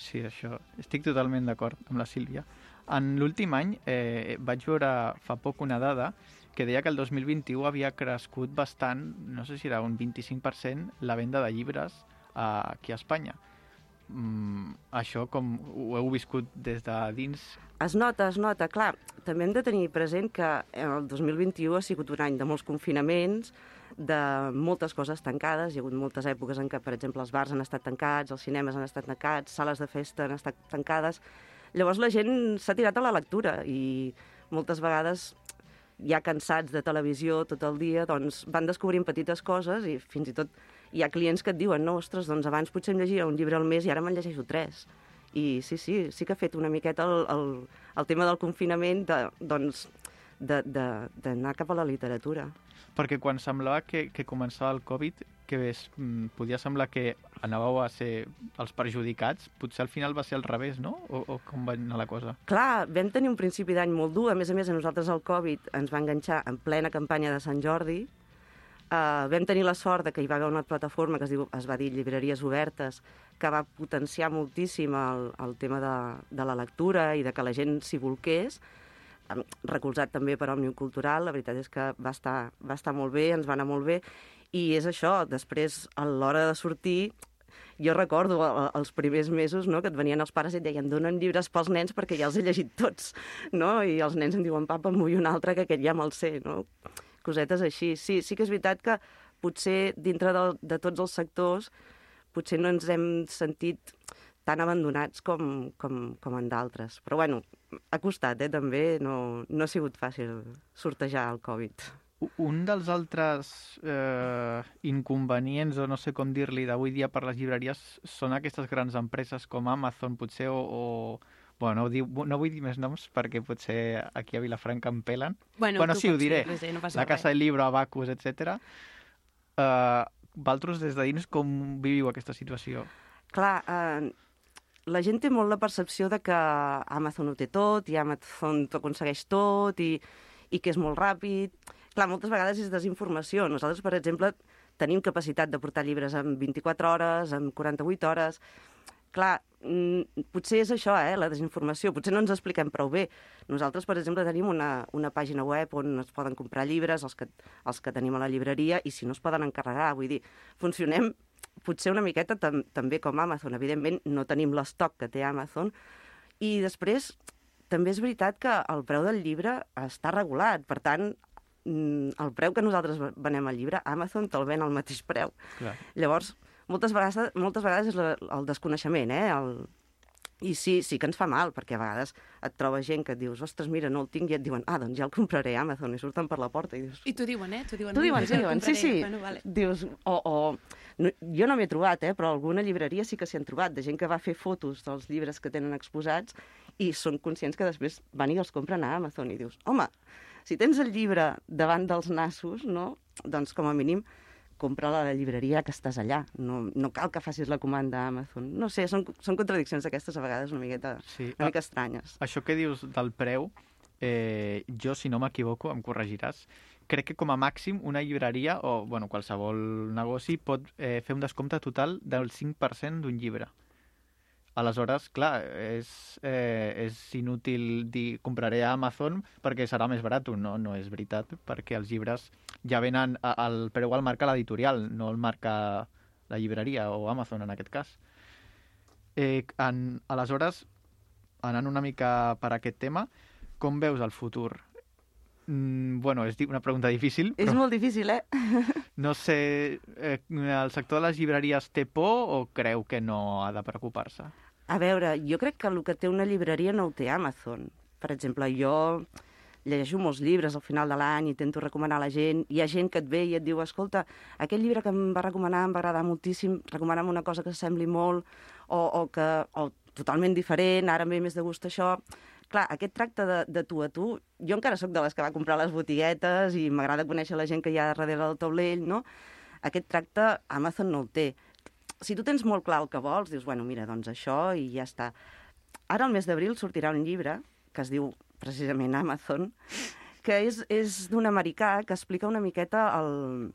[SPEAKER 6] Sí, això. Estic totalment d'acord amb la Sílvia. En l'últim any eh, vaig veure fa poc una dada que deia que el 2021 havia crescut bastant, no sé si era un 25%, la venda de llibres eh, aquí a Espanya. Mm, això com ho heu viscut des de dins?
[SPEAKER 7] Es nota, es nota, clar, també hem de tenir present que el 2021 ha sigut un any de molts confinaments, de moltes coses tancades, hi ha hagut moltes èpoques en què, per exemple, els bars han estat tancats, els cinemes han estat tancats, sales de festa han estat tancades, llavors la gent s'ha tirat a la lectura i moltes vegades ja cansats de televisió tot el dia, doncs van descobrint petites coses i fins i tot hi ha clients que et diuen no, ostres, doncs abans potser em llegia un llibre al mes i ara me'n llegeixo tres. I sí, sí, sí que ha fet una miqueta el, el, el tema del confinament de, doncs, de- de- d'anar cap a la literatura.
[SPEAKER 6] Perquè quan semblava que, que començava el Covid, que es, mm, podia semblar que anàveu a ser els perjudicats, potser al final va ser al revés, no? O, o com va anar la cosa?
[SPEAKER 7] Clar, vam tenir un principi d'any molt dur. A més a més, a nosaltres el Covid ens va enganxar en plena campanya de Sant Jordi. Uh, vam tenir la sort de que hi va haver una plataforma que es, diu, es va dir Llibreries Obertes, que va potenciar moltíssim el, el tema de, de la lectura i de que la gent s'hi volqués, Em- recolzat també per Òmnium Cultural. La veritat és que va estar, va estar molt bé, ens va anar molt bé. I és això, després, a l'hora de sortir, jo recordo eh, els primers mesos no, que et venien els pares i et deien donen llibres pels nens perquè ja els he llegit tots, no? I els nens em diuen, papa, em vull un altre que aquest ja me'l sé, no? Cosetes així. Sí, sí que és veritat que potser dintre de, de tots els sectors potser no ens hem sentit tan abandonats com, com, com en d'altres. Però bueno, ha costat, eh, també. No, no ha sigut fàcil sortejar el Covid.
[SPEAKER 6] U- Un dels altres eh, inconvenients, o no sé com dir-li, d'avui dia per les llibreries són aquestes grans empreses com Amazon, potser, o... o... Bueno, no, ho diu, no vull dir més noms perquè potser aquí a Vilafranca em pelen. Bueno,
[SPEAKER 2] tu
[SPEAKER 6] sí, ho
[SPEAKER 2] pots
[SPEAKER 6] diré.
[SPEAKER 2] dir, Roser, no passa
[SPEAKER 6] La
[SPEAKER 2] res.
[SPEAKER 6] Casa del Libro, Abacus, etc. Uh, Valtros, des de dins, com viviu aquesta situació?
[SPEAKER 7] Clar, eh, la gent té molt la percepció de que Amazon ho té tot i Amazon t'ho aconsegueix tot i, i que és molt ràpid. Clar, moltes vegades és desinformació. Nosaltres, per exemple, tenim capacitat de portar llibres en 24 hores, en 48 hores... Clar, mm, potser és això, eh, la desinformació. Potser no ens expliquem prou bé. Nosaltres, per exemple, tenim una, una pàgina web on es poden comprar llibres, els que, els que tenim a la llibreria, i si no es poden encarregar. Vull dir, funcionem potser una miqueta tam també com Amazon. Evidentment, no tenim l'estoc que té Amazon. I després, també és veritat que el preu del llibre està regulat. Per tant, mm, el preu que nosaltres ve- venem al llibre, Amazon te'l ven al mateix preu.
[SPEAKER 6] Clar.
[SPEAKER 7] Llavors, moltes vegades, moltes vegades és la, el desconeixement, eh? El... I sí, sí que ens fa mal, perquè a vegades et troba gent que et dius, ostres, mira, no el tinc, i et diuen, ah, doncs ja el compraré a Amazon, i surten per la porta i dius,
[SPEAKER 2] I t'ho diuen, eh? T'ho diuen.
[SPEAKER 7] T'ho diuen,
[SPEAKER 2] "Mira,
[SPEAKER 7] t'ho diuen, sí,
[SPEAKER 2] compraré".
[SPEAKER 7] sí.
[SPEAKER 2] Bueno, vale.
[SPEAKER 7] Dius, o... o no, jo no m'he trobat, eh, però alguna llibreria sí que s'hi han trobat, de gent que va fer fotos dels llibres que tenen exposats i són conscients que després van i els compren a Amazon i dius, home, si tens el llibre davant dels nassos, no? doncs com a mínim compra a la llibreria que estàs allà. No, no cal que facis la comanda a Amazon. No sé, són, són contradiccions aquestes a vegades una miqueta
[SPEAKER 6] Sí. Ah,
[SPEAKER 7] una mica estranyes.
[SPEAKER 6] Això que dius del preu, eh, jo, si no m'equivoco, em corregiràs, crec que com a màxim una llibreria o bueno, qualsevol negoci pot eh, fer un descompte total del 5% d'un llibre. Aleshores, clar, és, eh, és inútil dir compraré a Amazon perquè serà més barat. No, no és veritat, perquè els llibres ja venen... a- El preu el marca l'editorial, no el marca la llibreria o Amazon en aquest cas. Eh, en, aleshores, anant una mica per aquest tema, com veus el futur? Mm, bueno, és di- una pregunta difícil,
[SPEAKER 7] És
[SPEAKER 6] però
[SPEAKER 7] molt difícil, eh?
[SPEAKER 6] no sé, eh, el sector de les llibreries té por o creu que no ha de preocupar-se?
[SPEAKER 7] A veure, jo crec que el que té una llibreria no ho té Amazon. Per exemple, jo llegeixo molts llibres al final de l'any, intento recomanar a la gent, hi ha gent que et ve i et diu escolta, aquest llibre que em va recomanar em va agradar moltíssim, recomana'm una cosa que sembli molt, o, o, que, o totalment diferent, ara em ve més de gust això... Clar, aquest tracte de, de tu a tu, jo encara sóc de les que va comprar les botiguetes i m'agrada conèixer la gent que hi ha darrere del taulell, no? Aquest tracte Amazon no el té si tu tens molt clar el que vols, dius, bueno, mira, doncs això i ja està. Ara, al mes d'abril, sortirà un llibre que es diu precisament Amazon, que és, és d'un americà que explica una miqueta el...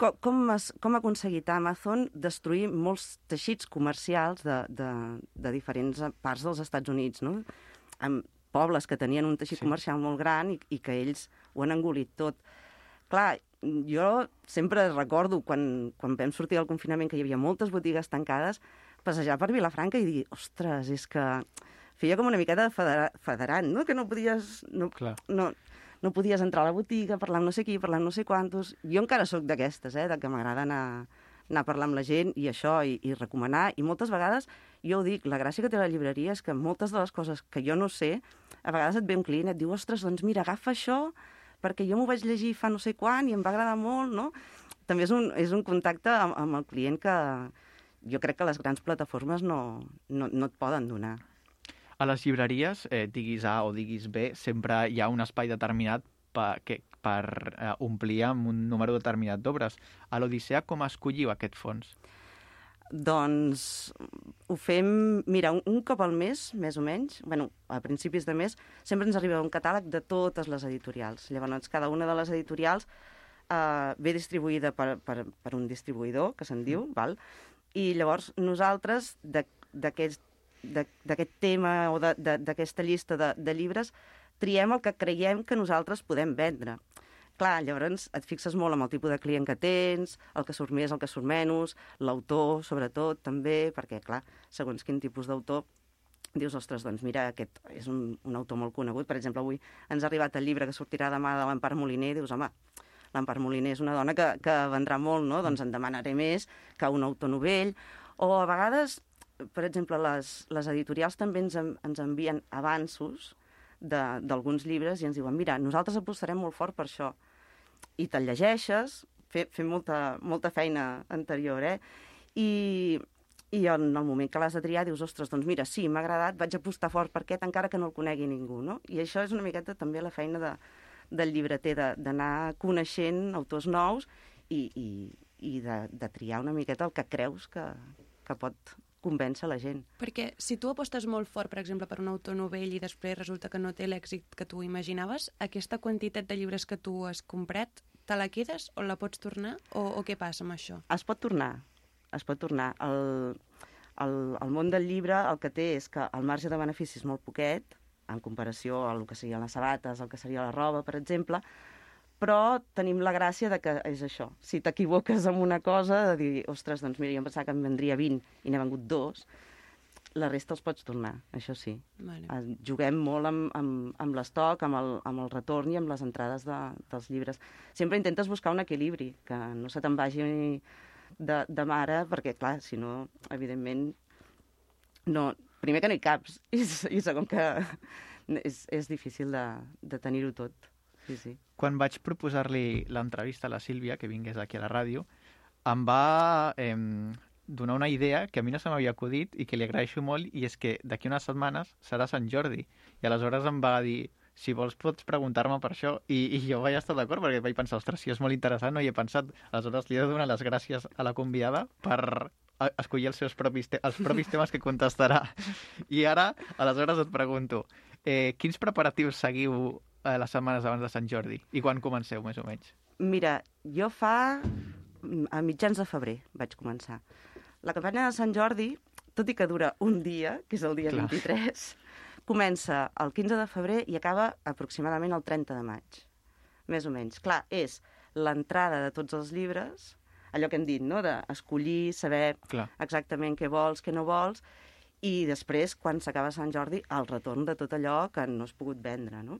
[SPEAKER 7] Com, com, es, com ha aconseguit Amazon destruir molts teixits comercials de, de, de diferents parts dels Estats Units, no? Amb pobles que tenien un teixit
[SPEAKER 6] Sí.
[SPEAKER 7] sí. comercial molt gran i, i que ells ho han engolit tot clar, jo sempre recordo quan, quan vam sortir del confinament que hi havia moltes botigues tancades, passejar per Vilafranca i dir, ostres, és que feia com una miqueta de federa federant, no? Que no podies... No,
[SPEAKER 6] Clar.
[SPEAKER 7] no, no podies entrar a la botiga, parlar amb no sé qui, parlar amb no sé quantos... Jo encara sóc d'aquestes, eh? De que m'agrada anar, anar a parlar amb la gent i això, i, i recomanar. I moltes vegades, jo ho dic, la gràcia que té la llibreria és que moltes de les coses que jo no sé, a vegades et ve un client i et diu, ostres, doncs mira, agafa això, perquè jo m'ho vaig llegir fa no sé quan i em va agradar molt, no? També és un, és un contacte amb, amb el client que jo crec que les grans plataformes no, no, no et poden donar.
[SPEAKER 6] A les llibreries, eh, diguis A o diguis B, sempre hi ha un espai determinat pa, que, per eh, omplir amb un número determinat d'obres. A l'Odissea, com escolliu aquest fons?
[SPEAKER 7] Doncs ho fem, mira, un, un cop al mes, més o menys, bueno, a principis de mes, sempre ens arriba un catàleg de totes les editorials. Llavors, cada una de les editorials eh, ve distribuïda per, per, per un distribuïdor, que se'n diu, val? i llavors nosaltres d'aqu- d'aquest d'aqu- d'aquest tema o de- de- d'aquesta llista de, de llibres triem el que creiem que nosaltres podem vendre. Clar, llavors et fixes molt amb el tipus de client que tens, el que surt més, el que surt menys, l'autor, sobretot, també, perquè, clar, segons quin tipus d'autor, dius, ostres, doncs mira, aquest és un, un autor molt conegut. Per exemple, avui ens ha arribat el llibre que sortirà demà de l'Empar Moliner, i dius, home, l'Empar Moliner és una dona que, que vendrà molt, no? Doncs en demanaré més que un autor novell. O a vegades, per exemple, les, les editorials també ens, en- ens envien avanços de- d'alguns llibres i ens diuen, mira, nosaltres apostarem molt fort per això. I te'l llegeixes, fe, fem molta, molta feina anterior, eh? I, i en el moment que l'has de triar dius, ostres, doncs mira, sí, m'ha agradat, vaig apostar fort per aquest, encara que no el conegui ningú, no? I això és una miqueta també la feina de, del llibreter, de- d'anar coneixent autors nous i, i, i de, de triar una miqueta el que creus que, que pot convèncer la gent.
[SPEAKER 8] Perquè si tu apostes molt fort, per exemple, per un autor novell i després resulta que no té l'èxit que tu imaginaves, aquesta quantitat de llibres que tu has comprat, te la quedes o la pots tornar? O, o què passa amb això?
[SPEAKER 7] Es pot tornar, es pot tornar. El, el, el món del llibre el que té és que el marge de benefici és molt poquet, en comparació a el que serien les sabates, el que seria la roba, per exemple, però tenim la gràcia de que és això. Si t'equivoques amb una cosa, de dir, ostres, doncs mira, jo em pensava que em vendria 20 i n'he vengut dos, la resta els pots tornar, això sí.
[SPEAKER 8] Vale.
[SPEAKER 7] Eh, Juguem molt amb, amb, amb l'estoc, amb, el, amb el retorn i amb les entrades de, dels llibres. Sempre intentes buscar un equilibri, que no se te'n vagi de, de mare, perquè, clar, si no, evidentment, no, primer que no hi caps, [LAUGHS] i, s- i segon que és, és difícil de, de tenir-ho tot. Sí, sí.
[SPEAKER 6] Quan vaig proposar-li l'entrevista a la Sílvia, que vingués aquí a la ràdio, em va eh, donar una idea que a mi no se m'havia acudit i que li agraeixo molt, i és que d'aquí unes setmanes serà Sant Jordi. I aleshores em va dir, si vols pots preguntar-me per això. I, I jo vaig estar d'acord perquè vaig pensar, ostres, si és molt interessant, no hi he pensat. Aleshores li he de donar les gràcies a la convidada per a- escollir els seus propis, te els propis temes que contestarà. I ara, aleshores et pregunto, eh, quins preparatius seguiu eh, les setmanes abans de Sant Jordi? I quan comenceu, més o menys?
[SPEAKER 7] Mira, jo fa... mm, a mitjans de febrer vaig començar. La campanya de Sant Jordi, tot i que dura un dia, que és el dia
[SPEAKER 6] Clar.
[SPEAKER 7] 23, comença el 15 de febrer i acaba aproximadament el 30 de maig. Més o menys. Clar, és l'entrada de tots els llibres, allò que hem dit, no?, d'escollir, saber
[SPEAKER 6] Clar.
[SPEAKER 7] exactament què vols, què no vols, i després, quan s'acaba Sant Jordi, el retorn de tot allò que no has pogut vendre, no?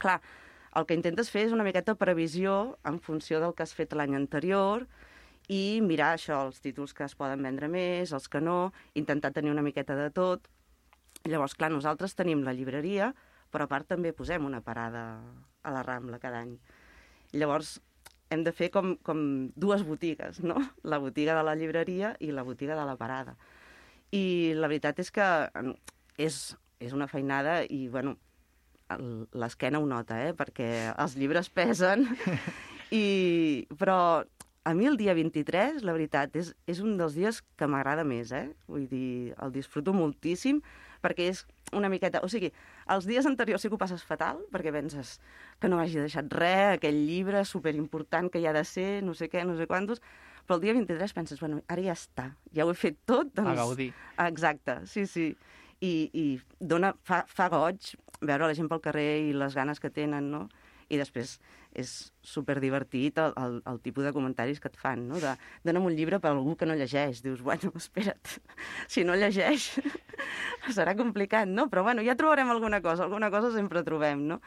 [SPEAKER 7] Clar, el que intentes fer és una miqueta previsió en funció del que has fet l'any anterior i mirar això, els títols que es poden vendre més, els que no, intentar tenir una miqueta de tot. Llavors, clar, nosaltres tenim la llibreria, però a part també posem una parada a la Rambla cada any. Llavors, hem de fer com, com dues botigues, no? [LAUGHS] La botiga de la llibreria i la botiga de la parada. I la veritat és que mm, és, és una feinada i, bueno, el- l'esquena ho nota, eh? Perquè els llibres pesen. I, però a mi el dia 23, la veritat, és, és un dels dies que m'agrada més, eh? Vull dir, el disfruto moltíssim perquè és una miqueta... O sigui, els dies anteriors sí que ho passes fatal, perquè penses que no hagi deixat res, aquell llibre superimportant que hi ha de ser, no sé què, no sé quantos... Però el dia 23 penses, bueno, ara ja està, ja ho he fet tot, doncs...
[SPEAKER 6] A gaudir.
[SPEAKER 7] Exacte, sí, sí. I, i dona, fa, fa goig veure la gent pel carrer i les ganes que tenen, no? I després és superdivertit el, el, el tipus de comentaris que et fan, no? De, dona'm un llibre per algú que no llegeix. Dius, bueno, espera't, [LAUGHS] si no llegeix [LAUGHS] serà complicat, no? Però bueno, ja trobarem alguna cosa, alguna cosa sempre trobem, no?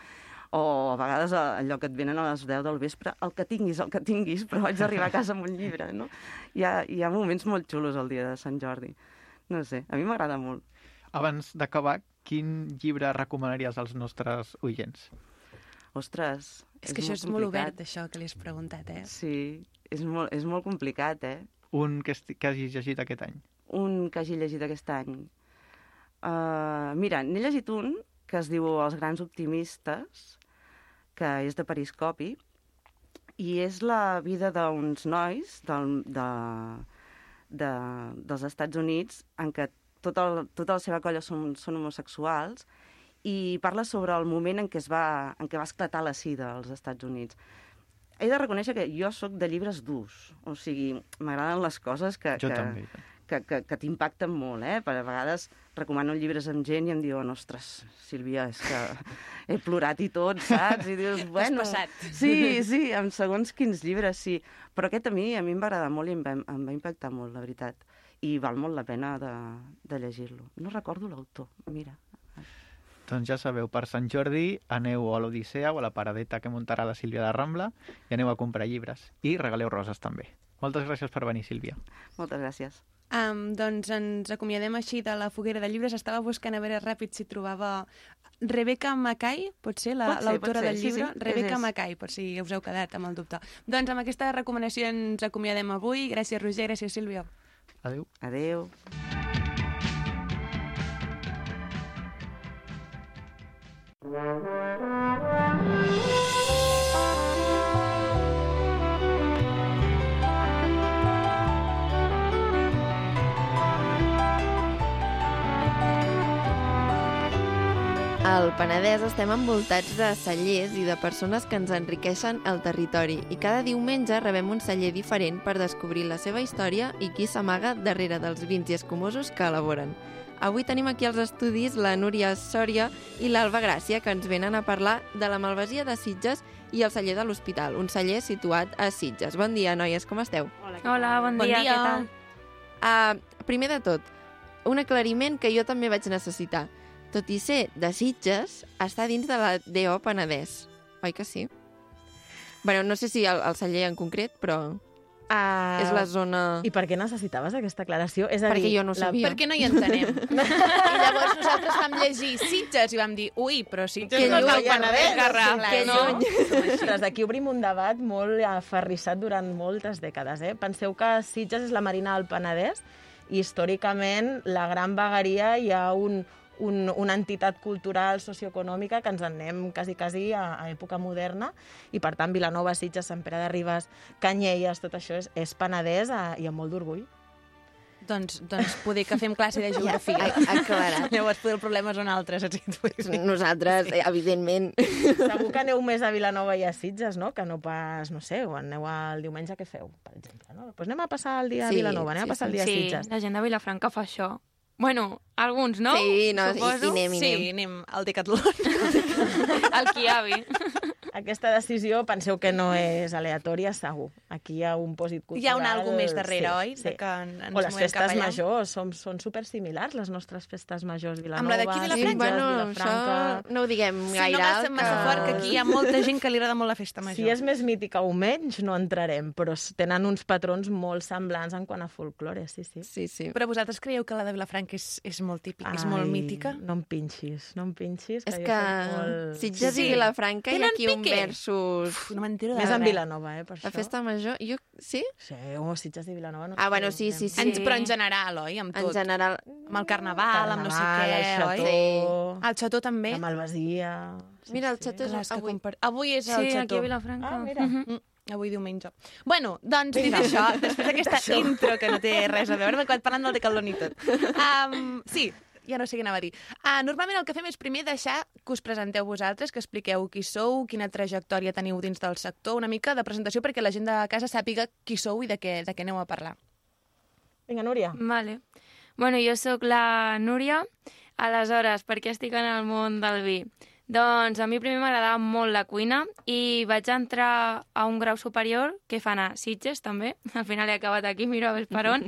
[SPEAKER 7] O a vegades a- allò que et venen a les 10 del vespre, el que tinguis, el que tinguis, però vaig arribar a casa amb un llibre, no? Hi ha, hi ha moments molt xulos el dia de Sant Jordi. No sé, a mi m'agrada molt.
[SPEAKER 6] Abans d'acabar, quin llibre recomanaries als nostres oients?
[SPEAKER 7] Ostres,
[SPEAKER 8] És que això és molt obert, això que li has preguntat, eh?
[SPEAKER 7] Sí, és molt, és molt complicat, eh?
[SPEAKER 6] Un que, esti- que hagis llegit aquest any.
[SPEAKER 7] Un que hagi llegit aquest any. Uh, mira, n'he llegit un que es diu Els grans optimistes, que és de Periscopi, i és la vida d'uns nois del, de, de, dels Estats Units en què tota, el, tota la seva colla són, són homosexuals i parla sobre el moment en què, es va, en què va esclatar la sida als Estats Units. He de reconèixer que jo sóc de llibres durs, o sigui, m'agraden les coses que,
[SPEAKER 6] Jo
[SPEAKER 7] que,
[SPEAKER 9] e-
[SPEAKER 6] també.
[SPEAKER 7] que, que, que t'impacten molt, eh? Per a vegades recomano llibres amb gent i em diuen, ostres, Sílvia, és que he plorat i tot, saps? I dius, bueno...
[SPEAKER 8] passat."
[SPEAKER 7] Sí, sí, amb segons quins llibres, sí. Però aquest a mi, a mi em va agradar molt i em va, em va impactar molt, la veritat. I val molt la pena de, de llegir-lo. No recordo l'autor, mira.
[SPEAKER 6] Doncs ja sabeu, per Sant Jordi aneu a l'Odissea o a la paradeta que muntarà la Sílvia de Rambla i aneu a comprar llibres. I regaleu roses també. Moltes gràcies per venir, Sílvia.
[SPEAKER 7] Moltes gràcies.
[SPEAKER 8] Um, doncs ens acomiadem així de la foguera de llibres. Estava buscant a veure ràpid si trobava Rebecca Mackay, pot ser la-
[SPEAKER 7] Pot ser,
[SPEAKER 8] l'autora
[SPEAKER 7] pot ser,
[SPEAKER 8] del
[SPEAKER 7] sí,
[SPEAKER 8] llibre?
[SPEAKER 7] sí, és,
[SPEAKER 8] Rebecca
[SPEAKER 7] és.
[SPEAKER 8] Mackay, per si us heu quedat amb el dubte. Doncs amb aquesta recomanació ens acomiadem avui. Gràcies, Roger, gràcies, Sílvia.
[SPEAKER 6] Adéu.
[SPEAKER 7] Adeu.
[SPEAKER 1] Al Penedès estem envoltats de cellers i de persones que ens enriqueixen el territori i cada diumenge rebem un celler diferent per descobrir la seva història i qui s'amaga darrere dels vins i escumosos que elaboren. Avui tenim aquí als estudis la Núria Sòria i l'Alba Gràcia, que ens venen a parlar de la malvasia de Sitges i el celler de l'Hospital, un celler situat a Sitges. Bon dia, noies, com esteu?
[SPEAKER 9] Hola, Ah, bon,
[SPEAKER 8] Bon
[SPEAKER 9] dia,
[SPEAKER 8] dia.
[SPEAKER 9] què tal?
[SPEAKER 1] Uh, primer de tot, un aclariment que jo també vaig necessitar. Tot i ser de Sitges, està dins de la DO Penedès. Oi que sí? bueno, no sé si el, el celler en concret, però
[SPEAKER 10] Ah,
[SPEAKER 1] és la zona...
[SPEAKER 10] I per què necessitaves aquesta aclaració? És a
[SPEAKER 1] Perquè
[SPEAKER 10] dir,
[SPEAKER 1] jo no ho sabia.
[SPEAKER 8] Per què no hi
[SPEAKER 10] [LAUGHS]
[SPEAKER 8] entenem? I llavors nosaltres vam llegir Sitges i vam dir, ui, però Sitges
[SPEAKER 1] Que
[SPEAKER 8] no és
[SPEAKER 1] lluny,
[SPEAKER 8] del Penedès,
[SPEAKER 1] que
[SPEAKER 8] Garraf,
[SPEAKER 1] lluny.
[SPEAKER 8] no?
[SPEAKER 10] Ostres, aquí obrim un debat molt aferrissat durant moltes dècades. Eh? Penseu que Sitges és la Marina del Penedès i històricament la Gran Vegueria hi ha un, un, una entitat cultural socioeconòmica que ens en anem quasi, quasi a, a època moderna i per tant Vilanova, Sitges, Sant Pere de Ribes, Canyelles, tot això és, és Penedès eh, i amb molt d'orgull.
[SPEAKER 2] Doncs, doncs poder que fem classe de geografia.
[SPEAKER 1] A- aclarat.
[SPEAKER 2] [LAUGHS] Llavors, poder el problema són altres. Així et vull dir.
[SPEAKER 1] Nosaltres, eh, evidentment...
[SPEAKER 10] Segur que aneu més a Vilanova i a Sitges, no? Que no pas, no sé, quan aneu el diumenge, què feu, per exemple? No? Doncs anem a passar el dia
[SPEAKER 1] Sí,
[SPEAKER 10] a Vilanova, anem
[SPEAKER 1] sí,
[SPEAKER 10] a passar el dia
[SPEAKER 9] sí,
[SPEAKER 10] a Sitges.
[SPEAKER 9] la gent de Vilafranca fa això. Bueno, alguns, no?
[SPEAKER 1] Sí, no, i-
[SPEAKER 9] Suposo.
[SPEAKER 1] i anem, i
[SPEAKER 2] sí,
[SPEAKER 1] anem.
[SPEAKER 2] anem al Decathlon.
[SPEAKER 9] El Kiavi.
[SPEAKER 10] Aquesta decisió penseu que no és aleatòria, segur. Aquí hi ha un pòsit cultural...
[SPEAKER 2] Hi ha un algo més darrere, oi?
[SPEAKER 10] Sí.
[SPEAKER 2] De que en- ens
[SPEAKER 10] o les
[SPEAKER 2] movem cap
[SPEAKER 10] festes
[SPEAKER 2] allà.
[SPEAKER 10] majors, som, són supersimilars les nostres festes majors. Vilanova,
[SPEAKER 2] Amb la d'aquí
[SPEAKER 10] Sitges,
[SPEAKER 2] Vilafranca?
[SPEAKER 10] Vilafranca...
[SPEAKER 1] això no ho diguem
[SPEAKER 2] Si
[SPEAKER 1] gaire
[SPEAKER 2] no vas
[SPEAKER 1] alt,
[SPEAKER 2] massa
[SPEAKER 1] que-
[SPEAKER 2] fort, que aquí hi ha molta gent que li agrada molt la festa major.
[SPEAKER 10] Si és més mítica o menys, no entrarem, però s- tenen uns patrons molt semblants en quant a folklore, sí, sí.
[SPEAKER 1] Sí, sí.
[SPEAKER 2] Però vosaltres creieu que la de Vilafranca és, és molt típica, és molt
[SPEAKER 10] Ai,
[SPEAKER 2] mítica?
[SPEAKER 10] No em pinxis, no em pinxis.
[SPEAKER 1] És
[SPEAKER 10] jo
[SPEAKER 1] que
[SPEAKER 10] soc molt...
[SPEAKER 1] Sitges
[SPEAKER 2] Sí.
[SPEAKER 1] i Vilafranca hi ha
[SPEAKER 2] Tenen
[SPEAKER 1] aquí un
[SPEAKER 2] pique.
[SPEAKER 1] versus...
[SPEAKER 2] Uf, no m'entero de
[SPEAKER 10] Més en
[SPEAKER 2] res.
[SPEAKER 10] Vilanova, eh, per
[SPEAKER 1] La
[SPEAKER 10] això.
[SPEAKER 1] festa major, jo... Sí?
[SPEAKER 10] Sí, o Sitges i Vilanova. No
[SPEAKER 1] Ah,
[SPEAKER 10] sé,
[SPEAKER 1] bueno, sí,
[SPEAKER 10] anem.
[SPEAKER 1] sí, sí.
[SPEAKER 2] En, però en general, oi? Amb
[SPEAKER 1] En
[SPEAKER 2] tot.
[SPEAKER 1] general...
[SPEAKER 2] Amb el carnaval, amb no sé què,
[SPEAKER 10] Carnaval,
[SPEAKER 2] oi?
[SPEAKER 10] el xató,
[SPEAKER 2] El xató també?
[SPEAKER 10] la malvasia...
[SPEAKER 1] Mira, el xató
[SPEAKER 2] Clar,
[SPEAKER 1] és
[SPEAKER 2] és que
[SPEAKER 1] avui.
[SPEAKER 2] compar... Avui és el
[SPEAKER 9] Sí,
[SPEAKER 2] xató.
[SPEAKER 9] aquí a Vilafranca.
[SPEAKER 10] Ah, mira.
[SPEAKER 9] Mhm.
[SPEAKER 2] Mm, avui diumenge. Bueno, doncs dit això, després d'aquesta intro que no té res a veure, m'he acabat parlant del Decathlon i
[SPEAKER 9] [LAUGHS]
[SPEAKER 2] tot. Um, sí, ja no sé què anava a dir. Uh, normalment el que fem és primer deixar que us presenteu vosaltres, que expliqueu qui sou, quina trajectòria teniu dins del sector, una mica de presentació perquè la gent de casa sàpiga qui sou i de què, de què aneu a parlar.
[SPEAKER 10] Vinga, Núria.
[SPEAKER 9] Vale. Bueno, jo sóc la Núria. Aleshores, per què estic en el món del vi? Doncs a mi primer m'agradava molt la cuina i vaig entrar a un grau superior que fan a Sitges, també. [LAUGHS] Al final he acabat aquí, miro a veure per
[SPEAKER 10] [LAUGHS]
[SPEAKER 9] on.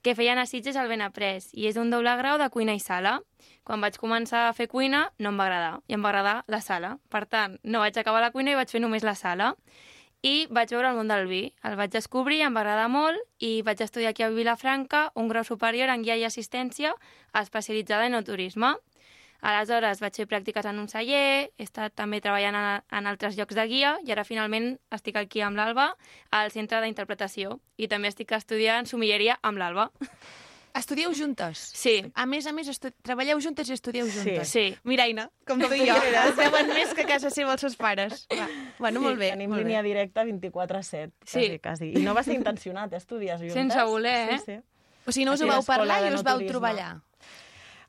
[SPEAKER 9] que feien a Sitges al Benaprés i és un doble grau de cuina i sala. Quan vaig començar a fer cuina no em va agradar i em va agradar la sala. Per tant, no vaig acabar la cuina i vaig fer només la sala i vaig veure el món del vi. El vaig descobrir, em va agradar molt i vaig estudiar aquí a Vilafranca un grau superior en guia i assistència especialitzada en enoturisme. Aleshores vaig fer pràctiques en un celler, he estat també treballant en, en altres llocs de guia i ara finalment estic aquí amb l'Alba al centre d'interpretació i també estic estudiant sumilleria amb l'Alba.
[SPEAKER 2] Estudieu juntes?
[SPEAKER 9] Sí,
[SPEAKER 2] A més a més, estu... treballeu juntes i estudieu juntes.
[SPEAKER 9] sí.
[SPEAKER 2] Miraina, com tu i jo, es veuen més que a casa seva els seus pares. Va. Bueno, molt bé.
[SPEAKER 10] Tenim
[SPEAKER 2] molt bé.
[SPEAKER 10] línia directa 24 a 7,
[SPEAKER 9] Sí.
[SPEAKER 10] sí. quasi, quasi. I no va ser intencionat, eh, estudies juntes.
[SPEAKER 9] Sense voler, eh?
[SPEAKER 10] Sí, sí.
[SPEAKER 2] O sigui, no us ho
[SPEAKER 10] Aquí
[SPEAKER 2] vau
[SPEAKER 10] l'escola
[SPEAKER 2] parlar
[SPEAKER 10] de
[SPEAKER 2] i us vau
[SPEAKER 10] naturisme.
[SPEAKER 2] trobar allà.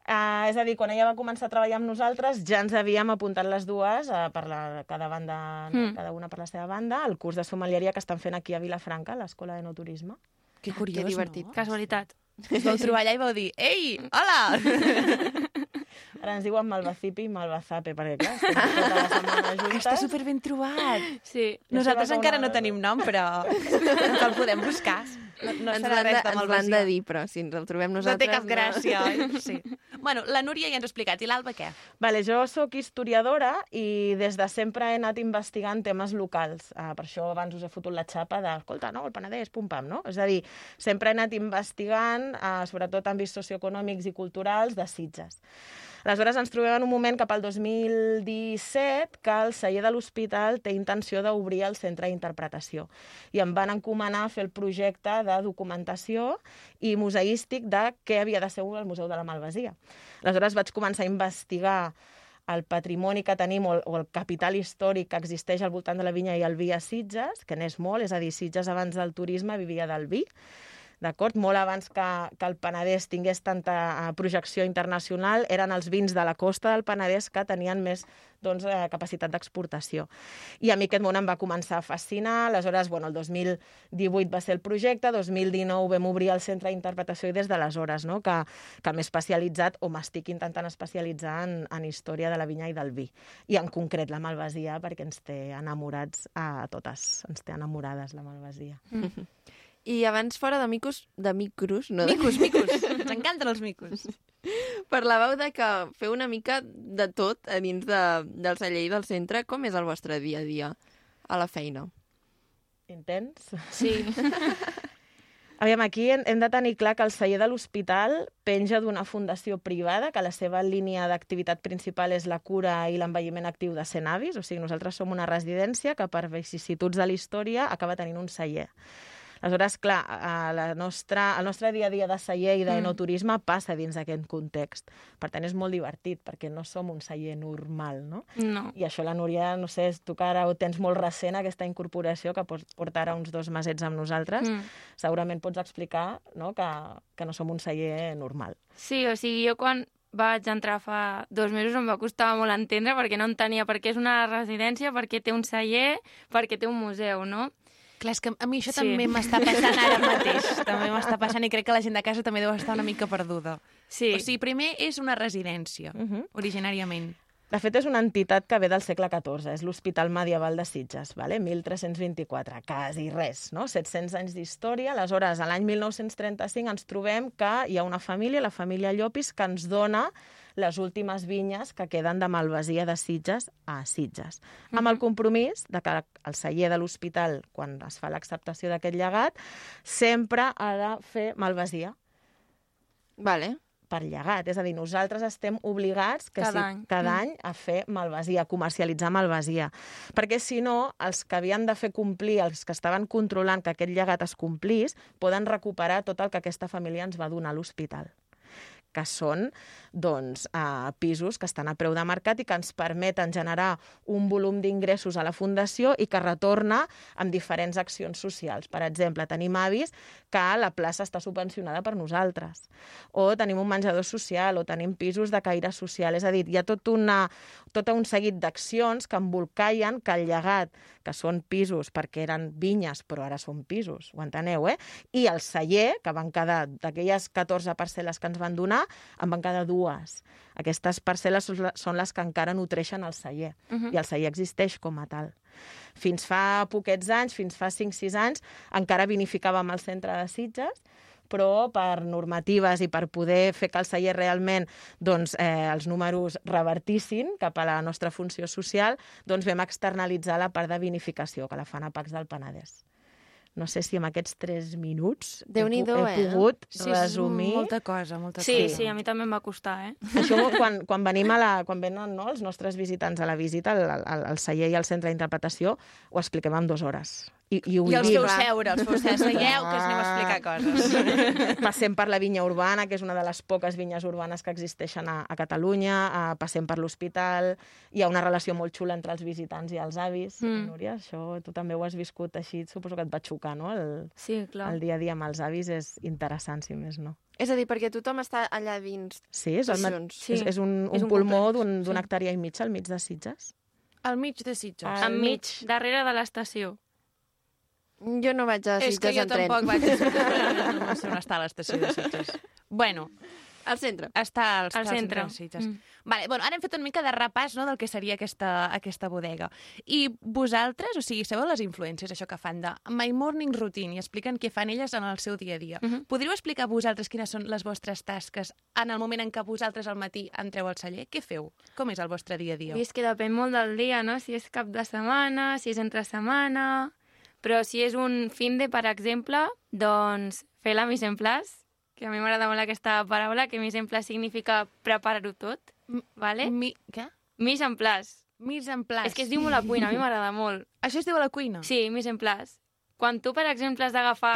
[SPEAKER 10] Uh, és a dir, quan ella va començar a treballar amb nosaltres, ja ens havíem apuntat les dues, uh, per la, cada, banda,
[SPEAKER 9] Mm.
[SPEAKER 10] mm. cada una per la seva banda, al curs de sommelieria que estan fent aquí a Vilafranca, a l'Escola de No Turisme.
[SPEAKER 2] Ah, Que
[SPEAKER 1] curiós,
[SPEAKER 2] curiós,
[SPEAKER 1] no? divertit.
[SPEAKER 9] Casualitat.
[SPEAKER 2] Us vau trobar allà i vau dir, ei, hola!
[SPEAKER 10] Ara ens diuen Malvacipi i Malvazape, perquè clar, estem tota la setmana juntes.
[SPEAKER 2] Està super ben trobat.
[SPEAKER 9] Sí.
[SPEAKER 2] Nosaltres
[SPEAKER 10] va com
[SPEAKER 2] encara
[SPEAKER 10] una-
[SPEAKER 2] no tenim nom, però ens el podem buscar. No, no
[SPEAKER 1] ens
[SPEAKER 2] serà
[SPEAKER 1] l'han de,
[SPEAKER 2] res de
[SPEAKER 1] ens l'han de dir, però si ens el trobem
[SPEAKER 2] No
[SPEAKER 1] nosaltres...
[SPEAKER 2] té cap gràcia, oi? Sí. Bueno, la Núria ja ens ha explicat. I l'Alba què?
[SPEAKER 10] Vale, jo sóc historiadora i des de sempre he anat investigant temes locals. Uh, per això abans us he fotut la xapa de, escolta, no, el Penedès, pum-pam, no? És a dir, sempre he anat investigant, uh, sobretot àmbits socioeconòmics i culturals, de Sitges. Aleshores, ens trobem en un moment cap al 2017 que el celler de l'hospital té intenció d'obrir el centre d'interpretació i em van encomanar a fer el projecte de documentació i museístic de què havia de ser el Museu de la Malvasia. Aleshores vaig començar a investigar el patrimoni que tenim o el, o el capital històric que existeix al voltant de la vinya i el vi a Sitges, que n'és molt, és a dir, Sitges abans del turisme vivia del vi, d'acord? Molt abans que, que el Penedès tingués tanta eh, projecció internacional, eren els vins de la costa del Penedès que tenien més doncs, eh, capacitat d'exportació. I a mi aquest món em va començar a fascinar, aleshores, bueno, el 2018 va ser el projecte, 2019 vam obrir el centre d'interpretació i des d'aleshores, no?, que, que m'he especialitzat o m'estic intentant especialitzar en, en història de la vinya i del vi. I en concret la malvasia, perquè ens té enamorats a totes, ens té enamorades la malvasia.
[SPEAKER 1] I abans fora de micos... De micros, no? Micos, [LAUGHS] micos.
[SPEAKER 2] Ens encanten els micos.
[SPEAKER 1] Parlàveu de que feu una mica de tot a dins de, del celler i del centre. Com és el vostre dia a dia a la feina?
[SPEAKER 10] Intens?
[SPEAKER 9] Sí.
[SPEAKER 10] [LAUGHS] Aviam, aquí hem, hem de tenir clar que el celler de l'hospital penja d'una fundació privada, que la seva línia d'activitat principal és la cura i l'envelliment actiu de 100 avis, o sigui, nosaltres som una residència que per vicissituds de la història acaba tenint un celler. Aleshores, clar, a la nostra, el nostre dia a dia de celler i de no turisme passa dins d'aquest context. Per tant, és molt divertit, perquè no som un celler normal, no?
[SPEAKER 9] No.
[SPEAKER 10] I això la Núria, no sé, tu que ara ho tens molt recent, aquesta incorporació, que pots portar ara uns dos mesets amb nosaltres,
[SPEAKER 9] Mm.
[SPEAKER 10] segurament pots explicar no, que, que no som un celler normal.
[SPEAKER 9] Sí, o sigui, jo quan vaig entrar fa dos mesos em va costar molt entendre perquè no entenia per què és una residència, per què té un celler, per què té un museu, no?
[SPEAKER 2] Clar, és que a mi això
[SPEAKER 9] Sí.
[SPEAKER 2] també m'està passant
[SPEAKER 9] [LAUGHS]
[SPEAKER 2] ara mateix. també m'està passant i crec que la gent de casa també deu estar una mica perduda. Mhm.
[SPEAKER 9] Sí,
[SPEAKER 2] O sigui, primer és una residència,
[SPEAKER 10] Uh -huh.
[SPEAKER 2] originàriament.
[SPEAKER 10] De fet, és una entitat que ve del segle XIV, és l'Hospital Medieval de Sitges, vale? 1324, quasi res, no? 700 anys d'història. Aleshores, a l'any 1935 ens trobem que hi ha una família, la família Llopis, que ens dona les últimes vinyes que queden de Malvasia de Sitges a Sitges. Amb el compromís de que el celler de l'hospital, quan es fa l'acceptació d'aquest llegat, sempre ha de fer Malvasia
[SPEAKER 1] Vale.
[SPEAKER 10] per llegat. És a dir, nosaltres estem obligats que
[SPEAKER 9] Cada
[SPEAKER 10] sí,
[SPEAKER 9] any.
[SPEAKER 10] cada
[SPEAKER 9] Mm.
[SPEAKER 10] any a fer malvasia, a comercialitzar malvasia. Perquè, si no, els que havien de fer complir, els que estaven controlant que aquest llegat es complís, poden recuperar tot el que aquesta família ens va donar a l'hospital que són doncs, eh, pisos que estan a preu de mercat i que ens permeten generar un volum d'ingressos a la Fundació i que retorna amb diferents accions socials. Per exemple, tenim avis que la plaça està subvencionada per nosaltres, o tenim un menjador social, o tenim pisos de caire social. És a dir, hi ha tot, una, tot un seguit d'accions que embolcallen que el llegat, que són pisos perquè eren vinyes, però ara són pisos, ho enteneu, eh? I el celler, que van quedar d'aquelles 14 parcel·les que ens van donar, en van quedar dues. Aquestes parcel·les són la- són les que encara nutreixen el celler, uh -huh. i el celler existeix com a tal. Fins fa poquets anys, fins fa 5-6 anys, encara vinificàvem al centre de Sitges, però per normatives i per poder fer que el celler realment doncs, eh, els números revertissin cap a la nostra funció social, doncs vam externalitzar la part de vinificació, que la fan a Pacs del Penedès. No sé si en aquests 3 minuts he, pu-
[SPEAKER 1] Déu-n'hi-do,
[SPEAKER 10] he
[SPEAKER 1] eh?
[SPEAKER 10] pogut
[SPEAKER 2] Sí, és
[SPEAKER 10] resumir...
[SPEAKER 2] molta cosa, molta
[SPEAKER 9] sí,
[SPEAKER 2] cosa.
[SPEAKER 9] sí, a mi també em va costar, eh?
[SPEAKER 10] Això quan, quan, venim a la, quan venen no, els nostres visitants a la visita, al, al, al celler i al centre d'interpretació, ho expliquem en dues hores. I, i, ho
[SPEAKER 2] I els
[SPEAKER 10] vivim.
[SPEAKER 2] feu seure, els feu seure, seieu, que us anem a explicar coses.
[SPEAKER 10] [LAUGHS] Passem per la vinya urbana, que és una de les poques vinyes urbanes que existeixen a, a Catalunya, eh, passem per l'hospital, hi ha una relació molt xula entre els visitants i els avis. Mm.
[SPEAKER 9] Mm.
[SPEAKER 10] Núria, això tu també ho has viscut així, suposo que et va xocar, no? El,
[SPEAKER 9] Sí, clar.
[SPEAKER 10] el dia a dia amb els avis és interessant, si més no.
[SPEAKER 1] És a dir, perquè tothom està allà dins.
[SPEAKER 10] Sí, és, el, ma-
[SPEAKER 1] Sessions.
[SPEAKER 9] Sí.
[SPEAKER 10] és, és un, un,
[SPEAKER 9] És un
[SPEAKER 10] pulmó
[SPEAKER 9] complex,
[SPEAKER 10] d'un
[SPEAKER 9] sí.
[SPEAKER 10] sí. hectàrea i mitja al mig de Sitges.
[SPEAKER 2] Al mig de Sitges.
[SPEAKER 9] Enmig, darrere de l'estació.
[SPEAKER 1] Jo no vaig a
[SPEAKER 2] És que
[SPEAKER 1] Sitges
[SPEAKER 2] jo
[SPEAKER 1] en tren.
[SPEAKER 2] tampoc
[SPEAKER 9] [LAUGHS]
[SPEAKER 2] vaig a Sitges. No sé on està l'estació de Sitges. Bueno,
[SPEAKER 1] Al centre.
[SPEAKER 2] està als,
[SPEAKER 9] Al
[SPEAKER 2] als
[SPEAKER 9] centre.
[SPEAKER 2] Sitges.
[SPEAKER 9] Mm.
[SPEAKER 2] Vale, bueno, ara hem fet una mica de repàs no, del que seria aquesta, aquesta bodega. I vosaltres, o sigui, sabeu les influències, això que fan de My Morning Routine, i expliquen què fan elles en el seu dia a dia.
[SPEAKER 9] Mhm.
[SPEAKER 2] Podríeu explicar vosaltres quines són les vostres tasques en el moment en què vosaltres al matí entreu al celler? Què feu? Com és el vostre dia a dia?
[SPEAKER 9] I és que depèn molt del dia, no? Si és cap de setmana, si és entre setmana... Però si és un fin de, per exemple, doncs fer la mise en place, que a mi m'agrada molt aquesta paraula, que mise en place significa preparar-ho tot,
[SPEAKER 2] M-
[SPEAKER 9] vale?
[SPEAKER 2] Mi... Què?
[SPEAKER 9] Mise en place.
[SPEAKER 2] Mise en place.
[SPEAKER 9] És que es diu molt a cuina, a mi m'agrada molt.
[SPEAKER 2] Això es diu a la cuina?
[SPEAKER 9] Sí, mise en place. Quan tu, per exemple, has d'agafar...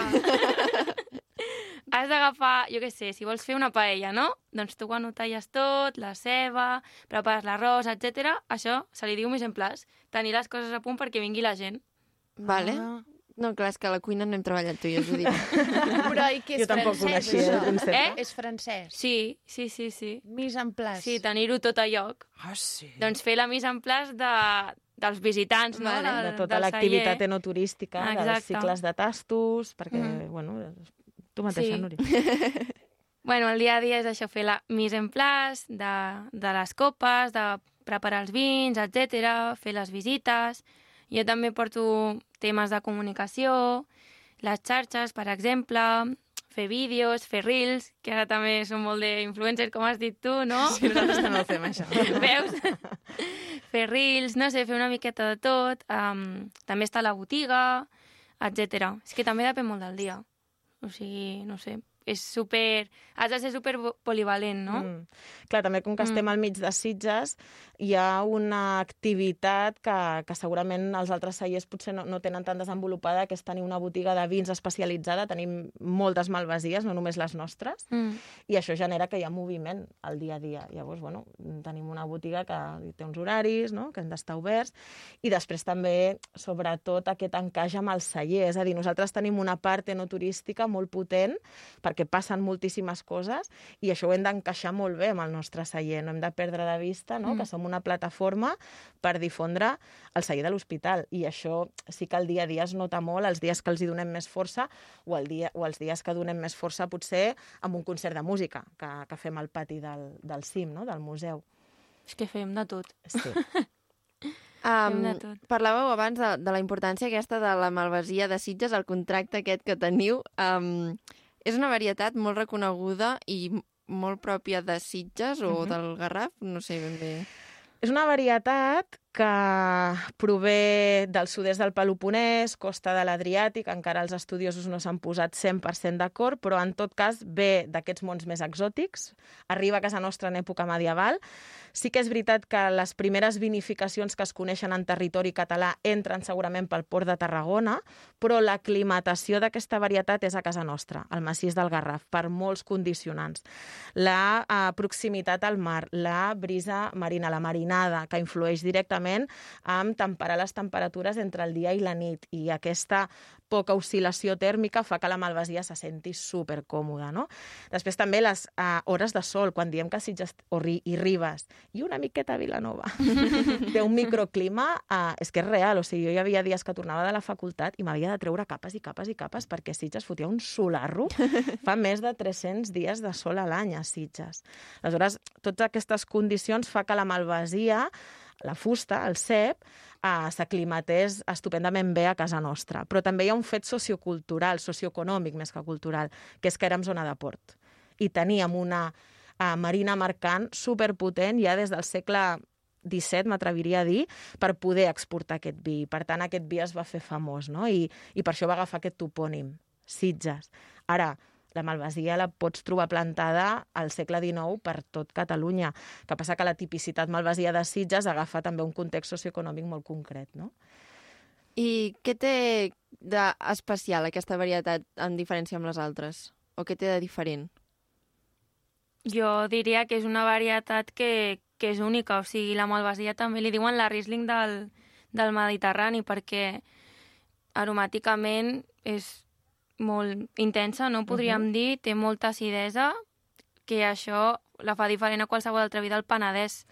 [SPEAKER 2] [LAUGHS]
[SPEAKER 9] has d'agafar, jo què sé, si vols fer una paella, no? Doncs tu quan ho talles tot, la ceba, prepares l'arròs, etc. això se li diu mise en place. Tenir les coses a punt perquè vingui la gent.
[SPEAKER 1] [LAUGHS] Vale.
[SPEAKER 2] Ah.
[SPEAKER 1] No, clar, és que a la cuina no hem treballat tu i jo,
[SPEAKER 10] [LAUGHS]
[SPEAKER 1] Judit.
[SPEAKER 2] Però i que és
[SPEAKER 10] Jo tampoc
[SPEAKER 2] francès,
[SPEAKER 10] coneixia el
[SPEAKER 2] això?
[SPEAKER 10] concepte.
[SPEAKER 9] Eh?
[SPEAKER 2] És francès.
[SPEAKER 9] Sí, sí, sí, sí.
[SPEAKER 2] Mise en place.
[SPEAKER 9] Sí, tenir-ho tot a lloc.
[SPEAKER 2] Ah, sí.
[SPEAKER 9] Doncs fer la mise en place de, dels visitants, no?
[SPEAKER 1] Vale.
[SPEAKER 9] Del-
[SPEAKER 10] de tota
[SPEAKER 9] del
[SPEAKER 10] l'activitat
[SPEAKER 9] celler.
[SPEAKER 10] enoturística,
[SPEAKER 9] Ah,
[SPEAKER 10] dels
[SPEAKER 9] exacte.
[SPEAKER 10] cicles de tastos, perquè, mm.
[SPEAKER 9] Mhm.
[SPEAKER 10] bueno, tu mateixa,
[SPEAKER 9] Sí.
[SPEAKER 10] Núria.
[SPEAKER 9] Bueno, el dia a dia és això, fer la mise en place de, de les copes, de preparar els vins, etc, fer les visites. Jo també porto temes de comunicació, les xarxes, per exemple, fer vídeos, fer reels, que ara també són molt d'influencers, com has dit tu, no?
[SPEAKER 2] Sí, nosaltres també ho fem, això.
[SPEAKER 9] [LAUGHS] Veus? [LAUGHS] fer reels, no sé, fer una miqueta de tot. Um, també està la botiga, etc. És que també depèn molt del dia. O sigui, no sé. és super... Has de ser super polivalent, [LAUGHS] no? Mm.
[SPEAKER 10] Clar, també com que
[SPEAKER 9] Mm.
[SPEAKER 10] estem al mig de Sitges, hi ha una activitat que, que segurament els altres cellers potser no, no tenen tan desenvolupada, que és tenir una botiga de vins especialitzada, tenim moltes malvasies, no només les nostres,
[SPEAKER 9] Mm.
[SPEAKER 10] i això genera que hi ha moviment al dia a dia. Llavors, bueno, tenim una botiga que té uns horaris, no?, que han d'estar oberts, i després també, sobretot, aquest encaix amb el celler. És a dir, nosaltres tenim una part no turística molt potent, perquè passen moltíssimes coses, i això ho hem d'encaixar molt bé amb el nostre celler. No hem de perdre de vista
[SPEAKER 9] Mm.
[SPEAKER 10] no? mm. que som una plataforma per difondre el celler de l'hospital. I això sí que el dia a dia es nota molt, els dies que els hi donem més força o, el dia, o els dies que donem més força potser amb un concert de música que, que fem al pati del, del CIM, no? del museu.
[SPEAKER 9] És que fem de tot.
[SPEAKER 10] Sí.
[SPEAKER 1] Um,
[SPEAKER 9] Fem de tot.
[SPEAKER 1] parlàveu abans de, de la importància aquesta de la malvasia de Sitges, el contracte aquest que teniu. Um, és una varietat molt reconeguda i m- molt pròpia de Sitges o
[SPEAKER 10] Mhm.
[SPEAKER 1] del Garraf, no sé ben bé.
[SPEAKER 10] És una varietat que prové del sud-est del Peloponès, costa de l'Adriàtic, encara els estudiosos no s'han posat 100% d'acord, però en tot cas ve d'aquests mons més exòtics, arriba a casa nostra en època medieval. Sí que és veritat que les primeres vinificacions que es coneixen en territori català entren segurament pel port de Tarragona, però l'aclimatació d'aquesta varietat és a casa nostra, al massís del Garraf, per molts condicionants. La eh, proximitat al mar, la brisa marina, la marinada, que influeix directament en temperar les temperatures entre el dia i la nit, i aquesta poca oscil·lació tèrmica fa que la malvasia se senti supercòmoda, no? Després també les uh, hores de sol, quan diem que Sitges o ri, i Ribes, i una miqueta a Vilanova, té un microclima, uh, és que és real, o sigui, jo hi havia dies que tornava de la facultat i m'havia de treure capes i capes i capes perquè Sitges fotia un solarro. Fa més de 300 dies de sol a l'any a Sitges. Aleshores, totes aquestes condicions fa que la malvasia la fusta, el cep, eh, s'aclimatés estupendament bé a casa nostra. Però també hi ha un fet sociocultural, socioeconòmic més que cultural, que és que érem zona de port. I teníem una eh, marina mercant superpotent ja des del segle XVII, m'atreviria a dir, per poder exportar aquest vi. Per tant, aquest vi es va fer famós, no? I, i per això va agafar aquest topònim, Sitges. Ara, la malvasia la pots trobar plantada al segle XIX per tot Catalunya. que passa que la tipicitat malvasia de Sitges agafa també un context socioeconòmic molt concret, no?
[SPEAKER 1] I què té d'especial aquesta varietat en diferència amb les altres? O què té de diferent?
[SPEAKER 9] Jo diria que és una varietat que, que és única, o sigui, la malvasia també li diuen la Riesling del, del Mediterrani, perquè aromàticament és molt intensa, no podríem uh
[SPEAKER 10] Mhm.
[SPEAKER 9] -huh. dir, té molta acidesa, que això la fa diferent a qualsevol altra vida del Penedès.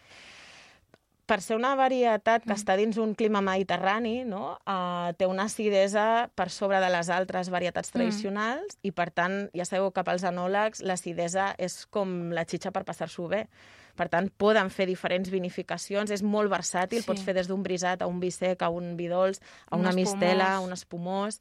[SPEAKER 10] per ser una varietat que està dins un clima mediterrani, no? Uh, té una acidesa per sobre de les altres varietats tradicionals i, per tant, ja sabeu que pels enòlegs l'acidesa és com la xitxa per passar-s'ho bé. Per tant, poden fer diferents vinificacions, és molt versàtil,
[SPEAKER 9] Sí.
[SPEAKER 10] sí. pots fer des d'un brisat a un vi sec, a un vi dolç, a
[SPEAKER 9] Un
[SPEAKER 10] una
[SPEAKER 9] espumós.
[SPEAKER 10] mistela, a un espumós,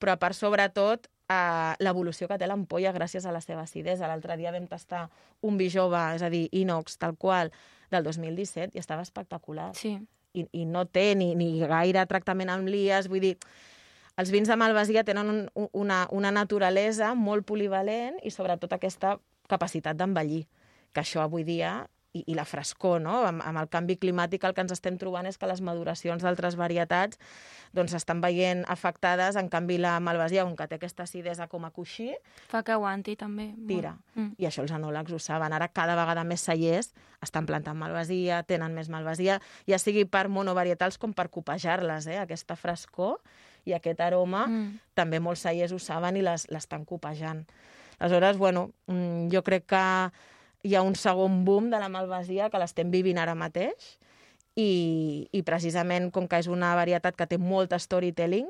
[SPEAKER 10] però a part, sobretot, eh, l'evolució que té l'ampolla gràcies a la seva acidesa. L'altre dia vam tastar un vi jove, és a dir, inox, tal qual, del 2017, i estava espectacular.
[SPEAKER 9] Sí.
[SPEAKER 10] I, i no té ni, ni gaire tractament amb lies, vull dir, els vins de Malvasia tenen un, un- una, una naturalesa molt polivalent i sobretot aquesta capacitat d'envellir, que això avui dia i, i la frescor, no? Amb, amb el canvi climàtic el que ens estem trobant és que les maduracions d'altres varietats doncs estan veient afectades, en canvi la malvasia, on que té aquesta acidesa com a coixí,
[SPEAKER 9] Fa que aguanti, també. molt.
[SPEAKER 10] Tira.
[SPEAKER 9] Mm.
[SPEAKER 10] i això els enòlegs ho saben. Ara cada vegada més cellers estan plantant malvasia, tenen més malvasia, ja sigui per monovarietals com per copejar-les, eh? aquesta frescor i aquest aroma, mm.
[SPEAKER 9] Mm.
[SPEAKER 10] també molts cellers ho saben i les- l'estan copejant. Aleshores, bueno, mm, jo crec que hi ha un segon boom de la malvasia que l'estem vivint ara mateix i, i precisament com que és una varietat que té molt storytelling,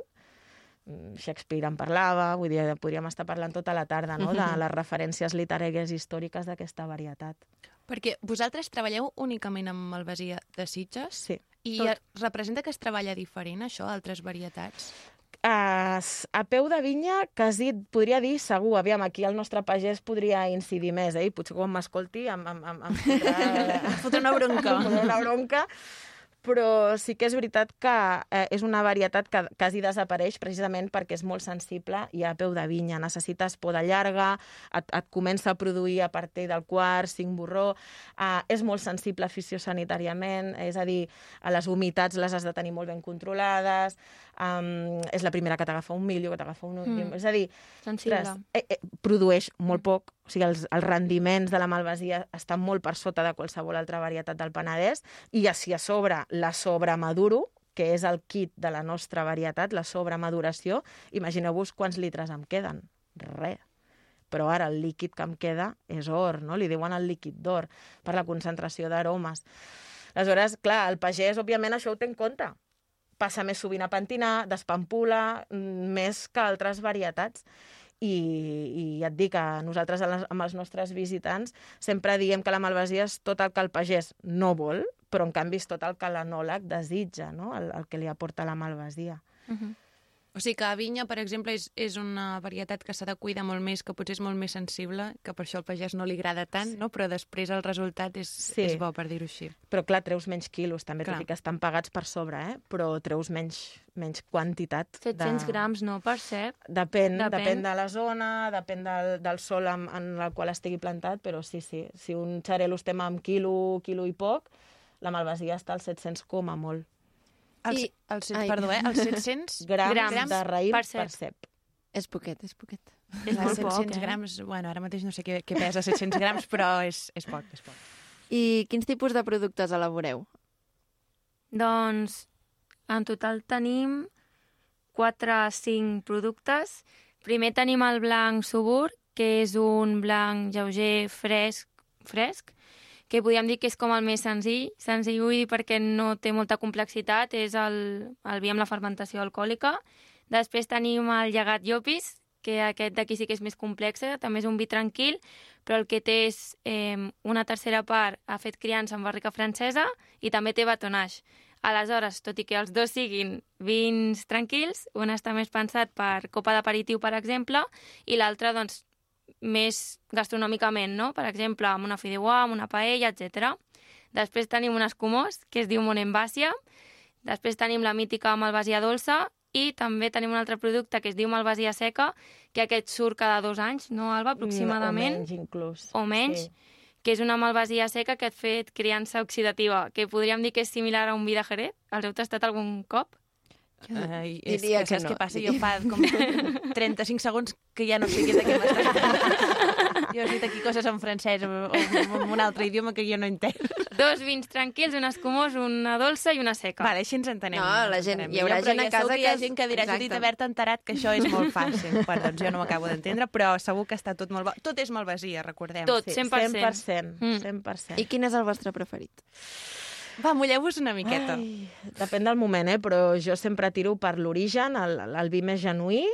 [SPEAKER 10] mm, Shakespeare en parlava, vull dir, podríem estar parlant tota la tarda no? de les referències literàries històriques d'aquesta varietat.
[SPEAKER 8] Perquè vosaltres treballeu únicament amb malvasia de Sitges
[SPEAKER 10] Sí.
[SPEAKER 8] i
[SPEAKER 10] Tot.
[SPEAKER 8] Tot. representa que es treballa diferent, això, a altres varietats?
[SPEAKER 10] a, a peu de vinya, quasi et podria dir segur. Aviam, aquí el nostre pagès podria incidir més, eh? I potser quan m'escolti em, em, em, em fotrà,
[SPEAKER 8] Fotré una bronca.
[SPEAKER 10] em fotrà una bronca. però sí que és veritat que eh, és una varietat que quasi desapareix precisament perquè és molt sensible i a peu de vinya. Necessites poda llarga, et, et comença a produir a partir del quart, cinc borró, eh, és molt sensible fisiosanitàriament, és a dir, a les humitats les has de tenir molt ben controlades, um, és la primera que t'agafa un milio, que t'agafa un...
[SPEAKER 9] Mm.
[SPEAKER 10] Mm. És a dir,
[SPEAKER 9] Sensible.
[SPEAKER 10] ostres, eh, eh, produeix molt poc, o sigui, els, els rendiments de la malvasia estan molt per sota de qualsevol altra varietat del Penedès, i a- si a sobre la sobremaduro, que és el kit de la nostra varietat, la sobremaduració, imagineu-vos quants litres em queden. Res. Però ara el líquid que em queda és or, no? Li diuen el líquid d'or per la concentració d'aromes. Aleshores, clar, el pagès, òbviament, això ho té en compte. Passa més sovint a pentinar, despampula, mm, més que altres varietats. I, i ja et dic que nosaltres a les- amb els nostres visitants sempre diem que la malvasia és tot el que el pagès no vol, però en canvi és tot el que l'anòleg desitja, no? el, el que li aporta la malvasia.
[SPEAKER 2] O sigui que a vinya, per exemple, és, és una varietat que s'ha de cuidar molt més, que potser és molt més sensible, que per això al pagès no li agrada tant, sí. no? però després el resultat és, sí. és bo, per dir-ho així.
[SPEAKER 10] Però clar, treus menys quilos, també,
[SPEAKER 2] Clar.
[SPEAKER 10] tot i que estan pagats per sobre, eh? però treus menys, menys quantitat.
[SPEAKER 9] 700
[SPEAKER 10] de...
[SPEAKER 9] grams, no, per cert.
[SPEAKER 10] Depèn, depèn,
[SPEAKER 9] Depèn.
[SPEAKER 10] depèn de la zona, depèn del, del sol en, en el qual estigui plantat, però sí, sí. Si un xarel·lo estem amb quilo, quilo i poc, la malvasia està als 700 com a molt.
[SPEAKER 2] Els,
[SPEAKER 1] I-
[SPEAKER 2] els,
[SPEAKER 1] ai.
[SPEAKER 2] set, perdó, eh? Els 700
[SPEAKER 10] [LAUGHS] Grams,
[SPEAKER 9] Grams
[SPEAKER 10] grams de raïm
[SPEAKER 9] per
[SPEAKER 10] per
[SPEAKER 9] cep.
[SPEAKER 10] cep. Per cep.
[SPEAKER 1] És poquet, és poquet.
[SPEAKER 9] És
[SPEAKER 2] Clar,
[SPEAKER 9] molt
[SPEAKER 2] 700
[SPEAKER 9] poc, eh?
[SPEAKER 2] grams, bueno, ara mateix no sé què, què pesa 700 grams, però és, és poc, és poc.
[SPEAKER 1] I quins tipus de productes elaboreu?
[SPEAKER 9] Doncs en total tenim 4 o 5 productes. Primer tenim el blanc subur, que és un blanc lleuger, fresc, fresc que podríem dir que és com el més senzill. Senzill vull dir perquè no té molta complexitat, és el, el vi amb la fermentació alcohòlica. Després tenim el llegat llopis, que aquest d'aquí sí que és més complex, eh? també és un vi tranquil, però el que té és eh, una tercera part ha fet criança en barrica francesa i també té batonage. Aleshores, tot i que els dos siguin vins tranquils, un està més pensat per copa d'aperitiu, per exemple, i l'altre, doncs, més gastronòmicament, no? Per exemple, amb una fideuà, amb una paella, etc. Després tenim un escumós, que es diu Monembàsia. Després tenim la mítica malvasia dolça i també tenim un altre producte que es diu malvasia seca, que aquest surt cada dos anys, no, Alba, aproximadament?
[SPEAKER 10] Mm, O menys, inclús.
[SPEAKER 9] o menys,
[SPEAKER 10] Sí.
[SPEAKER 9] que és una malvasia seca que et fet criança oxidativa, que podríem dir que és similar a un vi de Jerez. Els heu tastat algun cop?
[SPEAKER 2] Ai,
[SPEAKER 1] diria que
[SPEAKER 2] saps
[SPEAKER 1] no,
[SPEAKER 2] què passa?
[SPEAKER 1] diria-
[SPEAKER 2] Jo fa com 35 segons que ja no sé què és de què m'estàs parlant. Jo he dit aquí coses en francès o, o en un altre idioma que jo no entenc.
[SPEAKER 9] Dos vins tranquils, un escumós, una dolça i una seca.
[SPEAKER 2] Vale, així ens entenem.
[SPEAKER 1] No,
[SPEAKER 2] ens
[SPEAKER 1] la gent-
[SPEAKER 2] entenem.
[SPEAKER 1] hi haurà
[SPEAKER 2] Jo, però
[SPEAKER 1] gent a
[SPEAKER 2] jo segur
[SPEAKER 1] casa
[SPEAKER 2] que hi ha
[SPEAKER 1] que és-
[SPEAKER 2] gent que dirà,
[SPEAKER 1] Exacte.
[SPEAKER 2] Judit, haver-te enterat que això és molt fàcil. [LAUGHS] Bueno, doncs jo no m'acabo d'entendre, però segur que està tot molt bo. Tot és malvasia, recordem.
[SPEAKER 9] Tot,
[SPEAKER 10] Sí,
[SPEAKER 9] 100%.
[SPEAKER 10] 100%.
[SPEAKER 9] Mm.
[SPEAKER 10] 100%.
[SPEAKER 1] I quin és el vostre preferit?
[SPEAKER 2] Va, mulleu-vos una miqueta. Ai.
[SPEAKER 10] Ai, depèn del moment, eh? però jo sempre tiro per l'origen, el, el vi més genuí,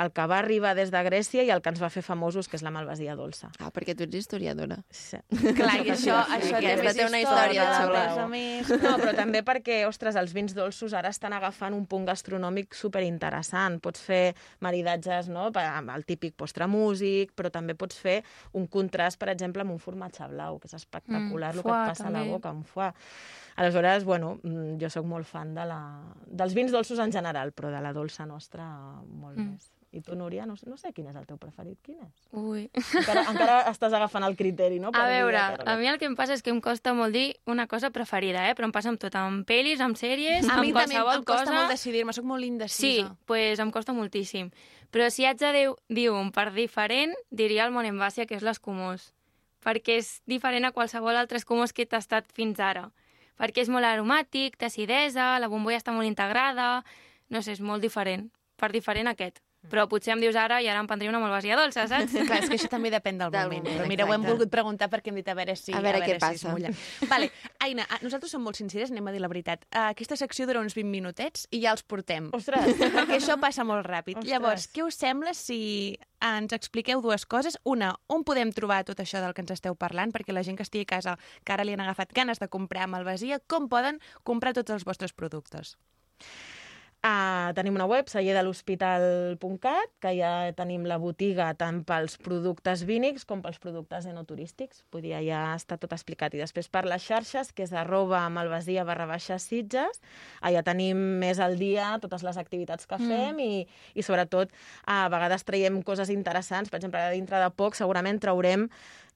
[SPEAKER 10] el que va arribar des de Grècia i el que ens va fer famosos, que és la malvasia dolça.
[SPEAKER 1] Ah, perquè tu ets historiadora. [LAUGHS]
[SPEAKER 10] Sí.
[SPEAKER 2] Clar, i això, això
[SPEAKER 1] Aquesta
[SPEAKER 2] també és
[SPEAKER 1] té una història
[SPEAKER 2] història,
[SPEAKER 1] xula.
[SPEAKER 2] a més a més.
[SPEAKER 10] No, però també perquè, ostres, els vins dolços ara estan agafant un punt gastronòmic superinteressant. Pots fer maridatges, no?, per- amb el típic postre músic, però també pots fer un contrast, per exemple, amb un formatge blau, que és
[SPEAKER 9] Mm,
[SPEAKER 10] espectacular mm, el que
[SPEAKER 9] foie,
[SPEAKER 10] et passa a
[SPEAKER 9] també.
[SPEAKER 10] la boca, un foie. Aleshores, bueno, mm, jo sóc molt fan de la... dels vins dolços en general, però de la dolça nostra molt
[SPEAKER 9] Mm.
[SPEAKER 10] mm. més. I tu, Núria, no, no sé quin és el teu preferit, quin és?
[SPEAKER 9] Ui.
[SPEAKER 10] Encara, encara
[SPEAKER 9] [LAUGHS]
[SPEAKER 10] estàs agafant el criteri, no?
[SPEAKER 9] A
[SPEAKER 10] dir,
[SPEAKER 9] veure,
[SPEAKER 10] "Carles".
[SPEAKER 9] a mi el que em passa és que em costa molt dir una cosa preferida, eh? però em passa amb tot, amb pel·lis, amb sèries,
[SPEAKER 2] A mi
[SPEAKER 9] amb
[SPEAKER 2] també
[SPEAKER 9] qualsevol
[SPEAKER 2] em costa
[SPEAKER 9] cosa.
[SPEAKER 2] molt decidir-me, sóc molt
[SPEAKER 9] Sí,
[SPEAKER 2] indecisa.
[SPEAKER 9] doncs pues em costa moltíssim. Però si haig de dir, dir un per diferent, diria el Monembàsia, que és l'escumós. Perquè és diferent a qualsevol altre escumós que he tastat fins ara. Perquè és molt aromàtic, té acidesa, la bombolla està molt integrada... No sé, és molt diferent. Per diferent aquest. Però potser em dius ara i ara em prendria una malvasia dolça, saps?
[SPEAKER 2] Mm. Clar, és que això també depèn del,
[SPEAKER 1] Del
[SPEAKER 2] moment.
[SPEAKER 1] moment,
[SPEAKER 2] Però mira, ho hem
[SPEAKER 1] exacte.
[SPEAKER 2] volgut preguntar perquè hem dit a veure si...
[SPEAKER 1] A veure què
[SPEAKER 2] si es
[SPEAKER 1] passa.
[SPEAKER 2] mulla.
[SPEAKER 1] [LAUGHS]
[SPEAKER 2] Vale. Aina, ah, nosaltres som molt sinceres, anem a dir la veritat. Ah, Aquesta secció dura uns 20 minutets i ja els portem.
[SPEAKER 10] Ostres!
[SPEAKER 2] [LAUGHS] Perquè això passa molt ràpid.
[SPEAKER 10] Ostres.
[SPEAKER 2] Llavors, què us sembla si ens expliqueu dues coses? Una, on podem trobar tot això del que ens esteu parlant? Perquè la gent que estigui a casa, que ara li han agafat ganes de comprar malvasia, com poden comprar tots els vostres productes?
[SPEAKER 10] Uh, tenim una web, cellerdelhospital.cat, que ja tenim la botiga tant pels productes vínics com pels productes enoturístics. Vull dir, ja està tot explicat. I després per les xarxes, que és arroba malvasia barra baixa sitges, allà tenim més al dia totes les activitats que fem mm. i, i sobretot a vegades traiem coses interessants. Per exemple, ara dintre de poc segurament traurem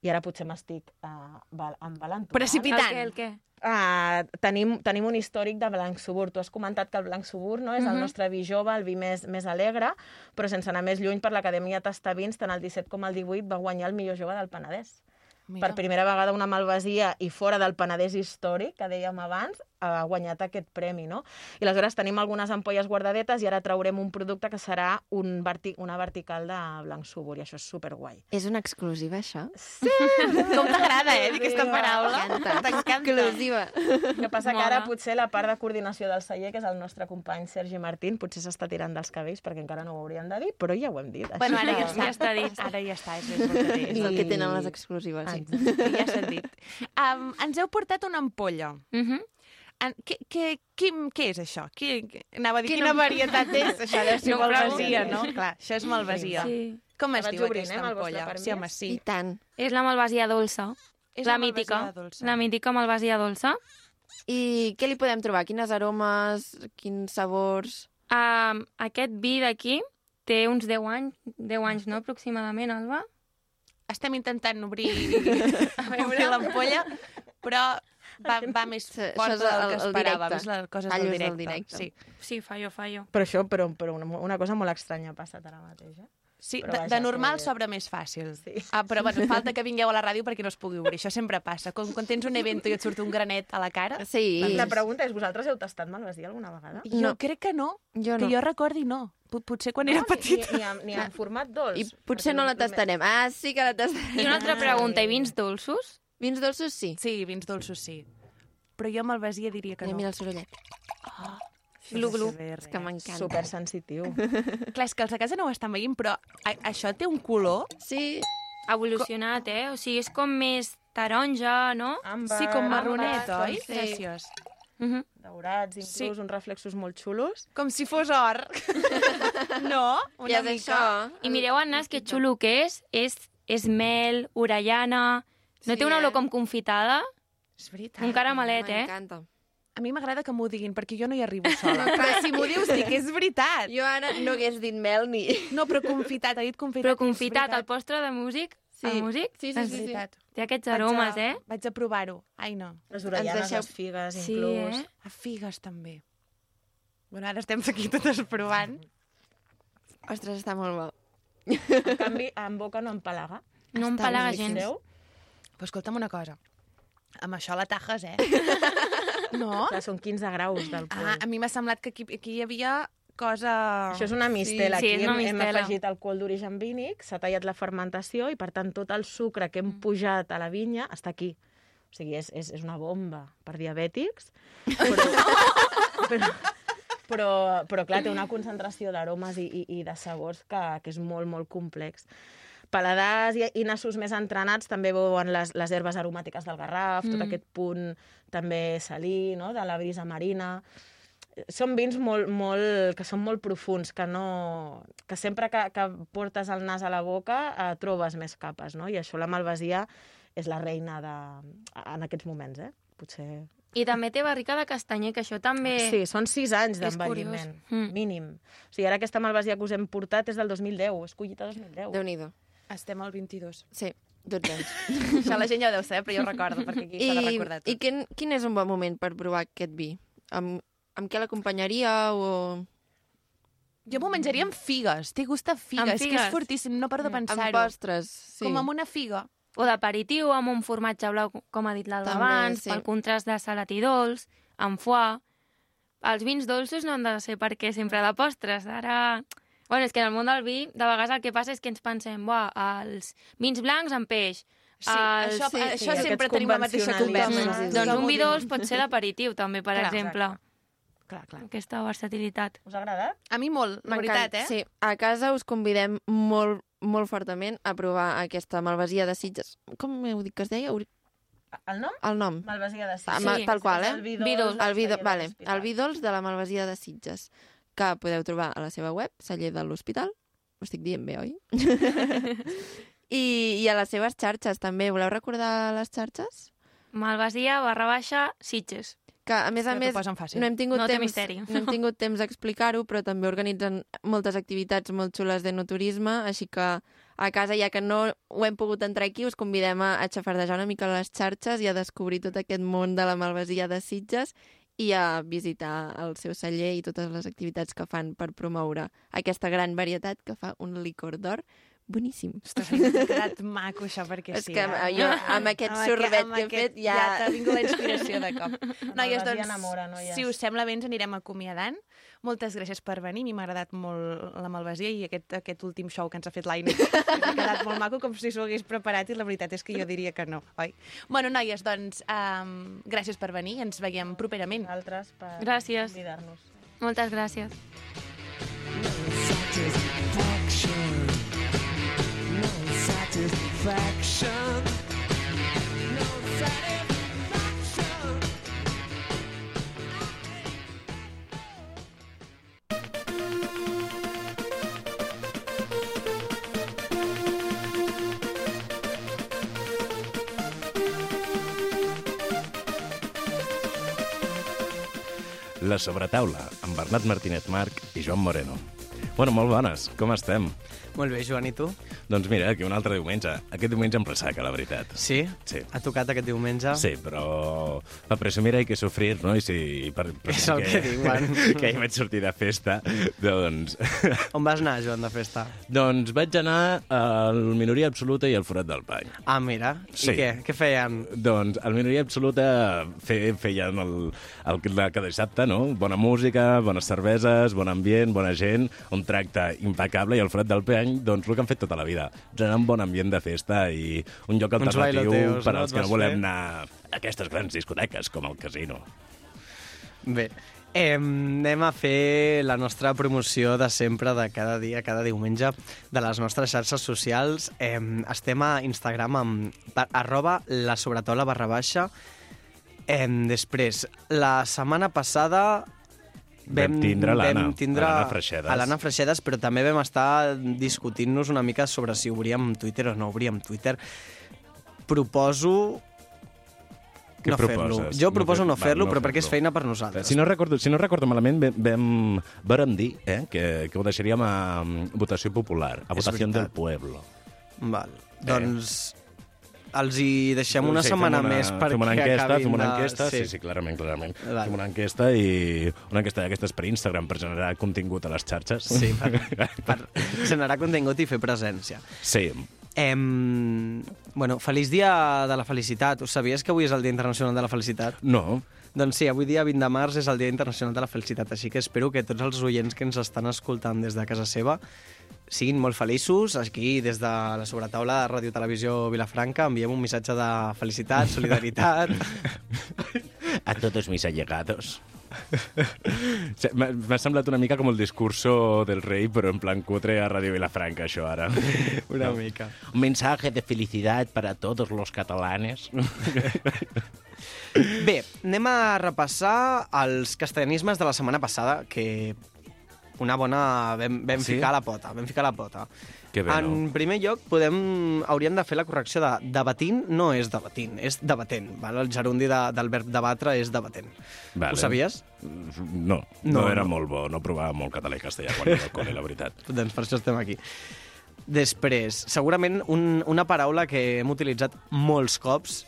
[SPEAKER 10] i ara potser m'estic uh, embalant. Ah,
[SPEAKER 2] Precipitant.
[SPEAKER 9] El què, el què?
[SPEAKER 10] Uh, tenim, tenim un històric de Blanc Subur. Tu has comentat que el Blanc Subur no, és uh -huh. el nostre vi jove, el vi més, més alegre, però sense anar més lluny per l'Acadèmia Tastavins, tant el 17 com el 18 va guanyar el millor jove del Penedès. Mira. Per primera vegada una malvasia i fora del Penedès històric, que dèiem abans, ha guanyat aquest premi, no? I aleshores tenim algunes ampolles guardadetes i ara traurem un producte que serà un verti una vertical de Blanc Subur, i això és superguai.
[SPEAKER 1] És una exclusiva, això?
[SPEAKER 10] Sí!
[SPEAKER 2] Com t'agrada, eh, aquesta paraula?
[SPEAKER 1] Exclusiva.
[SPEAKER 10] El que passa que ara
[SPEAKER 9] Mola.
[SPEAKER 10] potser la part de coordinació del celler, que és el nostre company Sergi Martín, potser s'està tirant dels cabells perquè encara no ho hauríem de dir, però ja ho hem dit. Així.
[SPEAKER 2] Bueno, ara ja,
[SPEAKER 10] que-
[SPEAKER 2] ja està dit. Ara ja està, és, és el que té.
[SPEAKER 1] És el que tenen les exclusives.
[SPEAKER 10] Ai,
[SPEAKER 1] Sí.
[SPEAKER 2] ja s'ha dit. Um, ens heu portat una ampolla.
[SPEAKER 9] Mhm.
[SPEAKER 2] En, què, què, quin, què és això? Qui, anava a dir,
[SPEAKER 9] Que
[SPEAKER 2] quina
[SPEAKER 9] no-
[SPEAKER 2] varietat és? Això deu ser
[SPEAKER 9] No
[SPEAKER 2] no
[SPEAKER 9] ho
[SPEAKER 2] malvasia,
[SPEAKER 9] preguntis.
[SPEAKER 2] no? Clar, això és malvasia. Sí.
[SPEAKER 9] Sí.
[SPEAKER 2] Com
[SPEAKER 10] La
[SPEAKER 2] es
[SPEAKER 10] vaig
[SPEAKER 2] diu
[SPEAKER 10] obrint,
[SPEAKER 2] aquesta
[SPEAKER 10] eh, amb el vostre
[SPEAKER 2] ampolla?
[SPEAKER 10] permís.
[SPEAKER 2] Sí, home, sí.
[SPEAKER 1] I tant.
[SPEAKER 9] És la malvasia dolça.
[SPEAKER 2] És
[SPEAKER 9] la
[SPEAKER 2] amb
[SPEAKER 9] mítica.
[SPEAKER 2] malvasia dolça.
[SPEAKER 9] La mítica malvasia dolça.
[SPEAKER 1] I què li podem trobar? Quines aromes? Quins sabors?
[SPEAKER 9] Um, aquest vi d'aquí té uns 10 anys, 10 anys, no?, aproximadament, Alba?
[SPEAKER 2] Estem intentant obrir, [LAUGHS] obrir l'ampolla, però va, va més
[SPEAKER 1] Això- això
[SPEAKER 2] fort
[SPEAKER 1] és
[SPEAKER 2] del
[SPEAKER 1] el-
[SPEAKER 2] que
[SPEAKER 1] el
[SPEAKER 2] esperàvem.
[SPEAKER 1] directe.
[SPEAKER 2] És la cosa
[SPEAKER 1] Fallo
[SPEAKER 2] del
[SPEAKER 1] és
[SPEAKER 2] directe.
[SPEAKER 1] el directe.
[SPEAKER 2] Sí,
[SPEAKER 9] Sí, fallo, fallo.
[SPEAKER 10] Però això, però, però una, una cosa molt estranya ha passat ara mateix, eh?
[SPEAKER 2] sí
[SPEAKER 10] Però
[SPEAKER 2] de,
[SPEAKER 10] vaja,
[SPEAKER 2] de normal
[SPEAKER 10] que-
[SPEAKER 2] s'obre més fàcil.
[SPEAKER 10] Sí.
[SPEAKER 2] Ah, però bueno, falta que vingueu a la ràdio perquè no es pugui obrir. Això sempre passa. Com quan tens un evento i et surt un granet a la cara, Doncs
[SPEAKER 1] Sí.
[SPEAKER 10] La pregunta és, vosaltres heu tastat malvasia alguna vegada?
[SPEAKER 2] jo
[SPEAKER 1] No.
[SPEAKER 2] crec que no.
[SPEAKER 1] Jo no.
[SPEAKER 2] Que jo recordi, no. Pot, potser quan era
[SPEAKER 10] No,
[SPEAKER 2] petita.
[SPEAKER 10] Ah, Ni, ni, en, ni en format dolç.
[SPEAKER 1] I potser no la tastarem. Ah, sí que la tastarem.
[SPEAKER 9] I una altra pregunta, i vins dolços?
[SPEAKER 1] Vins dolços, sí.
[SPEAKER 2] Sí, vins dolços, sí. Però jo malvasia diria que
[SPEAKER 1] Mira,
[SPEAKER 2] no.
[SPEAKER 1] mira el sorollet.
[SPEAKER 2] Glu, glu.
[SPEAKER 1] És que m'encanta.
[SPEAKER 10] Supersensitiu.
[SPEAKER 2] Clar, és que els de casa no ho estan veient, però a això té un color.
[SPEAKER 1] [LAUGHS] Sí,
[SPEAKER 9] Evolucionat, eh? O sigui, és com més taronja, no?
[SPEAKER 10] Àmbar,
[SPEAKER 2] sí, com marronet,
[SPEAKER 10] àmbar,
[SPEAKER 2] oi?
[SPEAKER 10] doncs,
[SPEAKER 2] Graciós.
[SPEAKER 9] Mhm.
[SPEAKER 10] Daurats, inclús,
[SPEAKER 2] Sí.
[SPEAKER 10] sí. uns reflexos molt xulos.
[SPEAKER 2] Com si fos or.
[SPEAKER 1] [LAUGHS]
[SPEAKER 2] no? Una
[SPEAKER 1] ja és
[SPEAKER 2] mica.
[SPEAKER 1] això.
[SPEAKER 9] I mireu el nas, que xulo que és. És, és mel, orellana... No
[SPEAKER 1] Sí,
[SPEAKER 9] té una olor
[SPEAKER 1] eh?
[SPEAKER 9] com confitada?
[SPEAKER 2] És veritat.
[SPEAKER 9] Un caramelet, eh?
[SPEAKER 1] M'encanta.
[SPEAKER 2] A mi m'agrada que m'ho diguin, perquè jo no hi
[SPEAKER 1] [LAUGHS]
[SPEAKER 2] arribo sola. però si m'ho dius, dic, és veritat.
[SPEAKER 1] Jo ara no hagués dit mel ni...
[SPEAKER 2] [LAUGHS] No, però confitat, ha dit confitat.
[SPEAKER 9] Però
[SPEAKER 2] és
[SPEAKER 9] confitat, el
[SPEAKER 2] veritat.
[SPEAKER 9] postre de músic,
[SPEAKER 1] Sí.
[SPEAKER 9] el músic, doncs
[SPEAKER 1] Sí, sí,
[SPEAKER 2] És
[SPEAKER 1] sí, sí.
[SPEAKER 2] veritat.
[SPEAKER 9] té aquests
[SPEAKER 2] Vaig a-
[SPEAKER 9] aromes, eh?
[SPEAKER 2] Vaig a provar-ho. Ai, no.
[SPEAKER 10] Les orellanes,
[SPEAKER 1] deixeu-
[SPEAKER 10] les figues,
[SPEAKER 9] Sí,
[SPEAKER 10] inclús.
[SPEAKER 9] eh?
[SPEAKER 2] A figues, també. Bueno, ara estem aquí totes provant.
[SPEAKER 1] Ostres, està molt bo.
[SPEAKER 10] En canvi, en boca no empalaga.
[SPEAKER 9] No em palaga gens.
[SPEAKER 10] Veieu?
[SPEAKER 2] Però escolta'm una cosa. Amb això la tajes,
[SPEAKER 10] [LAUGHS]
[SPEAKER 2] eh? no?
[SPEAKER 10] Clar, són 15 graus d'alcohol.
[SPEAKER 2] Ah, a mi m'ha semblat que aquí, aquí hi havia cosa...
[SPEAKER 10] Això és una mistela.
[SPEAKER 9] Sí,
[SPEAKER 10] Aquí
[SPEAKER 9] és una
[SPEAKER 10] hem, hem
[SPEAKER 9] mistela.
[SPEAKER 10] afegit alcohol d'origen vínic, s'ha tallat la fermentació i, per tant, tot el sucre que hem
[SPEAKER 2] Mm.
[SPEAKER 10] pujat a la vinya està aquí. O sigui, és, és, és una bomba per
[SPEAKER 2] [LAUGHS]
[SPEAKER 10] diabètics, però, però, però, però clar, té una concentració d'aromes i, i, i de sabors que, que és molt, molt complex. Paladars i, i nassos més entrenats també veuen les, les herbes aromàtiques del Garraf, mm. tot aquest punt també salí, no?, de la brisa marina són vins molt, molt, que són molt profuns, que, no, que sempre que, que portes el nas a la boca eh, trobes més capes, no? I això la malvasia és la reina de, en aquests moments, eh? Potser...
[SPEAKER 9] I també té barrica de castanyer, que això també...
[SPEAKER 10] Sí, són sis anys
[SPEAKER 9] Eh, és
[SPEAKER 10] d'envelliment,
[SPEAKER 9] curiós. Mm.
[SPEAKER 10] mínim. O sigui, ara aquesta malvasia que us hem portat és del 2010, és collita 2010.
[SPEAKER 1] déu nhi
[SPEAKER 2] Estem al 22.
[SPEAKER 1] Sí, 12 anys.
[SPEAKER 2] [LAUGHS] Això la gent ja ho deu saber, però jo ho recordo, perquè aquí s'ha de
[SPEAKER 1] I,
[SPEAKER 2] recordar
[SPEAKER 1] i
[SPEAKER 2] tot.
[SPEAKER 1] quin, quin és un bon moment per provar aquest vi? Amb, amb què l'acompanyaria o...
[SPEAKER 2] Jo m'ho menjaria amb figues. Té gust a figues,
[SPEAKER 9] Amb
[SPEAKER 2] figues, que
[SPEAKER 9] figues?
[SPEAKER 2] és fortíssim, no paro de
[SPEAKER 1] Amb
[SPEAKER 2] pensar-ho.
[SPEAKER 1] postres, sí.
[SPEAKER 2] Com amb una figa.
[SPEAKER 9] O d'aperitiu, amb un formatge blau, com ha dit l'Alba
[SPEAKER 1] També,
[SPEAKER 9] abans,
[SPEAKER 1] sí.
[SPEAKER 9] pel contrast de salat i dolç, amb foie... Els vins dolços no han de ser perquè sempre de postres. Ara... Bueno, és que en el món del vi, de vegades el que passa és que ens pensem, buah, els vins blancs amb peix.
[SPEAKER 2] Sí,
[SPEAKER 9] els...
[SPEAKER 2] això,
[SPEAKER 1] sí,
[SPEAKER 2] això
[SPEAKER 1] sí,
[SPEAKER 2] sempre
[SPEAKER 10] aquests
[SPEAKER 2] tenim la mateixa
[SPEAKER 10] convencionalismes.
[SPEAKER 2] conversa.
[SPEAKER 1] Sí, sí, sí.
[SPEAKER 9] Doncs
[SPEAKER 2] Tothom
[SPEAKER 9] un
[SPEAKER 2] ho
[SPEAKER 9] vi
[SPEAKER 2] diu.
[SPEAKER 9] dolç pot ser d'aperitiu, també, per
[SPEAKER 2] Clar,
[SPEAKER 9] exemple.
[SPEAKER 10] Clar, clar.
[SPEAKER 9] Aquesta versatilitat.
[SPEAKER 10] Us ha agradat?
[SPEAKER 2] A mi molt, la
[SPEAKER 1] M'encanta,
[SPEAKER 2] veritat, eh?
[SPEAKER 1] Sí, a casa us convidem molt, molt fortament a provar aquesta malvasia de Sitges. Com heu dit que es deia? Uri-
[SPEAKER 10] El nom?
[SPEAKER 1] El nom.
[SPEAKER 10] Malvasia de Sitges.
[SPEAKER 1] Amb,
[SPEAKER 9] Sí,
[SPEAKER 1] Ah, tal qual, eh?
[SPEAKER 10] El vi
[SPEAKER 9] Vi
[SPEAKER 10] dolç.
[SPEAKER 9] dolç.
[SPEAKER 1] El vi, do-
[SPEAKER 10] de
[SPEAKER 1] vale,
[SPEAKER 10] l'hospital.
[SPEAKER 1] el vi dolç de la malvasia de Sitges que podeu trobar a la seva web, Celler de l'Hospital. Ho estic dient bé,
[SPEAKER 10] [LAUGHS]
[SPEAKER 1] oi? I, I a les seves xarxes, també. Voleu recordar les xarxes?
[SPEAKER 9] Malvasia barra baixa Sitges.
[SPEAKER 1] Que, a més a
[SPEAKER 2] que t'ho
[SPEAKER 1] més,
[SPEAKER 2] posen fàcil.
[SPEAKER 1] no hem tingut
[SPEAKER 9] No té
[SPEAKER 1] temps,
[SPEAKER 9] misteri.
[SPEAKER 1] no hem tingut temps d'explicar-ho, però també organitzen moltes activitats molt xules de no turisme, així que a casa, ja que no ho hem pogut entrar aquí, us convidem a, a xafardejar una mica les xarxes i a descobrir tot aquest món de la malvasia de Sitges i a visitar el seu celler i totes les activitats que fan per promoure aquesta gran varietat que fa un licor d'or boníssim.
[SPEAKER 2] Ostres, m'ha quedat maco això perquè
[SPEAKER 1] És
[SPEAKER 2] sí.
[SPEAKER 1] que
[SPEAKER 2] eh?
[SPEAKER 1] jo, amb aquest
[SPEAKER 2] Amb
[SPEAKER 1] sorbet
[SPEAKER 2] amb
[SPEAKER 1] que he fet, ja-
[SPEAKER 2] ja... Ja t'ha vingut la inspiració de
[SPEAKER 1] [LAUGHS]
[SPEAKER 2] cop. Noies, doncs,
[SPEAKER 10] enamora, noies.
[SPEAKER 2] si us sembla bé, ens anirem acomiadant. Moltes gràcies per venir. A mi m'ha agradat molt la Malvasia i aquest, aquest últim show que ens ha fet
[SPEAKER 1] [LAUGHS]
[SPEAKER 2] l'Aina. M'ha quedat molt maco, com si s'ho hagués preparat, i la veritat és que jo diria que no, oi? Bueno, noies, doncs, um, gràcies per venir. Ens veiem properament.
[SPEAKER 10] Nosaltres per
[SPEAKER 9] Gràcies.
[SPEAKER 10] convidar-nos.
[SPEAKER 9] Moltes gràcies.
[SPEAKER 3] La sobretaula, amb Bernat Martínez Marc i Joan Moreno. Bueno, molt bones, com estem?
[SPEAKER 11] Molt bé, Joan, i tu?
[SPEAKER 3] Doncs mira, aquí un altre diumenge. Aquest diumenge em pressaca, la veritat.
[SPEAKER 11] Sí?
[SPEAKER 3] Sí.
[SPEAKER 11] Ha tocat aquest diumenge?
[SPEAKER 3] Sí, però a presumir hay que sufrir, no? I si... Per, per
[SPEAKER 11] És el que diuen.
[SPEAKER 3] Que ahir vaig sortir de festa, doncs...
[SPEAKER 11] On vas anar, Joan, de festa?
[SPEAKER 3] doncs vaig anar al Minoria Absoluta i al Forat del Pany.
[SPEAKER 11] Ah, mira.
[SPEAKER 3] Sí.
[SPEAKER 11] I què? Què feien?
[SPEAKER 3] Doncs el Minoria Absoluta fe, feien el, el, la cada dissabte, no? Bona música, bones cerveses, bon ambient, bona gent, un tracte impecable i el fred del pany, doncs el que han fet tota la vida. Generar un bon ambient de festa i un lloc
[SPEAKER 11] Uns
[SPEAKER 3] alternatiu
[SPEAKER 11] bailoteos,
[SPEAKER 3] per
[SPEAKER 11] no?
[SPEAKER 3] als
[SPEAKER 11] Et
[SPEAKER 3] que no
[SPEAKER 11] vas
[SPEAKER 3] volem
[SPEAKER 11] fer?
[SPEAKER 3] anar a aquestes grans discoteques com el casino.
[SPEAKER 11] Bé, eh, anem a fer la nostra promoció de sempre, de cada dia, cada diumenge, de les nostres xarxes socials. Eh, estem a Instagram amb pa- arroba la sobretola barra baixa. Eh, després, la setmana passada
[SPEAKER 3] Vam tindre l'Anna,
[SPEAKER 11] vam tindre
[SPEAKER 3] l'Anna Freixedes.
[SPEAKER 11] a l'Anna Freixedes, però també vam estar discutint-nos una mica sobre si obríem Twitter o no obríem Twitter. Proposo
[SPEAKER 3] Què
[SPEAKER 11] no fer-lo.
[SPEAKER 3] proposes?
[SPEAKER 11] Jo proposo no
[SPEAKER 3] fer-
[SPEAKER 11] fer-lo,
[SPEAKER 3] va,
[SPEAKER 11] però perquè és
[SPEAKER 3] fer-lo.
[SPEAKER 11] feina per nosaltres.
[SPEAKER 3] Eh, Si no recordo, si no recordo malament, vam, vam, vàrem dir eh, que, que ho deixaríem a mm, votació popular, a
[SPEAKER 11] És
[SPEAKER 3] votació del
[SPEAKER 11] veritat.
[SPEAKER 3] pueblo. Eh.
[SPEAKER 11] Val. Doncs els hi deixem
[SPEAKER 3] Sí,
[SPEAKER 11] una
[SPEAKER 3] sí, fem
[SPEAKER 11] setmana més perquè
[SPEAKER 3] fem una enquesta,
[SPEAKER 11] acabin
[SPEAKER 3] fem una
[SPEAKER 11] de-
[SPEAKER 3] enquesta, sí, sí, clarament, clarament.
[SPEAKER 11] Val.
[SPEAKER 3] Fem una enquesta i una enquesta d'aquestes per Instagram per generar contingut a les xarxes.
[SPEAKER 11] Sí,
[SPEAKER 3] [LAUGHS]
[SPEAKER 11] per, per generar contingut i fer presència.
[SPEAKER 3] sí.
[SPEAKER 11] Em, bueno, feliç dia de la felicitat. Ho sabies que avui és el Dia Internacional de la Felicitat?
[SPEAKER 3] No,
[SPEAKER 11] Doncs sí, avui dia 20 de març és el Dia Internacional de la Felicitat, així que espero que tots els oients que ens estan escoltant des de casa seva siguin molt feliços. Aquí, des de la sobretaula de Ràdio Televisió Vilafranca, enviem un missatge de felicitat,
[SPEAKER 3] [LAUGHS]
[SPEAKER 11] solidaritat...
[SPEAKER 3] a todos mis [LAUGHS] allegados. Sí, M'ha m'ha semblat una mica com el discurso del rei, però en plan cutre a Ràdio Vilafranca, això ara.
[SPEAKER 11] [LAUGHS] Una mica.
[SPEAKER 3] Un mensaje de felicidad para todos los catalanes.
[SPEAKER 11] Bé, anem a repassar els castellanismes de la setmana passada, que una bona... vam, vam
[SPEAKER 3] Sí?
[SPEAKER 11] sí? ficar la pota, vam ficar la pota.
[SPEAKER 3] [LAUGHS] Que bé,
[SPEAKER 11] en
[SPEAKER 3] no?
[SPEAKER 11] primer lloc, podem, hauríem de fer la correcció de debatint no és debatint, és debatent. Val? El gerundi de, del verb debatre és debatent.
[SPEAKER 3] Vale.
[SPEAKER 11] Ho sabies?
[SPEAKER 3] No, no,
[SPEAKER 11] No,
[SPEAKER 3] no era
[SPEAKER 11] no.
[SPEAKER 3] molt bo, no provava molt català i castellà quan era al col·le, la veritat.
[SPEAKER 11] [LAUGHS] Doncs per això estem aquí. Després, segurament un, una paraula que hem utilitzat molts cops,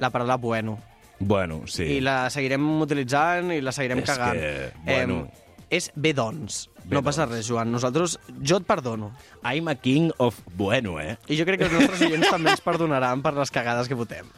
[SPEAKER 11] la paraula bueno.
[SPEAKER 3] Bueno, sí.
[SPEAKER 11] I la seguirem utilitzant i la seguirem
[SPEAKER 3] És
[SPEAKER 11] cagant.
[SPEAKER 3] que, bueno.
[SPEAKER 11] Em, és bé, doncs.
[SPEAKER 3] Bé,
[SPEAKER 11] no passa
[SPEAKER 3] doncs.
[SPEAKER 11] res, Joan. Nosaltres, jo et perdono.
[SPEAKER 3] I'm a king of bueno, eh?
[SPEAKER 11] I jo crec que els nostres oients també ens perdonaran per les cagades que votem.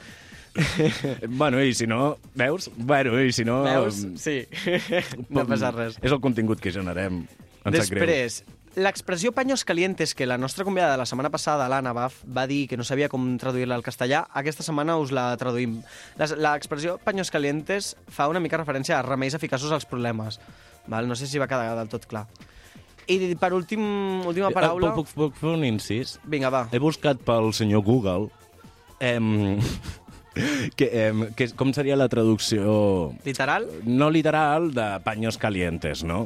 [SPEAKER 3] [LAUGHS] Bueno, i si no, veus? Bueno, i si no...
[SPEAKER 11] Veus?
[SPEAKER 3] mm,
[SPEAKER 11] Sí. [LAUGHS] no passa res.
[SPEAKER 3] És el contingut que generem. Em sap greu.
[SPEAKER 11] Després, l'expressió paños calientes que la nostra convidada de la setmana passada, l'Anna, va, va dir que no sabia com traduir-la al castellà, aquesta setmana us la traduïm. Les- L'expressió paños calientes fa una mica referència a remeis eficaços als problemes. Val? No sé si va quedar del tot clar. I per últim, última
[SPEAKER 3] Eh,
[SPEAKER 11] paraula...
[SPEAKER 3] Puc, puc, puc fer un incís?
[SPEAKER 11] Vinga, va.
[SPEAKER 3] He buscat pel senyor Google em, [LAUGHS] que, eh, que, és- com seria la traducció...
[SPEAKER 11] Literal?
[SPEAKER 3] No literal, de paños calientes, no?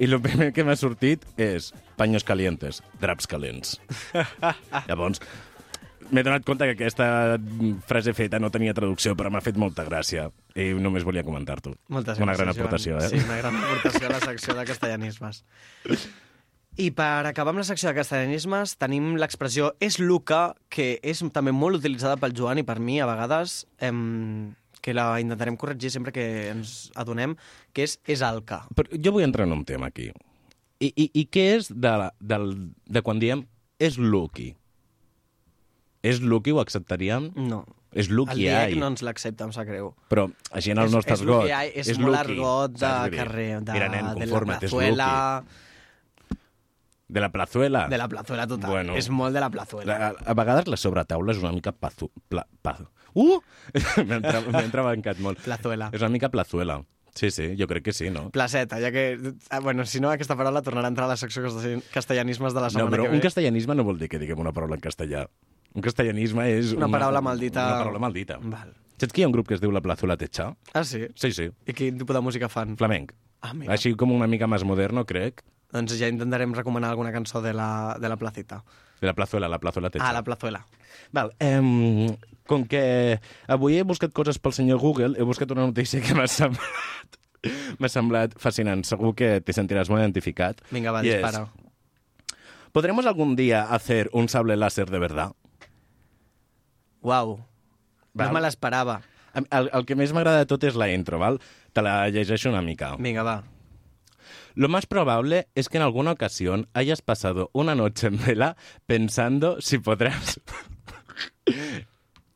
[SPEAKER 3] I el primer que m'ha sortit és paños calientes, draps
[SPEAKER 11] [LAUGHS]
[SPEAKER 3] calents. Llavors, m'he donat compte que aquesta frase feta no tenia traducció, però m'ha fet molta gràcia. I només volia comentar-t'ho.
[SPEAKER 11] Moltes
[SPEAKER 3] Una
[SPEAKER 11] gràcies,
[SPEAKER 3] gran
[SPEAKER 11] Joan.
[SPEAKER 3] aportació, eh?
[SPEAKER 11] Sí, una gran aportació a la secció de castellanismes. I per acabar amb la secció de castellanismes tenim l'expressió és Luca, que és també molt utilitzada pel Joan i per mi a vegades, em, que la intentarem corregir sempre que ens adonem, que és és alca.
[SPEAKER 3] Però jo vull entrar en un tema aquí. I, i, i què és de, la, del, de quan diem és Lucky? És Lucky, ho acceptaríem?
[SPEAKER 11] No.
[SPEAKER 3] És
[SPEAKER 11] El
[SPEAKER 3] Lucky
[SPEAKER 11] DIEC
[SPEAKER 3] ai.
[SPEAKER 11] no ens l'accepta, em sap greu.
[SPEAKER 3] Però així en el nostre
[SPEAKER 11] és,
[SPEAKER 3] argot.
[SPEAKER 11] És, lo que hi ha, és, és molt
[SPEAKER 3] Lucky,
[SPEAKER 11] argot de
[SPEAKER 3] saps? Vull dir,
[SPEAKER 11] carrer, de,
[SPEAKER 3] Mira, nen,
[SPEAKER 11] de la
[SPEAKER 3] conforma't, és
[SPEAKER 11] plazuela...
[SPEAKER 3] Lucky. De la plazuela?
[SPEAKER 11] De la plazuela total.
[SPEAKER 3] Bueno.
[SPEAKER 11] És molt de la plazuela.
[SPEAKER 3] A, a vegades la sobretaula és una mica pazu... Pla, pazu. Uh! [LAUGHS] M'he entra- m'he entrebancat molt.
[SPEAKER 11] Plazuela.
[SPEAKER 3] És una mica plazuela. Sí, sí, jo crec que sí, no?
[SPEAKER 11] Placeta, ja que... ah, Bueno, si no, aquesta paraula tornarà a entrar a la secció castell- castellanismes de la
[SPEAKER 3] No,
[SPEAKER 11] setmana
[SPEAKER 3] però
[SPEAKER 11] que
[SPEAKER 3] un
[SPEAKER 11] ve.
[SPEAKER 3] castellanisme no vol dir que diguem una paraula en castellà. Un castellanisme és...
[SPEAKER 11] Una paraula maldita.
[SPEAKER 3] Una paraula maldita.
[SPEAKER 11] Val.
[SPEAKER 3] Saps que hi ha un grup que es diu La Plazuela Techa?
[SPEAKER 11] Ah, sí?
[SPEAKER 3] Sí, sí.
[SPEAKER 11] I quin tipus de música fan?
[SPEAKER 3] Flamenc.
[SPEAKER 11] Ah, mira.
[SPEAKER 3] Així com una mica més moderno, crec.
[SPEAKER 11] Doncs ja intentarem recomanar alguna cançó de la, de la placeta.
[SPEAKER 3] De la plazuela, la plazuela techa.
[SPEAKER 11] Ah, la plazuela.
[SPEAKER 3] Val, eh, com que avui he buscat coses pel senyor Google, he buscat una notícia que m'ha semblat, m'ha semblat fascinant. Segur que t'hi sentiràs molt identificat.
[SPEAKER 11] Vinga, va,
[SPEAKER 3] I és,
[SPEAKER 11] dispara.
[SPEAKER 3] ¿Podremos algún día hacer un sable láser de verdad?
[SPEAKER 11] Uau,
[SPEAKER 3] Val.
[SPEAKER 11] no me l'esperava.
[SPEAKER 3] Em- El, el que més m'agrada de tot és la intro, val? Te la llegeixo una mica.
[SPEAKER 11] Vinga, va.
[SPEAKER 3] Lo más probable es que en alguna ocasión hayas pasado una noche en vela pensando si podrás...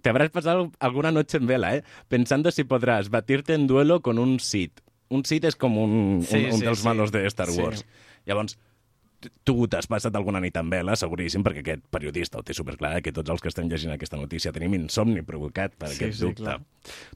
[SPEAKER 3] Te habrás pasado alguna noche en vela, ¿eh? Pensando si podrás batirte en duelo con un Sith. Un Sith és com un,
[SPEAKER 11] Sí,
[SPEAKER 3] un, un
[SPEAKER 11] sí,
[SPEAKER 3] dels
[SPEAKER 11] sí.
[SPEAKER 3] malos de Star
[SPEAKER 11] Sí.
[SPEAKER 3] Wars. Llavors, t- tu t'has passat alguna nit en vela, seguríssim, perquè aquest periodista ho té superclar, eh, que tots els que estem llegint aquesta notícia tenim insomni provocat per
[SPEAKER 11] Sí,
[SPEAKER 3] aquest
[SPEAKER 11] sí,
[SPEAKER 3] dubte.
[SPEAKER 11] clar.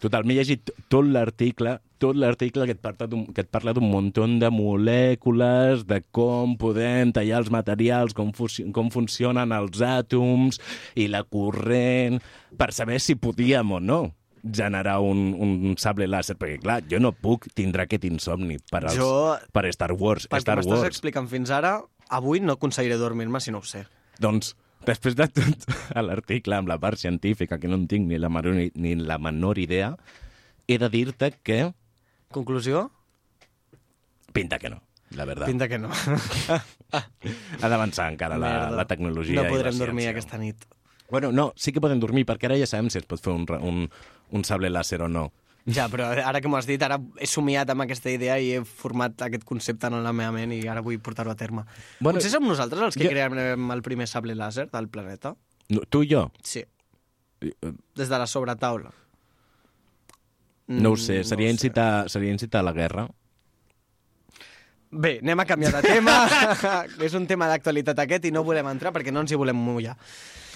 [SPEAKER 3] Total, m'he llegit tot l'article, tot l'article que et parla d'un que et parla d'un muntó de molècules, de com podem tallar els materials, com, fusi- com funcionen els àtoms i la corrent, per saber si podíem o no generar un, un sable làser, perquè clar, jo no puc tindre aquest insomni per, als,
[SPEAKER 11] Jo-
[SPEAKER 3] per Star Wars.
[SPEAKER 11] Pel que
[SPEAKER 3] Star
[SPEAKER 11] m'estàs
[SPEAKER 3] Wars.
[SPEAKER 11] explicant fins ara, avui no aconseguiré dormir-me si no ho sé.
[SPEAKER 3] Doncs, després de tot [LAUGHS] l'article amb la part científica, que no en tinc ni la, menor, ni la menor idea, he de dir-te que
[SPEAKER 11] Conclusió?
[SPEAKER 3] pinta que no, la verdad.
[SPEAKER 11] Pinta que no.
[SPEAKER 3] [LAUGHS] Ha d'avançar encara la,
[SPEAKER 11] Merda.
[SPEAKER 3] la tecnologia
[SPEAKER 11] No
[SPEAKER 3] i la
[SPEAKER 11] podrem
[SPEAKER 3] ciència.
[SPEAKER 11] dormir aquesta nit.
[SPEAKER 3] Bueno, no, sí que podem dormir, perquè ara ja sabem si es pot fer un, ra- un, un sable làser o no.
[SPEAKER 11] Ja, però ara que m'ho has dit, ara he somiat amb aquesta idea i he format aquest concepte en la meva ment i ara vull portar-ho a terme.
[SPEAKER 3] Bueno,
[SPEAKER 11] Bueno, Potser som nosaltres els que
[SPEAKER 3] jo-
[SPEAKER 11] jo... crearem el primer sable làser del planeta?
[SPEAKER 3] No, tu i jo?
[SPEAKER 11] Sí,
[SPEAKER 3] I, eh,
[SPEAKER 11] des de la sobretaula.
[SPEAKER 3] No ho
[SPEAKER 11] Mm,
[SPEAKER 3] sé, seria,
[SPEAKER 11] ho sé.
[SPEAKER 3] incitar, seria incitar a la guerra?
[SPEAKER 11] Bé, anem a canviar de tema. [LAUGHS] és un tema d'actualitat aquest i no volem entrar perquè no ens hi volem mullar.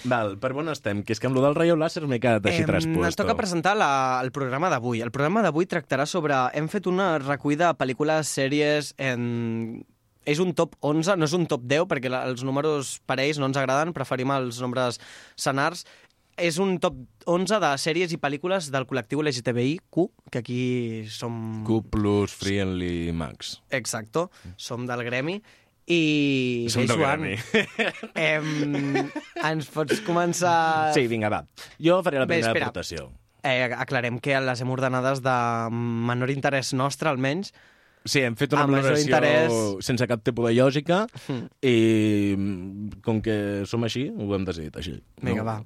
[SPEAKER 3] Val, per on estem? Que és que amb lo del rayo làser m'he quedat així
[SPEAKER 11] Em, Ens
[SPEAKER 3] traspuesto.
[SPEAKER 11] toca presentar la, el programa d'avui. El programa d'avui tractarà sobre... Hem fet una recuïda de pel·lícules, sèries... En... És un top 11, no és un top 10, perquè la, els números parells no ens agraden, preferim els nombres senars. És un top 11 de sèries i pel·lícules del col·lectiu LGTBIQ, que aquí som...
[SPEAKER 3] Q plus Friendly Max.
[SPEAKER 11] Exacto, som del gremi. I...
[SPEAKER 3] Som
[SPEAKER 11] bé,
[SPEAKER 3] del
[SPEAKER 11] Joan,
[SPEAKER 3] gremi.
[SPEAKER 11] [LAUGHS] Em... ens pots començar
[SPEAKER 3] Sí, vinga, va. Jo faré la
[SPEAKER 11] Bé,
[SPEAKER 3] primera
[SPEAKER 11] espera.
[SPEAKER 3] aportació.
[SPEAKER 11] Eh, aclarem que les hem ordenades de menor interès nostre, almenys.
[SPEAKER 3] Sí, hem fet una
[SPEAKER 11] Amb major
[SPEAKER 3] valoració
[SPEAKER 11] interès. Hmm.
[SPEAKER 3] sense cap tipus de lògica i mm, com que som així, ho hem decidit així.
[SPEAKER 11] Vinga,
[SPEAKER 3] [LAUGHS]
[SPEAKER 11] va.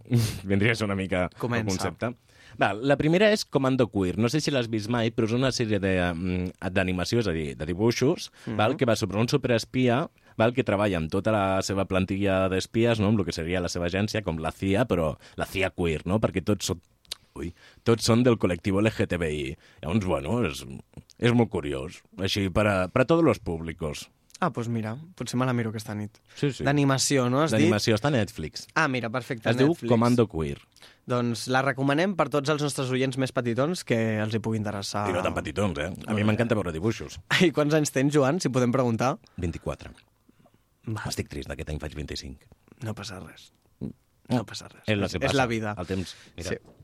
[SPEAKER 3] Vindria a ser una mica
[SPEAKER 11] Comença.
[SPEAKER 3] el concepte. Va, la primera és Comando Queer. No sé si l'has vist mai, però és una sèrie de, mm, d'animació, és a dir, de dibuixos,
[SPEAKER 11] Mhm.
[SPEAKER 3] val, que va sobre un superespia val, que treballa amb tota la seva plantilla d'espies, no? amb el que seria la seva agència, com la CIA, però la CIA queer, no? perquè tots són Ui, tots són del col·lectiu LGTBI. Llavors, bueno, és, és molt curiós. Així, per a, per a tots els públicos.
[SPEAKER 11] Ah, doncs mira, potser me la miro aquesta nit.
[SPEAKER 3] Sí, sí.
[SPEAKER 11] D'animació, no has dit?
[SPEAKER 3] D'animació, està a Netflix.
[SPEAKER 11] Ah, mira, perfecte.
[SPEAKER 3] Es diu
[SPEAKER 11] Netflix.
[SPEAKER 3] Comando Queer.
[SPEAKER 11] Doncs la recomanem per tots els nostres oients més petitons que els hi pugui interessar.
[SPEAKER 3] I no tan petitons, eh? A mi m'encanta veure dibuixos.
[SPEAKER 11] I quants anys tens, Joan, si podem preguntar?
[SPEAKER 3] 24. Estic trist, d'aquest any faig 25.
[SPEAKER 11] No passa res. No passa res.
[SPEAKER 3] És, la que
[SPEAKER 11] és
[SPEAKER 3] passa.
[SPEAKER 11] la vida.
[SPEAKER 3] El temps, mira.
[SPEAKER 11] Sí.
[SPEAKER 3] Sí.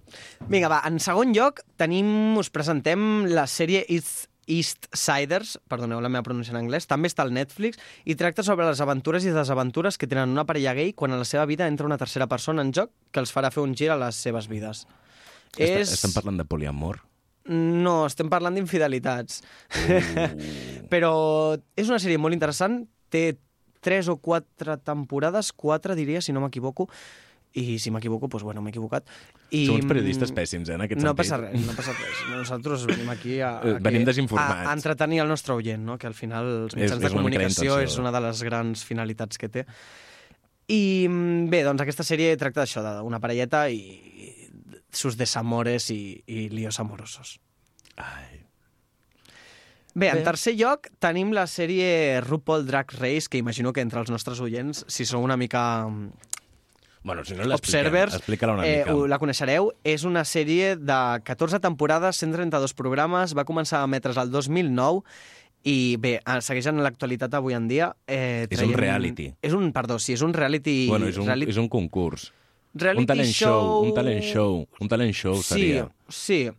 [SPEAKER 11] Vinga, va, en segon lloc tenim, us presentem la sèrie It's East Siders, perdoneu la meva pronúncia en anglès, també està al Netflix, i tracta sobre les aventures i desaventures que tenen una parella gai quan a la seva vida entra una tercera persona en joc que els farà fer un gir a les seves vides.
[SPEAKER 3] Està, Estem parlant de poliamor?
[SPEAKER 11] No, estem parlant d'infidelitats.
[SPEAKER 3] Uh.
[SPEAKER 11] [LAUGHS] Però és una sèrie molt interessant, té tres o quatre temporades, quatre diria, si no m'equivoco, i si m'equivoco, doncs bueno, m'he equivocat. I, mm,
[SPEAKER 3] Som uns periodistes pèssims, eh, en aquest
[SPEAKER 11] no
[SPEAKER 3] sentit.
[SPEAKER 11] passa res, no passa res. Nosaltres venim
[SPEAKER 3] [LAUGHS]
[SPEAKER 11] aquí a, a,
[SPEAKER 3] Eh, venim
[SPEAKER 11] que-
[SPEAKER 3] desinformats.
[SPEAKER 11] a, a entretenir el nostre oient, no? que al final els
[SPEAKER 3] És-
[SPEAKER 11] mitjans de
[SPEAKER 3] és una mica la
[SPEAKER 11] comunicació
[SPEAKER 3] intenció.
[SPEAKER 11] és una de les grans finalitats que té. I mm, bé, doncs aquesta sèrie tracta d'això, d'una parelleta i, i sus desamores i, i líos amorosos. Bé, en
[SPEAKER 6] Bé.
[SPEAKER 11] tercer lloc tenim la sèrie RuPaul Drag Race, que imagino que entre els nostres oients, si sou una mica mm,
[SPEAKER 3] Bueno, si no l'expliquem,
[SPEAKER 11] Observers,
[SPEAKER 3] explica-la una
[SPEAKER 11] eh,
[SPEAKER 3] mica.
[SPEAKER 11] ho- la coneixereu, és una sèrie de 14 temporades, 132 programes, va començar a emetre's el 2009 i bé, eh, segueix en l'actualitat avui en dia. Eh,
[SPEAKER 3] És un reality.
[SPEAKER 11] És un, perdó, sí, és un reality...
[SPEAKER 3] bueno, és un,
[SPEAKER 11] reality,
[SPEAKER 3] és un concurs.
[SPEAKER 11] reality
[SPEAKER 3] un talent
[SPEAKER 11] show...
[SPEAKER 3] un talent show, un talent show seria.
[SPEAKER 11] Sí, sí.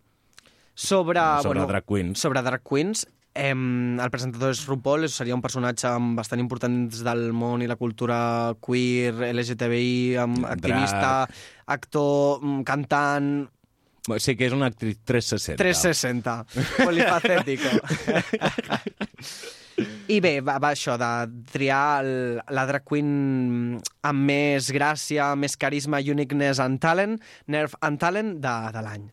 [SPEAKER 3] Sobre
[SPEAKER 11] Sobre, Ah, bueno,
[SPEAKER 3] drag queens.
[SPEAKER 11] Sobre drag queens. Eh, el presentador és RuPaul, és- seria un personatge amb bastant important dins del món i la cultura queer, LGTBI, amb
[SPEAKER 3] Drag.
[SPEAKER 11] activista, actor, mm, cantant...
[SPEAKER 3] Bueno, Sí que és una actriz 360.
[SPEAKER 11] 360, polifacètico. I bé, va, va això de triar el, la drag queen amb més gràcia, més carisma, uniqueness and talent, nerf and talent de, de l'any.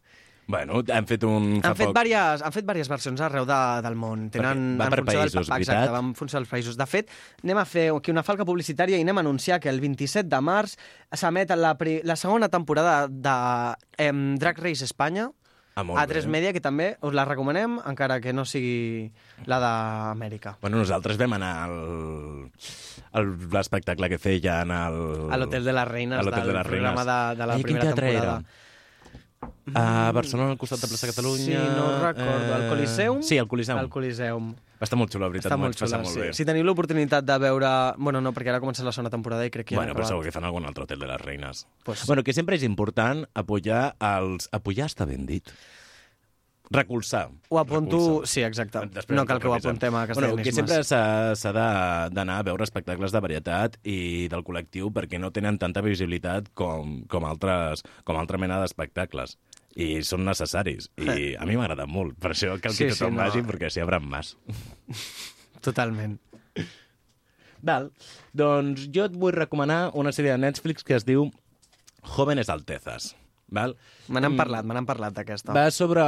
[SPEAKER 3] Bueno, han fet un... fa
[SPEAKER 11] Han fet,
[SPEAKER 3] poc-
[SPEAKER 11] diverses, han fet diverses versions arreu de, del món. Tenen,
[SPEAKER 3] Perquè va
[SPEAKER 11] en
[SPEAKER 3] per
[SPEAKER 11] funció del-
[SPEAKER 3] països,
[SPEAKER 11] exacte,
[SPEAKER 3] veritat?
[SPEAKER 11] va en funció dels països. De fet, anem a fer aquí una falca publicitària i anem a anunciar que el 27 de març s'emet la, pri- la segona temporada de em, Drag Race Espanya
[SPEAKER 3] Ah, molt
[SPEAKER 11] a
[SPEAKER 3] bé.
[SPEAKER 11] 3 Media, que també us la recomanem, encara que no sigui la d'Amèrica.
[SPEAKER 3] Bueno, nosaltres vam anar al, al l'espectacle que feia en el...
[SPEAKER 11] A l'Hotel de les Reines,
[SPEAKER 3] a l'Hotel
[SPEAKER 11] del
[SPEAKER 3] de les
[SPEAKER 11] programa
[SPEAKER 3] Reines.
[SPEAKER 11] de- de la
[SPEAKER 3] Ai,
[SPEAKER 11] primera
[SPEAKER 3] quin teatre
[SPEAKER 11] temporada.
[SPEAKER 3] Era? A Barcelona, al costat de plaça Catalunya... Eh,
[SPEAKER 11] Sí, no recordo. El Coliseum?
[SPEAKER 3] Sí, el Coliseum.
[SPEAKER 11] El Coliseum.
[SPEAKER 3] Va estar molt xulo, la veritat.
[SPEAKER 11] Està
[SPEAKER 3] m'ho
[SPEAKER 11] molt
[SPEAKER 3] vaig
[SPEAKER 11] xula,
[SPEAKER 3] passar molt
[SPEAKER 11] sí.
[SPEAKER 3] bé.
[SPEAKER 11] Si teniu l'oportunitat de veure... Bueno, no, perquè ara comença la segona temporada i crec que ja
[SPEAKER 3] bueno,
[SPEAKER 11] han
[SPEAKER 3] però
[SPEAKER 11] acabat.
[SPEAKER 3] segur que fan algun altre hotel de les reines.
[SPEAKER 11] Pues-
[SPEAKER 3] Bueno, que sempre és important apoyar els... Apoyar està ben dit. Recolzar.
[SPEAKER 11] Ho apunto...
[SPEAKER 3] Recolzar.
[SPEAKER 11] Sí, exacte.
[SPEAKER 3] Després
[SPEAKER 11] no
[SPEAKER 3] ens
[SPEAKER 11] cal que ho
[SPEAKER 3] revisem.
[SPEAKER 11] apuntem a
[SPEAKER 3] Bueno, que
[SPEAKER 11] castellanismes.
[SPEAKER 3] sempre s'ha s'ha de- d'anar a veure espectacles de varietat i del col·lectiu perquè no tenen tanta visibilitat com, com, altres, com altra mena d'espectacles i són necessaris. I a mi m'agrada molt. Per això cal que
[SPEAKER 11] Sí,
[SPEAKER 3] sí,
[SPEAKER 11] sí,
[SPEAKER 3] tothom sí,
[SPEAKER 11] no.
[SPEAKER 3] no. vagi, perquè s'hi hauran mas.
[SPEAKER 11] Totalment.
[SPEAKER 3] [LAUGHS] Val. Doncs jo et vull recomanar una sèrie de Netflix que es diu Jóvenes Altezas. Val? Mm.
[SPEAKER 11] Me n'han parlat, me n'han parlat d'aquesta.
[SPEAKER 3] Va sobre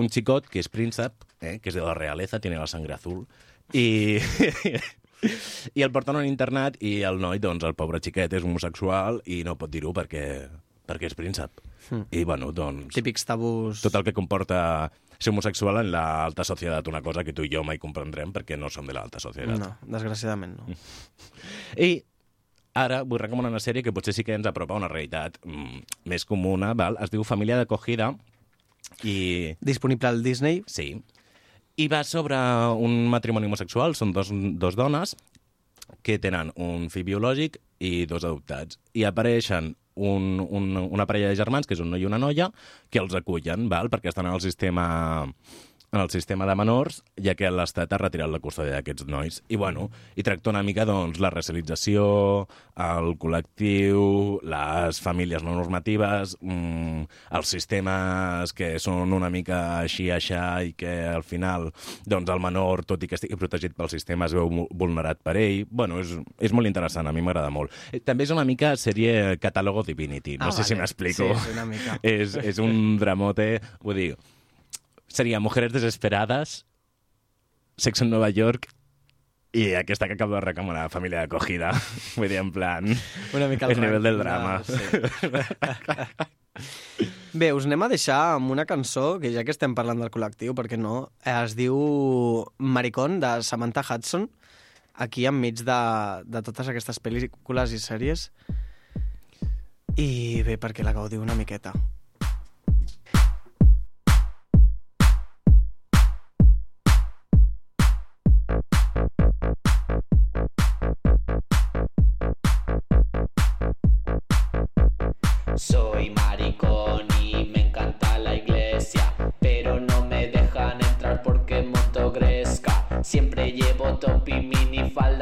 [SPEAKER 3] un xicot que és príncep, eh, que és de la realeza, tiene la sangre azul, i... [LAUGHS] I el porten a un internat i el noi, doncs, el pobre xiquet és homosexual i no pot dir-ho perquè, perquè és príncep. I, bueno, doncs,
[SPEAKER 11] Típics tabús...
[SPEAKER 3] tot el que comporta ser homosexual en l'alta societat, una cosa que tu i jo mai comprendrem perquè no som de l'alta societat.
[SPEAKER 11] No, desgraciadament no.
[SPEAKER 3] I ara vull recomanar una sèrie que potser sí que ens apropa a una realitat mm, més comuna, val? es diu Família d'acogida i...
[SPEAKER 11] Disponible al Disney.
[SPEAKER 3] Sí. I va sobre un matrimoni homosexual, són dos, dos dones que tenen un fill biològic i dos adoptats. I apareixen un, un, una parella de germans, que és un noi i una noia, que els acullen, val? perquè estan en el sistema en el sistema de menors, ja que l'Estat ha retirat la custòdia d'aquests nois. I, bueno, i tracta una mica doncs, la racialització, el col·lectiu, les famílies no normatives, mm, els sistemes que són una mica així, aixà, i que al final doncs, el menor, tot i que estigui protegit pel sistema, es veu mu- vulnerat per ell. Bueno, és, és molt interessant, a mi m'agrada molt. Eh, També és una mica sèrie Catalogo Divinity, no
[SPEAKER 11] Ah,
[SPEAKER 3] sé si
[SPEAKER 11] vale.
[SPEAKER 3] m'explico.
[SPEAKER 11] Sí, sí, una mica.
[SPEAKER 3] [LAUGHS] és, és un dramote, vull dir, seria Mujeres Desesperadas, Sexo en Nova York i aquesta que acabo de recomanar, Família d'acogida. [LAUGHS] Vull dir, en plan...
[SPEAKER 11] Una mica Ah,
[SPEAKER 3] El nivell del drama.
[SPEAKER 11] sí. [LAUGHS] Bé, us anem a deixar amb una cançó, que ja que estem parlant del col·lectiu, perquè no, eh, es diu Maricón, de Samantha Hudson, aquí enmig de, de totes aquestes pel·lícules i sèries. I bé, perquè la gaudiu una miqueta.
[SPEAKER 12] Soy maricón y me encanta.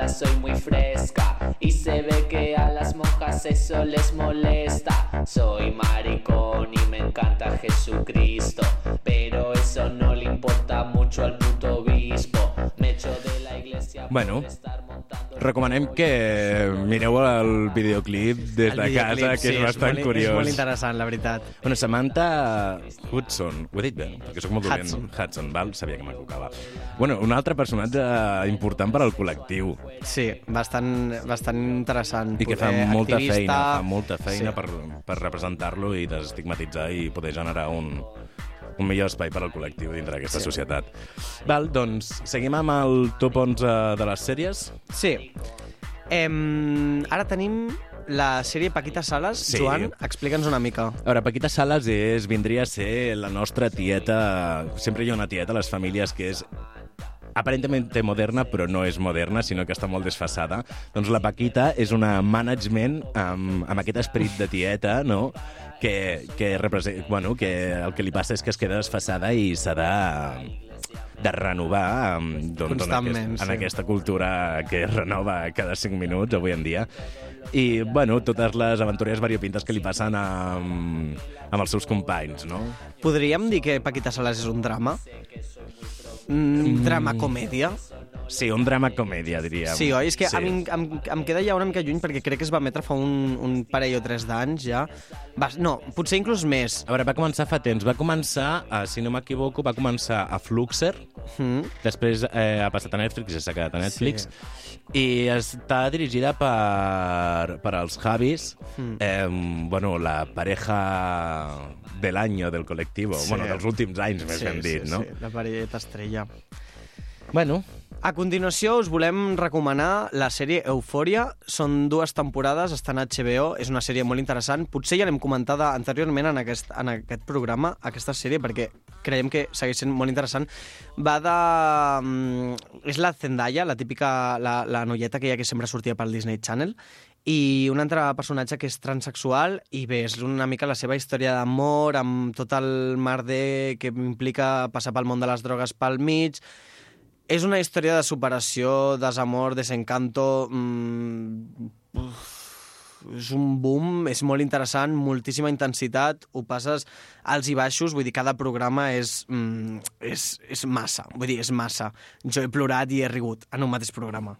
[SPEAKER 12] soy muy fresca y se ve que a las monjas eso les molesta. Soy maricón y me encanta Jesucristo, pero eso no le importa mucho al puto obispo. Me echo de la iglesia.
[SPEAKER 3] [LAUGHS] Bueno, recomanem que mireu el videoclip des
[SPEAKER 11] El
[SPEAKER 3] de
[SPEAKER 11] videoclip,
[SPEAKER 3] casa, que
[SPEAKER 11] sí,
[SPEAKER 3] és
[SPEAKER 11] és
[SPEAKER 3] bastant
[SPEAKER 11] molt- és
[SPEAKER 3] curiós.
[SPEAKER 11] molt interessant, la veritat.
[SPEAKER 3] Bueno, Samantha Hudson, ho he dit bé, perquè sóc molt dolent.
[SPEAKER 11] Hudson.
[SPEAKER 3] Hudson, val? Sabia que m'equivocava. Bueno, un altre personatge important per al col·lectiu.
[SPEAKER 11] Sí, bastant, bastant interessant.
[SPEAKER 3] I que fa
[SPEAKER 11] poder
[SPEAKER 3] molta
[SPEAKER 11] activista.
[SPEAKER 3] feina, fa molta feina
[SPEAKER 11] Sí.
[SPEAKER 3] sí. per, per representar-lo i desestigmatitzar i poder generar un, un millor espai per al col·lectiu dintre d'aquesta
[SPEAKER 11] Sí.
[SPEAKER 3] sí. societat. Val, doncs, seguim amb el top 11 de les sèries?
[SPEAKER 11] Sí. Em, ara tenim la sèrie Paquita Sales.
[SPEAKER 3] Sí.
[SPEAKER 11] Sí. Joan, explica'ns una mica.
[SPEAKER 3] A veure, Paquita Sales és, vindria a ser la nostra tieta... Sempre hi ha una tieta a les famílies que és aparentment moderna, però no és moderna, sinó que està molt desfasada. Doncs la Paquita és una management amb, amb aquest esperit de tieta, no?, que, que, represe- bueno, que el que li passa és que es queda desfasada i s'ha de de renovar em, doncs, en,
[SPEAKER 11] Constantment,
[SPEAKER 3] aquest, en
[SPEAKER 11] sí.
[SPEAKER 3] aquesta cultura que es renova cada 5 minuts avui en dia. I, bueno, totes les aventures variopintes que li passen amb, amb els seus companys, no?
[SPEAKER 11] Podríem dir que Paquita Sales és un drama? Mm, drama-comèdia?
[SPEAKER 3] Sí, un drama-comèdia, diríem.
[SPEAKER 11] Sí, oi? És que sí. a mi em, em, em queda ja una mica lluny perquè crec que es va emetre fa un, un parell o tres d'anys ja. Va, no, potser inclús més.
[SPEAKER 3] A veure, va començar fa temps. Va començar, eh, si no m'equivoco, va començar a Fluxer,
[SPEAKER 11] Mm.
[SPEAKER 3] després eh, ha passat a Netflix, ja s'ha quedat a Netflix, sí. i està dirigida per, per els Javis,
[SPEAKER 11] Mm.
[SPEAKER 3] mm. eh, bueno, la pareja del año del col·lectiu,
[SPEAKER 11] Sí.
[SPEAKER 3] sí. bueno, dels últims anys, més
[SPEAKER 11] Sí,
[SPEAKER 3] ben dit,
[SPEAKER 11] sí,
[SPEAKER 3] no?
[SPEAKER 11] Sí, la parelleta estrella.
[SPEAKER 3] Bueno,
[SPEAKER 11] A continuació us volem recomanar la sèrie Eufòria. Són dues temporades, està en HBO, és una sèrie molt interessant. Potser ja l'hem comentada anteriorment en aquest, en aquest programa, aquesta sèrie, perquè creiem que segueix sent molt interessant. Va de... mm, És la Zendaya, la típica... La, la noieta que hi ha que sempre sortia pel Disney Channel, i un altre personatge que és transexual i bé, és una mica la seva història d'amor amb tot el merder que implica passar pel món de les drogues pel mig és una història de superació, desamor, desencanto... Mm, uf, és un boom, és molt interessant, moltíssima intensitat, ho passes als i baixos, vull dir, cada programa és, mm, és, és massa, vull dir, és massa. Jo he plorat i he rigut en un mateix programa.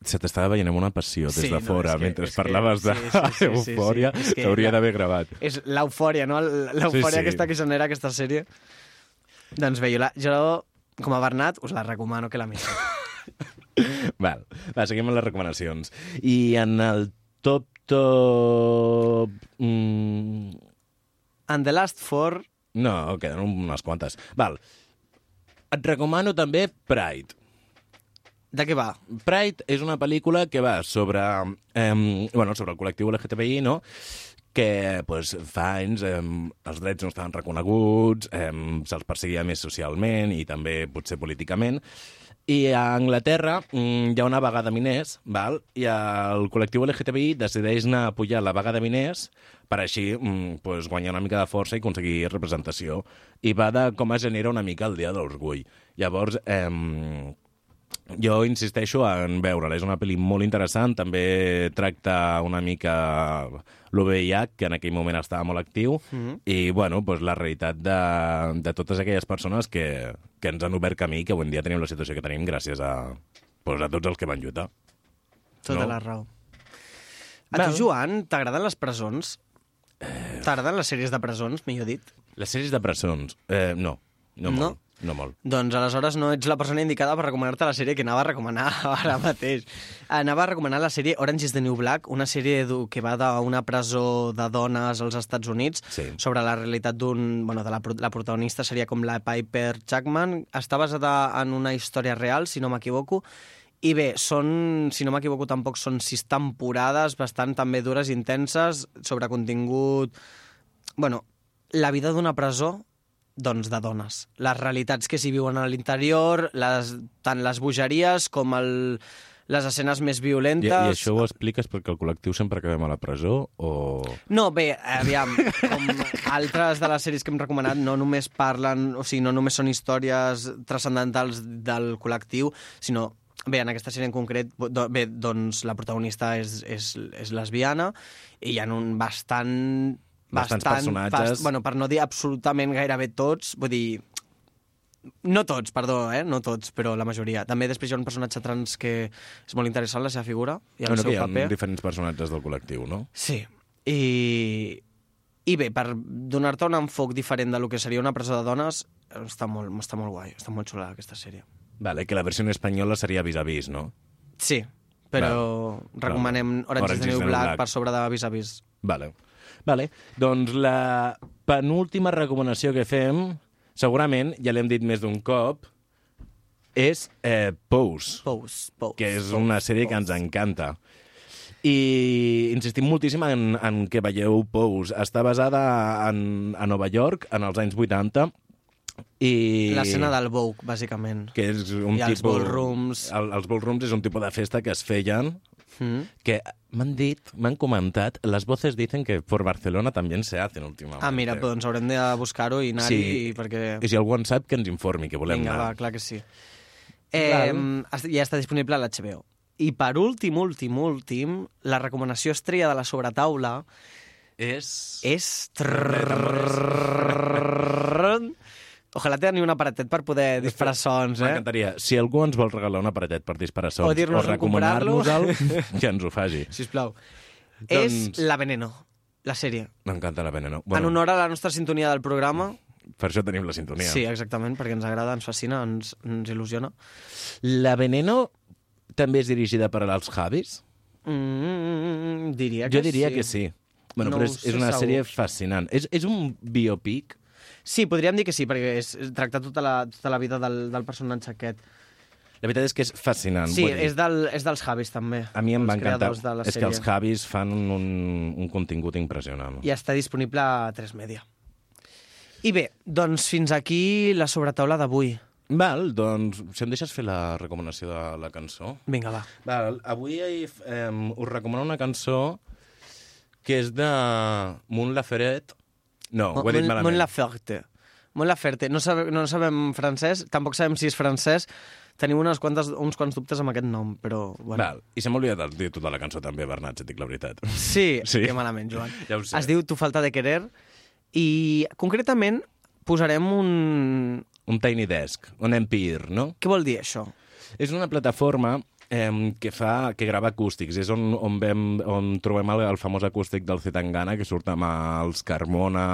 [SPEAKER 3] se t'estava veient amb una passió des
[SPEAKER 11] Sí,
[SPEAKER 3] de
[SPEAKER 11] no,
[SPEAKER 3] fora,
[SPEAKER 11] és que-
[SPEAKER 3] mentre
[SPEAKER 11] és que-
[SPEAKER 3] parlaves
[SPEAKER 11] sí, sí, sí, sí, sí.
[SPEAKER 3] d'eufòria,
[SPEAKER 11] És que
[SPEAKER 3] t'hauria
[SPEAKER 11] la-
[SPEAKER 3] d'haver gravat.
[SPEAKER 11] És l'eufòria, no? L'eufòria
[SPEAKER 3] Sí, sí.
[SPEAKER 11] aquesta que genera aquesta sèrie. Doncs bé, jo, la, jo com a Bernat, us la recomano que la mireu.
[SPEAKER 3] [LAUGHS] Val. Va, seguim amb les recomanacions. I en el top, top... Mm...
[SPEAKER 11] And the last four...
[SPEAKER 3] No, queden unes quantes. Val. Et recomano també Pride.
[SPEAKER 11] De què va?
[SPEAKER 3] Pride és una pel·lícula que va sobre, eh, bueno, sobre el col·lectiu LGTBI, no? que pues, fa anys eh, els drets no estaven reconeguts, eh, se'ls perseguia més socialment i també potser políticament. I a Anglaterra mm, hi ha una vaga de miners, val? i el col·lectiu LGTBI decideix anar a apoyar la vaga de miners per així mm, pues, guanyar una mica de força i aconseguir representació. I va de com es genera una mica el Dia de l'Orgull. Llavors, eh, jo insisteixo en veure-la. És una pel·li molt interessant, també tracta una mica l'OVIH, que en aquell moment estava molt actiu,
[SPEAKER 11] Mhm.
[SPEAKER 3] i bueno, doncs la realitat de, de totes aquelles persones que, que ens han obert camí, que avui en dia tenim la situació que tenim gràcies a, doncs a tots els que van lluitar.
[SPEAKER 11] Tota
[SPEAKER 3] No.
[SPEAKER 11] la raó. A tu,
[SPEAKER 3] Val.
[SPEAKER 11] Joan, t'agraden les presons? T'agraden les sèries de presons, millor dit?
[SPEAKER 3] Les sèries de presons, eh, no, no,
[SPEAKER 11] No?
[SPEAKER 3] molt, no molt.
[SPEAKER 11] Doncs aleshores no ets la persona indicada per recomanar-te la sèrie que anava a recomanar [LAUGHS] ara mateix. Anava a recomanar la sèrie Orange is the New Black, una sèrie du- que va d'una presó de dones als Estats Units
[SPEAKER 3] Sí.
[SPEAKER 11] sobre la realitat d'un... Bueno, de la, pro- la protagonista seria com la Piper Chapman. Està basada en una història real, si no m'equivoco, i bé, són, si no m'equivoco tampoc, són sis temporades bastant també dures i intenses sobre contingut... bueno, la vida d'una presó doncs de dones. Les realitats que s'hi viuen a l'interior, les, tant les bogeries com el, les escenes més
[SPEAKER 3] I,
[SPEAKER 11] violentes...
[SPEAKER 3] I això ho expliques perquè el col·lectiu sempre que vam a la presó o...
[SPEAKER 11] No, bé, aviam, com altres de les sèries que hem recomanat, no només parlen, o sigui, no només són històries transcendentals del col·lectiu, sinó Bé, en aquesta sèrie en concret, do, bé, doncs la protagonista és, és, és lesbiana i hi ha un bastant...
[SPEAKER 3] Bastants personatges.
[SPEAKER 11] bueno, per no dir absolutament gairebé tots, vull dir, no tots, perdó, eh? No tots, però la majoria. També després hi ha un personatge trans que és molt interessant, la seva figura i el
[SPEAKER 3] Bueno,
[SPEAKER 11] seu
[SPEAKER 3] que hi ha
[SPEAKER 11] paper.
[SPEAKER 3] diferents personatges del col·lectiu, no?
[SPEAKER 11] Sí. I, i bé, per donar-te un enfoc diferent del que seria una presó de dones, està molt, està molt guai, està molt xula aquesta sèrie.
[SPEAKER 3] Vale, que la versió en espanyola seria vis a vis, no?
[SPEAKER 11] Sí, però
[SPEAKER 3] Vale.
[SPEAKER 11] recomanem
[SPEAKER 3] Vale.
[SPEAKER 11] Orange, is the New Black,
[SPEAKER 3] Black.
[SPEAKER 11] per sobre de Vis a Vis.
[SPEAKER 3] Vale. Vale, doncs la penúltima recomanació que fem, segurament, ja l'hem dit més d'un cop, és eh, Pose.
[SPEAKER 11] Pose, Pose.
[SPEAKER 3] Que és una sèrie que ens encanta. I insistim moltíssim en, en que veieu Pose. Està basada en, a Nova York, en els anys 80, i...
[SPEAKER 11] L'escena del Vogue, bàsicament.
[SPEAKER 3] que és un
[SPEAKER 11] I els
[SPEAKER 3] tipus...
[SPEAKER 11] ballrooms.
[SPEAKER 3] El, els ballrooms és un tipus de festa que es feien
[SPEAKER 11] Mm.
[SPEAKER 3] que m'han dit, m'han comentat, les voces dicen que por Barcelona també se hacen últimament.
[SPEAKER 11] Ah, mira, doncs haurem de buscar-ho i anar-hi,
[SPEAKER 3] eh. Sí.
[SPEAKER 11] i perquè...
[SPEAKER 3] I si algú en sap, que ens informi, que volem
[SPEAKER 11] Vinga,
[SPEAKER 3] anar.
[SPEAKER 11] va, clar que sí. Eh, es- ja està disponible a l'HBO. I per últim, últim, últim, la recomanació estrella de la sobretaula
[SPEAKER 3] és...
[SPEAKER 11] és... Ojalà tenir un aparatet per poder disparar sons, eh?
[SPEAKER 3] M'encantaria. Si algú ens vol regalar un aparatet per disparar sons
[SPEAKER 11] O dir-nos on
[SPEAKER 3] recomanar-nos-el,
[SPEAKER 11] [LAUGHS] comprar-lo.
[SPEAKER 3] que ens ho faci.
[SPEAKER 11] Sisplau.
[SPEAKER 3] Doncs-
[SPEAKER 11] És La Veneno, la sèrie.
[SPEAKER 3] M'encanta la pena, no?
[SPEAKER 11] Bueno. En
[SPEAKER 3] Bueno,
[SPEAKER 11] honor a la nostra sintonia del programa,
[SPEAKER 3] Per això tenim la sintonia.
[SPEAKER 11] Sí, exactament, perquè ens agrada, ens fascina, ens, ens il·lusiona.
[SPEAKER 3] La Veneno també és dirigida per als Javis?
[SPEAKER 11] Mm, diria que
[SPEAKER 3] Jo diria
[SPEAKER 11] sí.
[SPEAKER 3] que sí. Bueno,
[SPEAKER 11] No
[SPEAKER 3] però
[SPEAKER 11] ho
[SPEAKER 3] és,
[SPEAKER 11] sé
[SPEAKER 3] és una
[SPEAKER 11] segur.
[SPEAKER 3] sèrie fascinant. És, és un biopic?
[SPEAKER 11] Sí, podríem dir que sí, perquè és tractar tota la, tota la vida del, del personatge aquest.
[SPEAKER 3] La veritat és que és fascinant.
[SPEAKER 11] Sí,
[SPEAKER 3] vull dir.
[SPEAKER 11] és, del, és dels Javis, també.
[SPEAKER 3] Ah, A mi em
[SPEAKER 11] els
[SPEAKER 3] va encantar.
[SPEAKER 11] creadors De la
[SPEAKER 3] És que els
[SPEAKER 11] sèrie.
[SPEAKER 3] Javis fan un, un contingut impressionant.
[SPEAKER 11] I està disponible a 3 Media. I bé, doncs fins aquí la sobretaula d'avui.
[SPEAKER 3] Val, doncs, si em deixes fer la recomanació de la cançó.
[SPEAKER 11] Vinga, va.
[SPEAKER 3] Val, avui eh, us recomano una cançó que és de Moon Laferet. No, ho he dit malament.
[SPEAKER 11] Mon Laferte. Mon Laferte. No, sabe, no sabem francès, tampoc sabem si és francès. Tenim unes quantes, uns quants dubtes amb aquest nom, però... Bueno.
[SPEAKER 3] Val, i se m'ha oblidat el títol de la cançó també, Bernat, si et dic la veritat.
[SPEAKER 11] Sí,
[SPEAKER 3] Sí.
[SPEAKER 11] sí, que malament, Joan.
[SPEAKER 3] Ja ho sé.
[SPEAKER 11] Es diu Tu falta de querer i concretament posarem un...
[SPEAKER 3] Un Tiny Desk, un Empire, no?
[SPEAKER 11] Què vol dir això?
[SPEAKER 3] És una plataforma eh, que fa que grava acústics. És on, on, vam, on trobem el, el famós acústic del Zetangana, que surt amb els Carmona,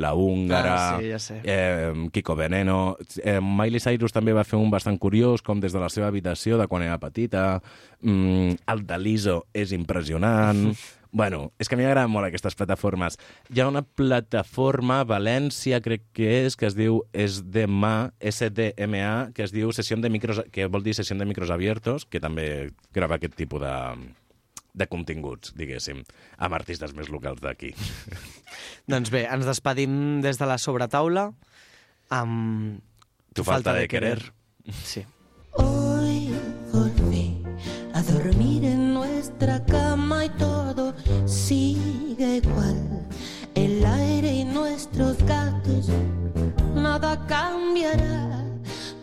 [SPEAKER 3] la Húngara,
[SPEAKER 11] Ah, sí, ja sé.
[SPEAKER 3] eh, Kiko Veneno... Eh, Miley Cyrus també va fer un bastant curiós, com des de la seva habitació, de quan era petita. Mm, el de l'ISO és impressionant. Bueno, és que a mi m'agraden molt aquestes plataformes. Hi ha una plataforma a València, crec que és, que es diu SDMA, SDMA, que es diu sessió de micros, que vol dir sessió de micros abiertos, que també grava aquest tipus de, de continguts, diguéssim, amb artistes més locals d'aquí.
[SPEAKER 11] Doncs bé, ens despedim des de la sobretaula amb...
[SPEAKER 3] Tu falta de
[SPEAKER 11] Sí.
[SPEAKER 13] Hoy volví a dormir en nuestra cama y todo sigue igual. El aire y nuestros gatos, nada cambiará.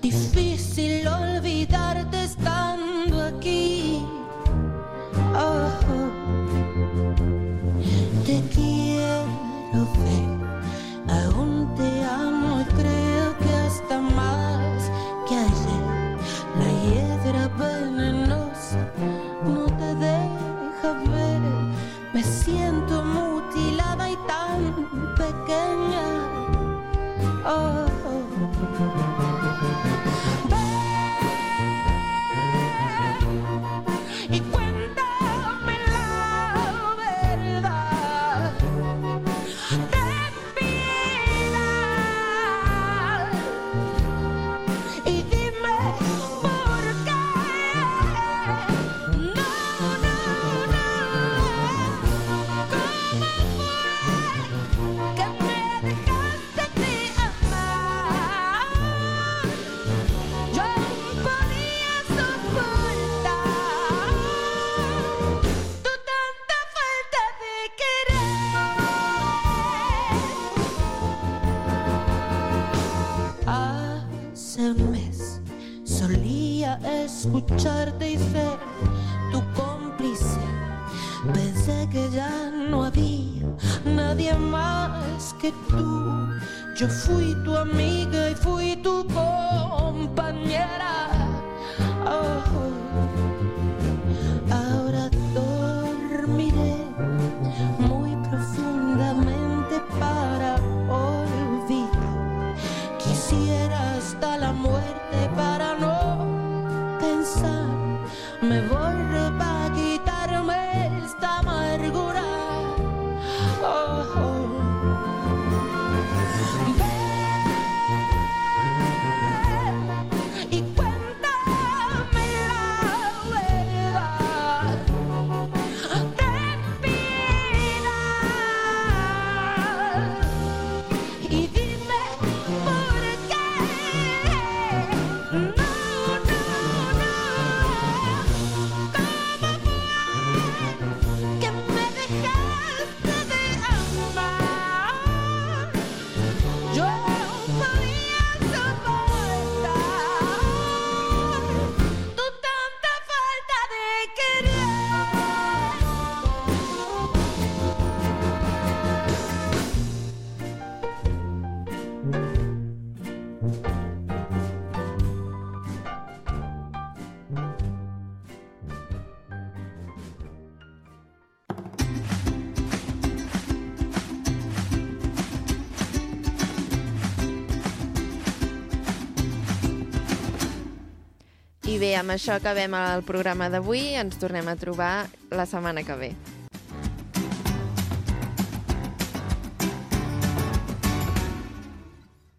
[SPEAKER 13] Difícil olvidarte estando aquí. Ojo, te quiero ver, aún te amo y creo que hasta más que ayer. La hiedra venenosa no te deja Oh, oh. escucharte y ser tu cómplice. Pensé que ya no había nadie más que tú. Yo fui tu amiga y fui tu compañera. Oh, ahora dormiré muy profundamente para olvidar. Quisiera hasta la muerte para no pensar. Me borré para quitarme esta amargura. Oh, oh. Ven y cuéntame la verdad. Te pidas y dime por qué no que me dejaste de amar. Yo podía soportar tu tanta falta de querer.
[SPEAKER 1] I bé, amb això acabem el programa d'avui. Ens tornem a trobar la setmana que ve.